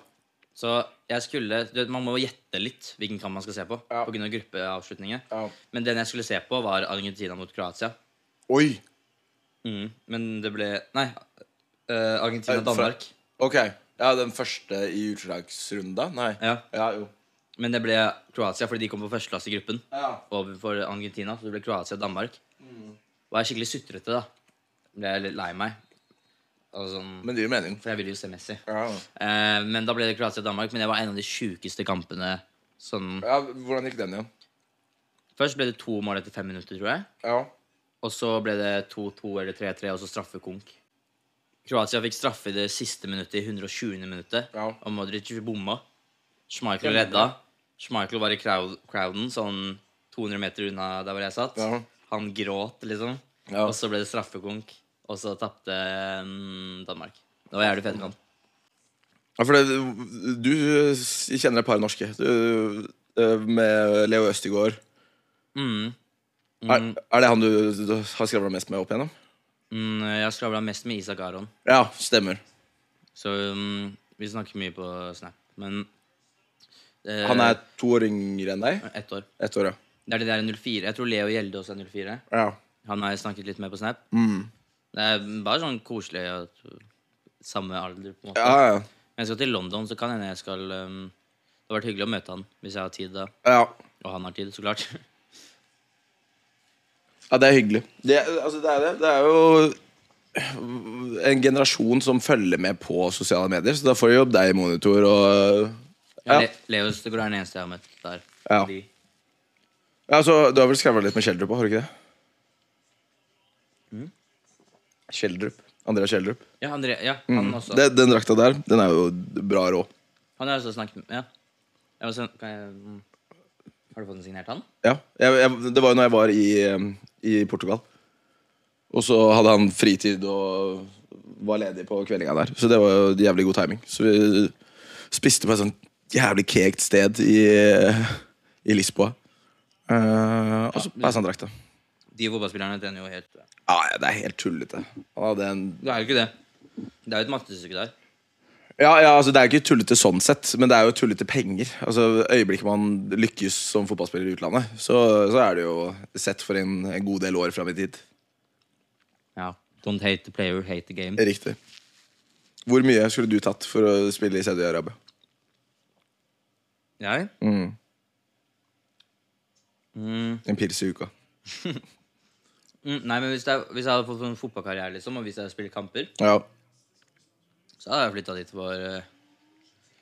Speaker 2: så jeg skulle du vet, Man må gjette litt hvilken kamp man skal se på.
Speaker 1: Ja.
Speaker 2: På grunn av gruppeavslutninger.
Speaker 1: Ja.
Speaker 2: Men den jeg skulle se på, var Argentina mot Kroatia.
Speaker 1: Oi!
Speaker 2: Mm, Men det ble Nei. eh, Argentina-Danmark.
Speaker 1: Ok. Ja, den første i utslagsrunda? Nei.
Speaker 2: Ja.
Speaker 1: ja jo.
Speaker 2: Men det ble Kroatia, fordi de kom på førsteplass i gruppen.
Speaker 1: Ja.
Speaker 2: Overfor Argentina, så det ble Kroatia og Danmark. Og jeg er skikkelig sutrete, da. Ble jeg litt lei meg. Og sånn,
Speaker 1: Men det gir mening.
Speaker 2: for jeg ville jo se Messi.
Speaker 1: Ja.
Speaker 2: Eh, men da ble det Kroatia og Danmark. Men det var en av de sjukeste kampene. Sånn.
Speaker 1: ja, Hvordan gikk den igjen?
Speaker 2: Først ble det to mål etter fem minutter, tror jeg.
Speaker 1: Ja.
Speaker 2: Og så ble det 2-2 eller 3-3, og så straffekonk. Kroatia fikk straffe i det siste minuttet, i 120. minuttet.
Speaker 1: Ja.
Speaker 2: Og Modric bomma. Schmeichel redda. Schmeichel var i crowd, crowden, sånn 200 meter unna der hvor jeg satt.
Speaker 1: Ja.
Speaker 2: Han gråt, liksom.
Speaker 1: Ja.
Speaker 2: Og så ble det straffekonk. Og så tapte mm, Danmark. Det var jævlig fet kamp.
Speaker 1: Ja, for det, du kjenner et par norske. Du, eh, med Leo Østegård.
Speaker 2: Mm.
Speaker 1: Er, er det han du, du har skravla mest med opp igjennom?
Speaker 2: Mm, jeg skravla mest med Isak Aron.
Speaker 1: Ja, stemmer.
Speaker 2: Så mm, vi snakker mye på Snap. Men eh,
Speaker 1: Han er to år yngre enn deg.
Speaker 2: ett år.
Speaker 1: Ett år, ja.
Speaker 2: Det er de der 04. Jeg tror Leo Gjelde også er 04.
Speaker 1: ja.
Speaker 2: Han har jeg snakket litt med på Snap.
Speaker 1: Mm.
Speaker 2: Det er bare sånn koselig at samme alder, på en måte.
Speaker 1: Ja, ja.
Speaker 2: Men jeg skal til London, så kan hende jeg skal um, Det har vært hyggelig å møte han, hvis jeg har tid da.
Speaker 1: ja.
Speaker 2: Og han har tid, så klart.
Speaker 1: Ja, det er hyggelig. Det, altså, det, er det. det er jo en generasjon som følger med på sosiale medier, så da får jo deg i monitor og
Speaker 2: Ja.
Speaker 1: Ja,
Speaker 2: Leo Østegård er den eneste jeg har møtt der.
Speaker 1: Ja.
Speaker 2: De-
Speaker 1: ja så Du har vel skravla litt med Schjelderup òg, har du ikke det? Schjelderup. Andrea Schjelderup.
Speaker 2: ja, André, ja han også.
Speaker 1: Mm. Det, den drakta der, den er jo bra rå.
Speaker 2: Han har jeg også snakket med. Ja. Jeg må se- kan jeg, mm. har du fått den signert, han?
Speaker 1: Ja, jeg, jeg, Det var jo når jeg var i, eh, i Portugal. Og så hadde han fritid og var ledig på kveldinga der. Så det var jo jævlig god timing. Så vi spiste på et sånt jævlig kekt sted i, i Lisboa. Eh, og så peis han drakta.
Speaker 2: De fotballspillerne trener jo helt
Speaker 1: Ja, ja, det er helt tullete. Han hadde en
Speaker 2: Det er jo ikke det. Det er jo et mattestykke der.
Speaker 1: Ja, ja, altså Det er jo ikke tullete sånn sett, men det er jo tullete penger. Altså Øyeblikket man lykkes som fotballspiller i utlandet, så, så er det jo sett for en, en god del år fram i tid.
Speaker 2: Ja. Don't hate the player, hate the game.
Speaker 1: Riktig. Hvor mye skulle du tatt for å spille i Saudi-Arabia?
Speaker 2: Jeg?
Speaker 1: Mm.
Speaker 2: Mm.
Speaker 1: En pils i uka.
Speaker 2: Mm, nei, men hvis jeg, hvis jeg hadde fått en fotballkarriere, liksom, og hvis jeg hadde spilt kamper,
Speaker 1: Ja.
Speaker 2: så hadde jeg flytta dit for eh,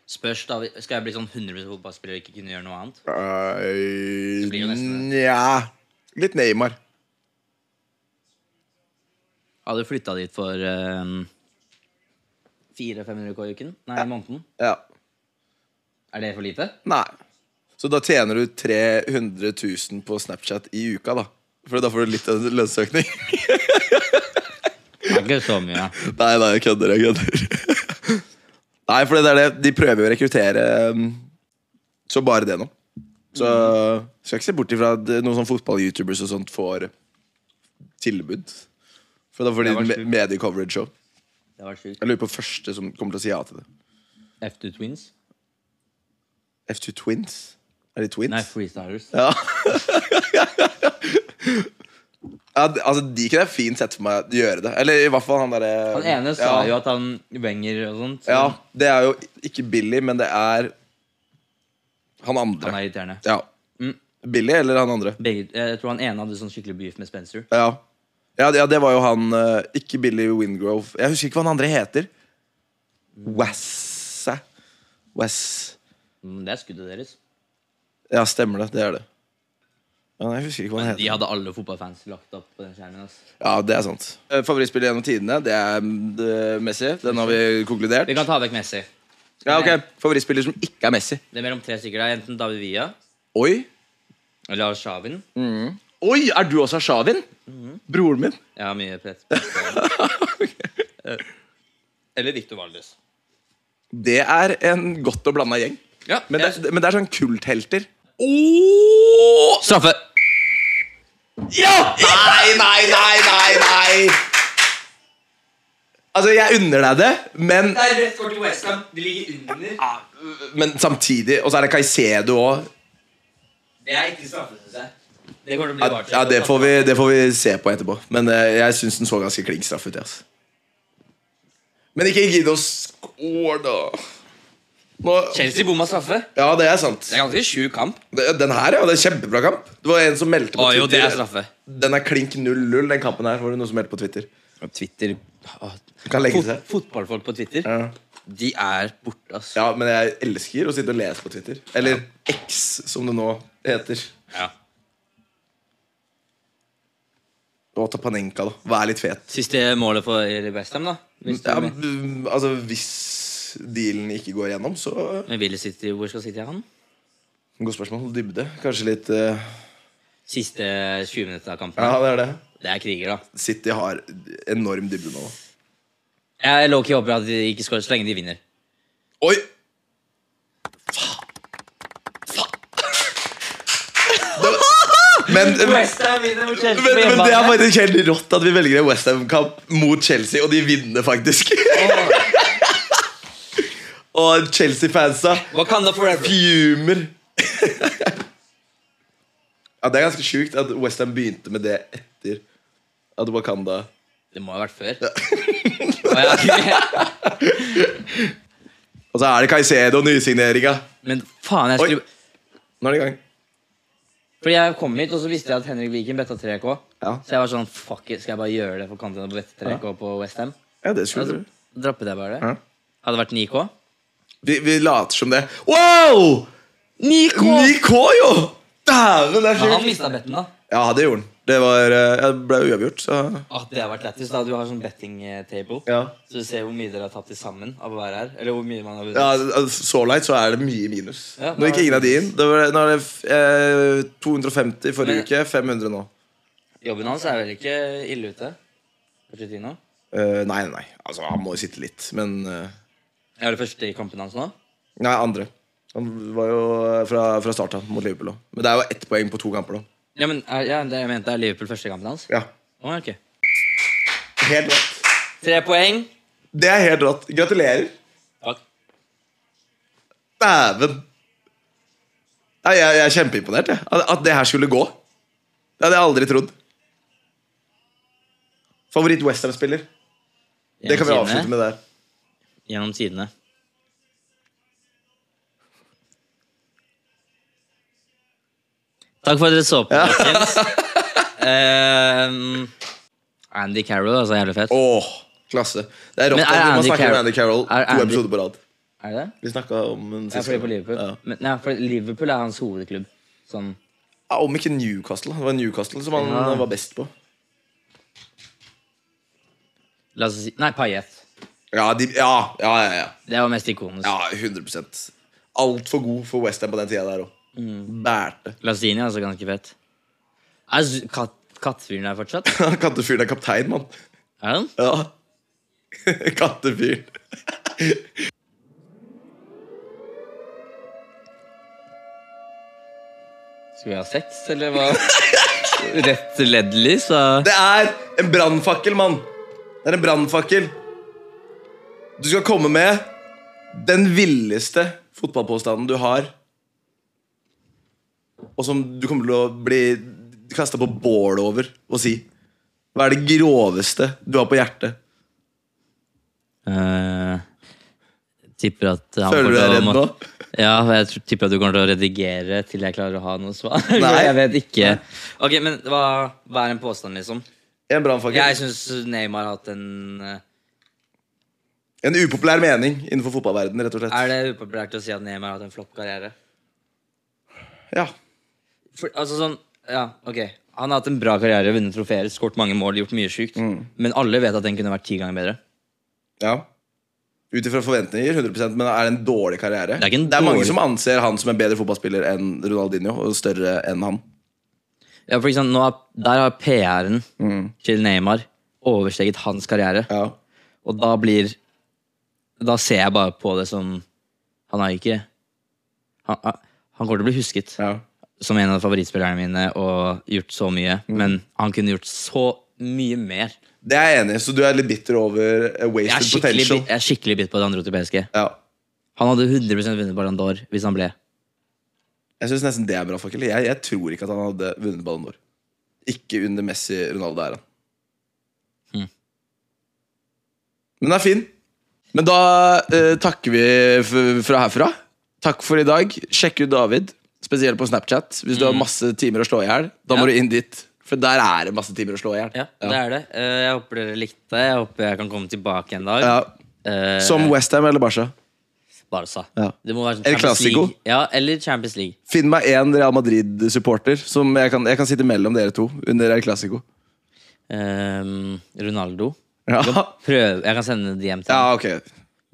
Speaker 2: Spørs, da. Skal jeg bli sånn 100 fotballspiller og ikke kunne gjøre noe annet?
Speaker 1: Uh,
Speaker 2: blir jo nesten
Speaker 1: Nja Litt Neymar.
Speaker 2: Hadde flytta dit for eh, 400-500 K i uken? Nei, i måneden.
Speaker 1: Ja.
Speaker 2: Er det for lite?
Speaker 1: Nei. Så da tjener du 300 000 på Snapchat i uka, da. For da får du litt av en lønnsøkning.
Speaker 2: Det er ikke så mye.
Speaker 1: Nei, nei, jeg kødder. Jeg kødder. nei, for det er det. De prøver jo å rekruttere um, så bare det nå. Så
Speaker 2: Mm.
Speaker 1: skal ikke se bort ifra at noen sånn fotball-youtubers og sånt får tilbud. For da får de
Speaker 2: Det var
Speaker 1: me-
Speaker 2: sjukt.
Speaker 1: medie-coverage òg.
Speaker 2: Det var sjukt.
Speaker 1: Jeg lurer på første som kommer til å si ja til det.
Speaker 2: F2 Twins?
Speaker 1: F2 Twins? Er de twins?
Speaker 2: Nei, Freestylers.
Speaker 1: Ja, d- altså, de kunne jeg fint sett for meg å gjøre det. Eller i hvert fall han derre
Speaker 2: Han ene sa jo at han Wenger og sånt. så
Speaker 1: Ja, det er jo ikke Billy, men det er han andre.
Speaker 2: Han er irriterende.
Speaker 1: Ja.
Speaker 2: Mm.
Speaker 1: Billy eller han andre?
Speaker 2: Begge, jeg tror han ene hadde sånn skikkelig beef med Spencer.
Speaker 1: Ja. Ja, det- ja, det var jo han eh, Ikke Billy Wingrove. Jeg husker ikke hva han andre heter. Wasse. Wes.
Speaker 2: Mm, Det er skuddet deres.
Speaker 1: Ja, stemmer det. Det er det. Ja, jeg husker ikke hva han
Speaker 2: De
Speaker 1: heter.
Speaker 2: hadde alle fotballfans lagt opp på den skjermen. ass.
Speaker 1: Ja, det er sant. Eh, Favorittspiller gjennom tidene, det er mm, det- Messi. Den har vi konkludert.
Speaker 2: Vi kan ta vekk Messi.
Speaker 1: Ja, ok. Favorittspiller som ikke er Messi.
Speaker 2: Det er mellom tre stykker. Det er enten David Villa
Speaker 1: Oi.
Speaker 2: eller Lars Shavin.
Speaker 1: Oi, er du også Shavin? Broren min.
Speaker 2: Jeg har mye press. på det. Eh, Eller Victor Valdes.
Speaker 1: Det er en godt og blanda gjeng.
Speaker 2: Ja,
Speaker 1: Men det, er- men det er sånn kulthelter.
Speaker 2: oh! Straffe!
Speaker 1: Ja! Nei, nei, nei, nei, nei! Altså, jeg unner deg det, men,
Speaker 2: Det er rett kort til Westham. De ligger under.
Speaker 1: men samtidig Og så er det Caicedo òg.
Speaker 2: Det er ikke straffe, syns jeg. Det kommer til å bli
Speaker 1: Ja, ja, det, får vi- det får vi se på etterpå. Men eh, jeg syns den så ganske klink straff ut. jeg, Altså. Men ikke gidd å score, da. Nå,
Speaker 2: Chelsea bomma straffe.
Speaker 1: ja, det er sant.
Speaker 2: Det er ganske sjuk kamp.
Speaker 1: Det- Den her, ja. Det er kjempebra kamp. Det var en som meldte på
Speaker 2: Å, jo, det
Speaker 1: Twitter
Speaker 2: er straffe.
Speaker 1: Den er klink 0-0, den kampen her. Var det noen som meldte på Twitter?
Speaker 2: Twitter ah,
Speaker 1: Kan legge seg.
Speaker 2: Fotballfolk på Twitter
Speaker 1: Ja.
Speaker 2: De er borte, ass.
Speaker 1: ja, men jeg elsker å sitte og lese på Twitter. Eller X, som det nå heter.
Speaker 2: Ja.
Speaker 1: Og Tapanenka, da. Vær litt fet.
Speaker 2: Siste målet for Westham, da. Hvis du
Speaker 1: Ja, mm, altså, hvis dealen ikke går gjennom, så
Speaker 2: Men Ville City, hvor skal City ha han?
Speaker 1: Godt spørsmål. Dybde. Kanskje litt eh,
Speaker 2: Siste 20 minutter av kampen.
Speaker 1: Ja, det er det.
Speaker 2: Det er kriger, da.
Speaker 1: City har enorm dybde nå.
Speaker 2: Jeg lowkey håper at de ikke skårer så lenge de vinner.
Speaker 1: Oi! Men, men,
Speaker 2: Westham vinner mot Chelsea
Speaker 1: men det er faktisk helt rått at vi velger en Westham-kamp mot Chelsea, og de vinner faktisk. og Chelsea-fansa
Speaker 2: Wakanda forever.
Speaker 1: fjumer. ja, det er ganske sjukt at Westham begynte med det etter at Wakanda
Speaker 2: Det må ha vært før. Å, ja.
Speaker 1: Og så er det Caicedo og nysigneringa.
Speaker 2: Men faen, jeg skulle
Speaker 1: Nå er det i gang.
Speaker 2: Fordi jeg kom hit, og så visste jeg at Henrik Viken betta 3K.
Speaker 1: Ja,
Speaker 2: Så jeg var sånn Fuck it, skal jeg bare gjøre det for kanten og bette 3K på Westham?
Speaker 1: ja det skulle
Speaker 2: Altså,
Speaker 1: du.
Speaker 2: droppet jeg bare det.
Speaker 1: Mm. Ja.
Speaker 2: Hadde vært 9K.
Speaker 1: Vi, vi later som det. Wow!
Speaker 2: 9K!
Speaker 1: 9K, jo! Dæven, det er
Speaker 2: han
Speaker 1: sjukt.
Speaker 2: mista betten, da.
Speaker 1: Ja, det gjorde han. Det var, eh, jeg ble uavgjort, så
Speaker 2: At det har vært lættis. da. Du har sånn betting eh, table.
Speaker 1: ja.
Speaker 2: Så du ser hvor mye dere har tatt til sammen av å være her. Eller hvor mye man har
Speaker 1: ja,
Speaker 2: vunnet.
Speaker 1: al- Så langt så er det mye minus.
Speaker 2: Ja,
Speaker 1: nå gikk
Speaker 2: da-
Speaker 1: ingen av de inn. Det var, nå er det f- eh, 250 forrige
Speaker 2: Men-
Speaker 1: uke, 500 nå.
Speaker 2: Jobben hans er vel ikke ille ute? Pochettino?
Speaker 1: Eh, nei, nei, nei. Altså, han må jo sitte litt, men eh,
Speaker 2: Er det første i kampen hans nå?
Speaker 1: Nei, andre. Han var jo eh, fra, fra starten mot Liverpool òg. Men det er jo ett poeng på to kamper nå.
Speaker 2: Ja, men er, ja, det jeg mente er Liverpool første kampen hans.
Speaker 1: Ja,
Speaker 2: Å, ok.
Speaker 1: helt rått.
Speaker 2: Tre poeng.
Speaker 1: Det er helt rått. Gratulerer.
Speaker 2: Takk.
Speaker 1: Dæven. Nei, jeg, jeg er kjempeimponert. Jeg. At, at det her skulle gå. Det hadde jeg aldri trodd. Favoritt-Westham-spiller. Det kan vi avslutte med der.
Speaker 2: Gjennom tidene. Takk for at dere så på,
Speaker 1: Ja.
Speaker 2: folkens. Ehm, Andy Carroll, altså. Jævlig fett.
Speaker 1: Åh, klasse. Det er rått
Speaker 2: Men er
Speaker 1: at vi må
Speaker 2: Andy
Speaker 1: snakke om
Speaker 2: Carroll-
Speaker 1: Andy Carroll
Speaker 2: er
Speaker 1: to
Speaker 2: Andy-
Speaker 1: episoder på rad.
Speaker 2: Er det det?
Speaker 1: Vi snakka om den
Speaker 2: Ja,
Speaker 1: siste.
Speaker 2: fordi på Liverpool.
Speaker 1: Ja.
Speaker 2: Men, nei, for Liverpool er hans hovedklubb. Sånn.
Speaker 1: Ja, om ikke Newcastle. Det var Newcastle som han
Speaker 2: Ja.
Speaker 1: eh, var best på.
Speaker 2: La oss si Nei, Payet.
Speaker 1: Ja, de, ja, ja, ja, ja.
Speaker 2: Det var mest ikonisk.
Speaker 1: ja 100 Altfor god for Westham på den tida der òg. Mm. Bærte.
Speaker 2: Lasagne er altså ganske fett. Er Z- kat kattfyren der fortsatt?
Speaker 1: Kattefyren er kaptein, mann.
Speaker 2: Er han?
Speaker 1: Ja. Kattefyren.
Speaker 2: Skal vi ha sex, eller hva? Rett LED-lys? så-
Speaker 1: Det er en brannfakkel, mann. Det er en brannfakkel. Du skal komme med den villeste fotballpåstanden du har, og som du kommer til å bli kasta på bålet over og si. Hva er det groveste du har på hjertet?
Speaker 2: Eh, tipper at han
Speaker 1: Føler
Speaker 2: kommer
Speaker 1: du deg
Speaker 2: til å
Speaker 1: redd nå?
Speaker 2: må- Ja, jeg tror, tipper at du kommer til å redigere til jeg klarer å ha noe svar.
Speaker 1: Nei.
Speaker 2: jeg vet ikke. Ok, men hva, hva er en påstand, liksom?
Speaker 1: En
Speaker 2: Jeg
Speaker 1: brannfakkel.
Speaker 2: syns Neymar har hatt en eh,
Speaker 1: En upopulær mening innenfor fotballverdenen, rett og slett.
Speaker 2: Er det upopulært å si at Neymar har hatt en flopp karriere?
Speaker 1: Ja.
Speaker 2: For, altså sånn, ja, ok Han har hatt en bra karriere, vunnet trofeer, skåret mange mål, gjort mye sjukt. Men alle vet at den kunne vært ti ganger bedre.
Speaker 1: Ja. Ut ifra forventninger, 100 men er det en dårlig karriere?
Speaker 2: er ikke en
Speaker 1: mange
Speaker 2: dårlig-
Speaker 1: som anser han som en bedre fotballspiller enn Ronaldinho, og større enn han.
Speaker 2: Ja, for eksempel, nå er, Der har PR-en til Neymar oversteget hans karriere.
Speaker 1: Ja.
Speaker 2: Og da blir Da ser jeg bare på det som Han er ikke Han, han kommer til å bli husket
Speaker 1: ja.
Speaker 2: som en av favorittspillerne mine og gjort så mye. Men han kunne gjort så mye mer.
Speaker 1: Det er jeg enig i, så du er litt bitter over eh,
Speaker 2: Jeg er
Speaker 1: wasted
Speaker 2: skikkelig,
Speaker 1: potential.
Speaker 2: bit- jeg er skikkelig bitt på det andre europeiske.
Speaker 1: Ja.
Speaker 2: Han hadde 100 vunnet Ballon d'Or hvis han ble.
Speaker 1: Jeg syns nesten det er bra, fakkel. Jeg, jeg tror ikke at han hadde vunnet Ballon d'Or. Ikke under
Speaker 2: Hmm.
Speaker 1: Messi Ronaldo er han.
Speaker 2: Mm.
Speaker 1: Men den er fin. Men da eh, takker vi f fra herfra. Takk for i dag. Sjekk ut David, spesielt på Snapchat. Hvis du har masse timer å slå i hjel, da
Speaker 2: Hmm. Ja.
Speaker 1: må du inn dit. For der er det masse timer å slå i hjel.
Speaker 2: Ja, det er det. Eh, Jeg håper dere likte det. Jeg håper jeg kan komme tilbake en dag.
Speaker 1: Ja.
Speaker 2: Eh,
Speaker 1: Som Westham eller Barca.
Speaker 2: Barca.
Speaker 1: Ja.
Speaker 2: Det må være sånn
Speaker 1: El
Speaker 2: Champions
Speaker 1: Clasico.
Speaker 2: League. Ja, eller Champions League.
Speaker 1: Finn meg én Real Madrid-supporter. Som jeg kan, jeg kan sitte mellom dere to under El Clasico.
Speaker 2: Ehm, Ronaldo.
Speaker 1: Ja.
Speaker 2: Prøv. Jeg kan sende en DM til
Speaker 1: ja,
Speaker 2: ham.
Speaker 1: ok.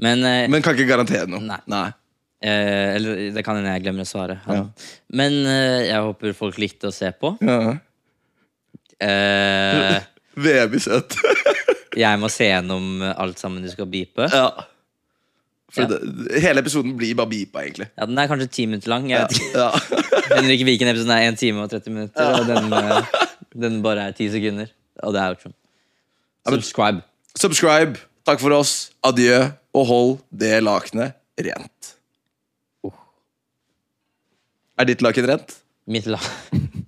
Speaker 2: Men, eh,
Speaker 1: Men kan ikke garantere noe.
Speaker 2: Nei. eh, Eller det kan hende jeg glemmer å svare. Han.
Speaker 1: Ja.
Speaker 2: Men eh, jeg håper folk likte å se på.
Speaker 1: Ja.
Speaker 2: Eh,
Speaker 1: VM i søt.
Speaker 2: jeg må se gjennom alt sammen du skal beepe.
Speaker 1: ja. For
Speaker 2: Ja.
Speaker 1: Det, hele episoden blir bare beepa, egentlig.
Speaker 2: Ja, den er kanskje ti minutter lang. Jeg
Speaker 1: Ja.
Speaker 2: vet ikke.
Speaker 1: Ja.
Speaker 2: Henrik Viken-episoden er 1 time og 30 minutter, og den, eh, den bare er 10 sekunder. Og det er outroen. Subscribe.
Speaker 1: Subscribe. Takk for oss. Adjø. Og hold det lakenet Uh. rent. Er ditt laken rent?
Speaker 2: Mitt lag.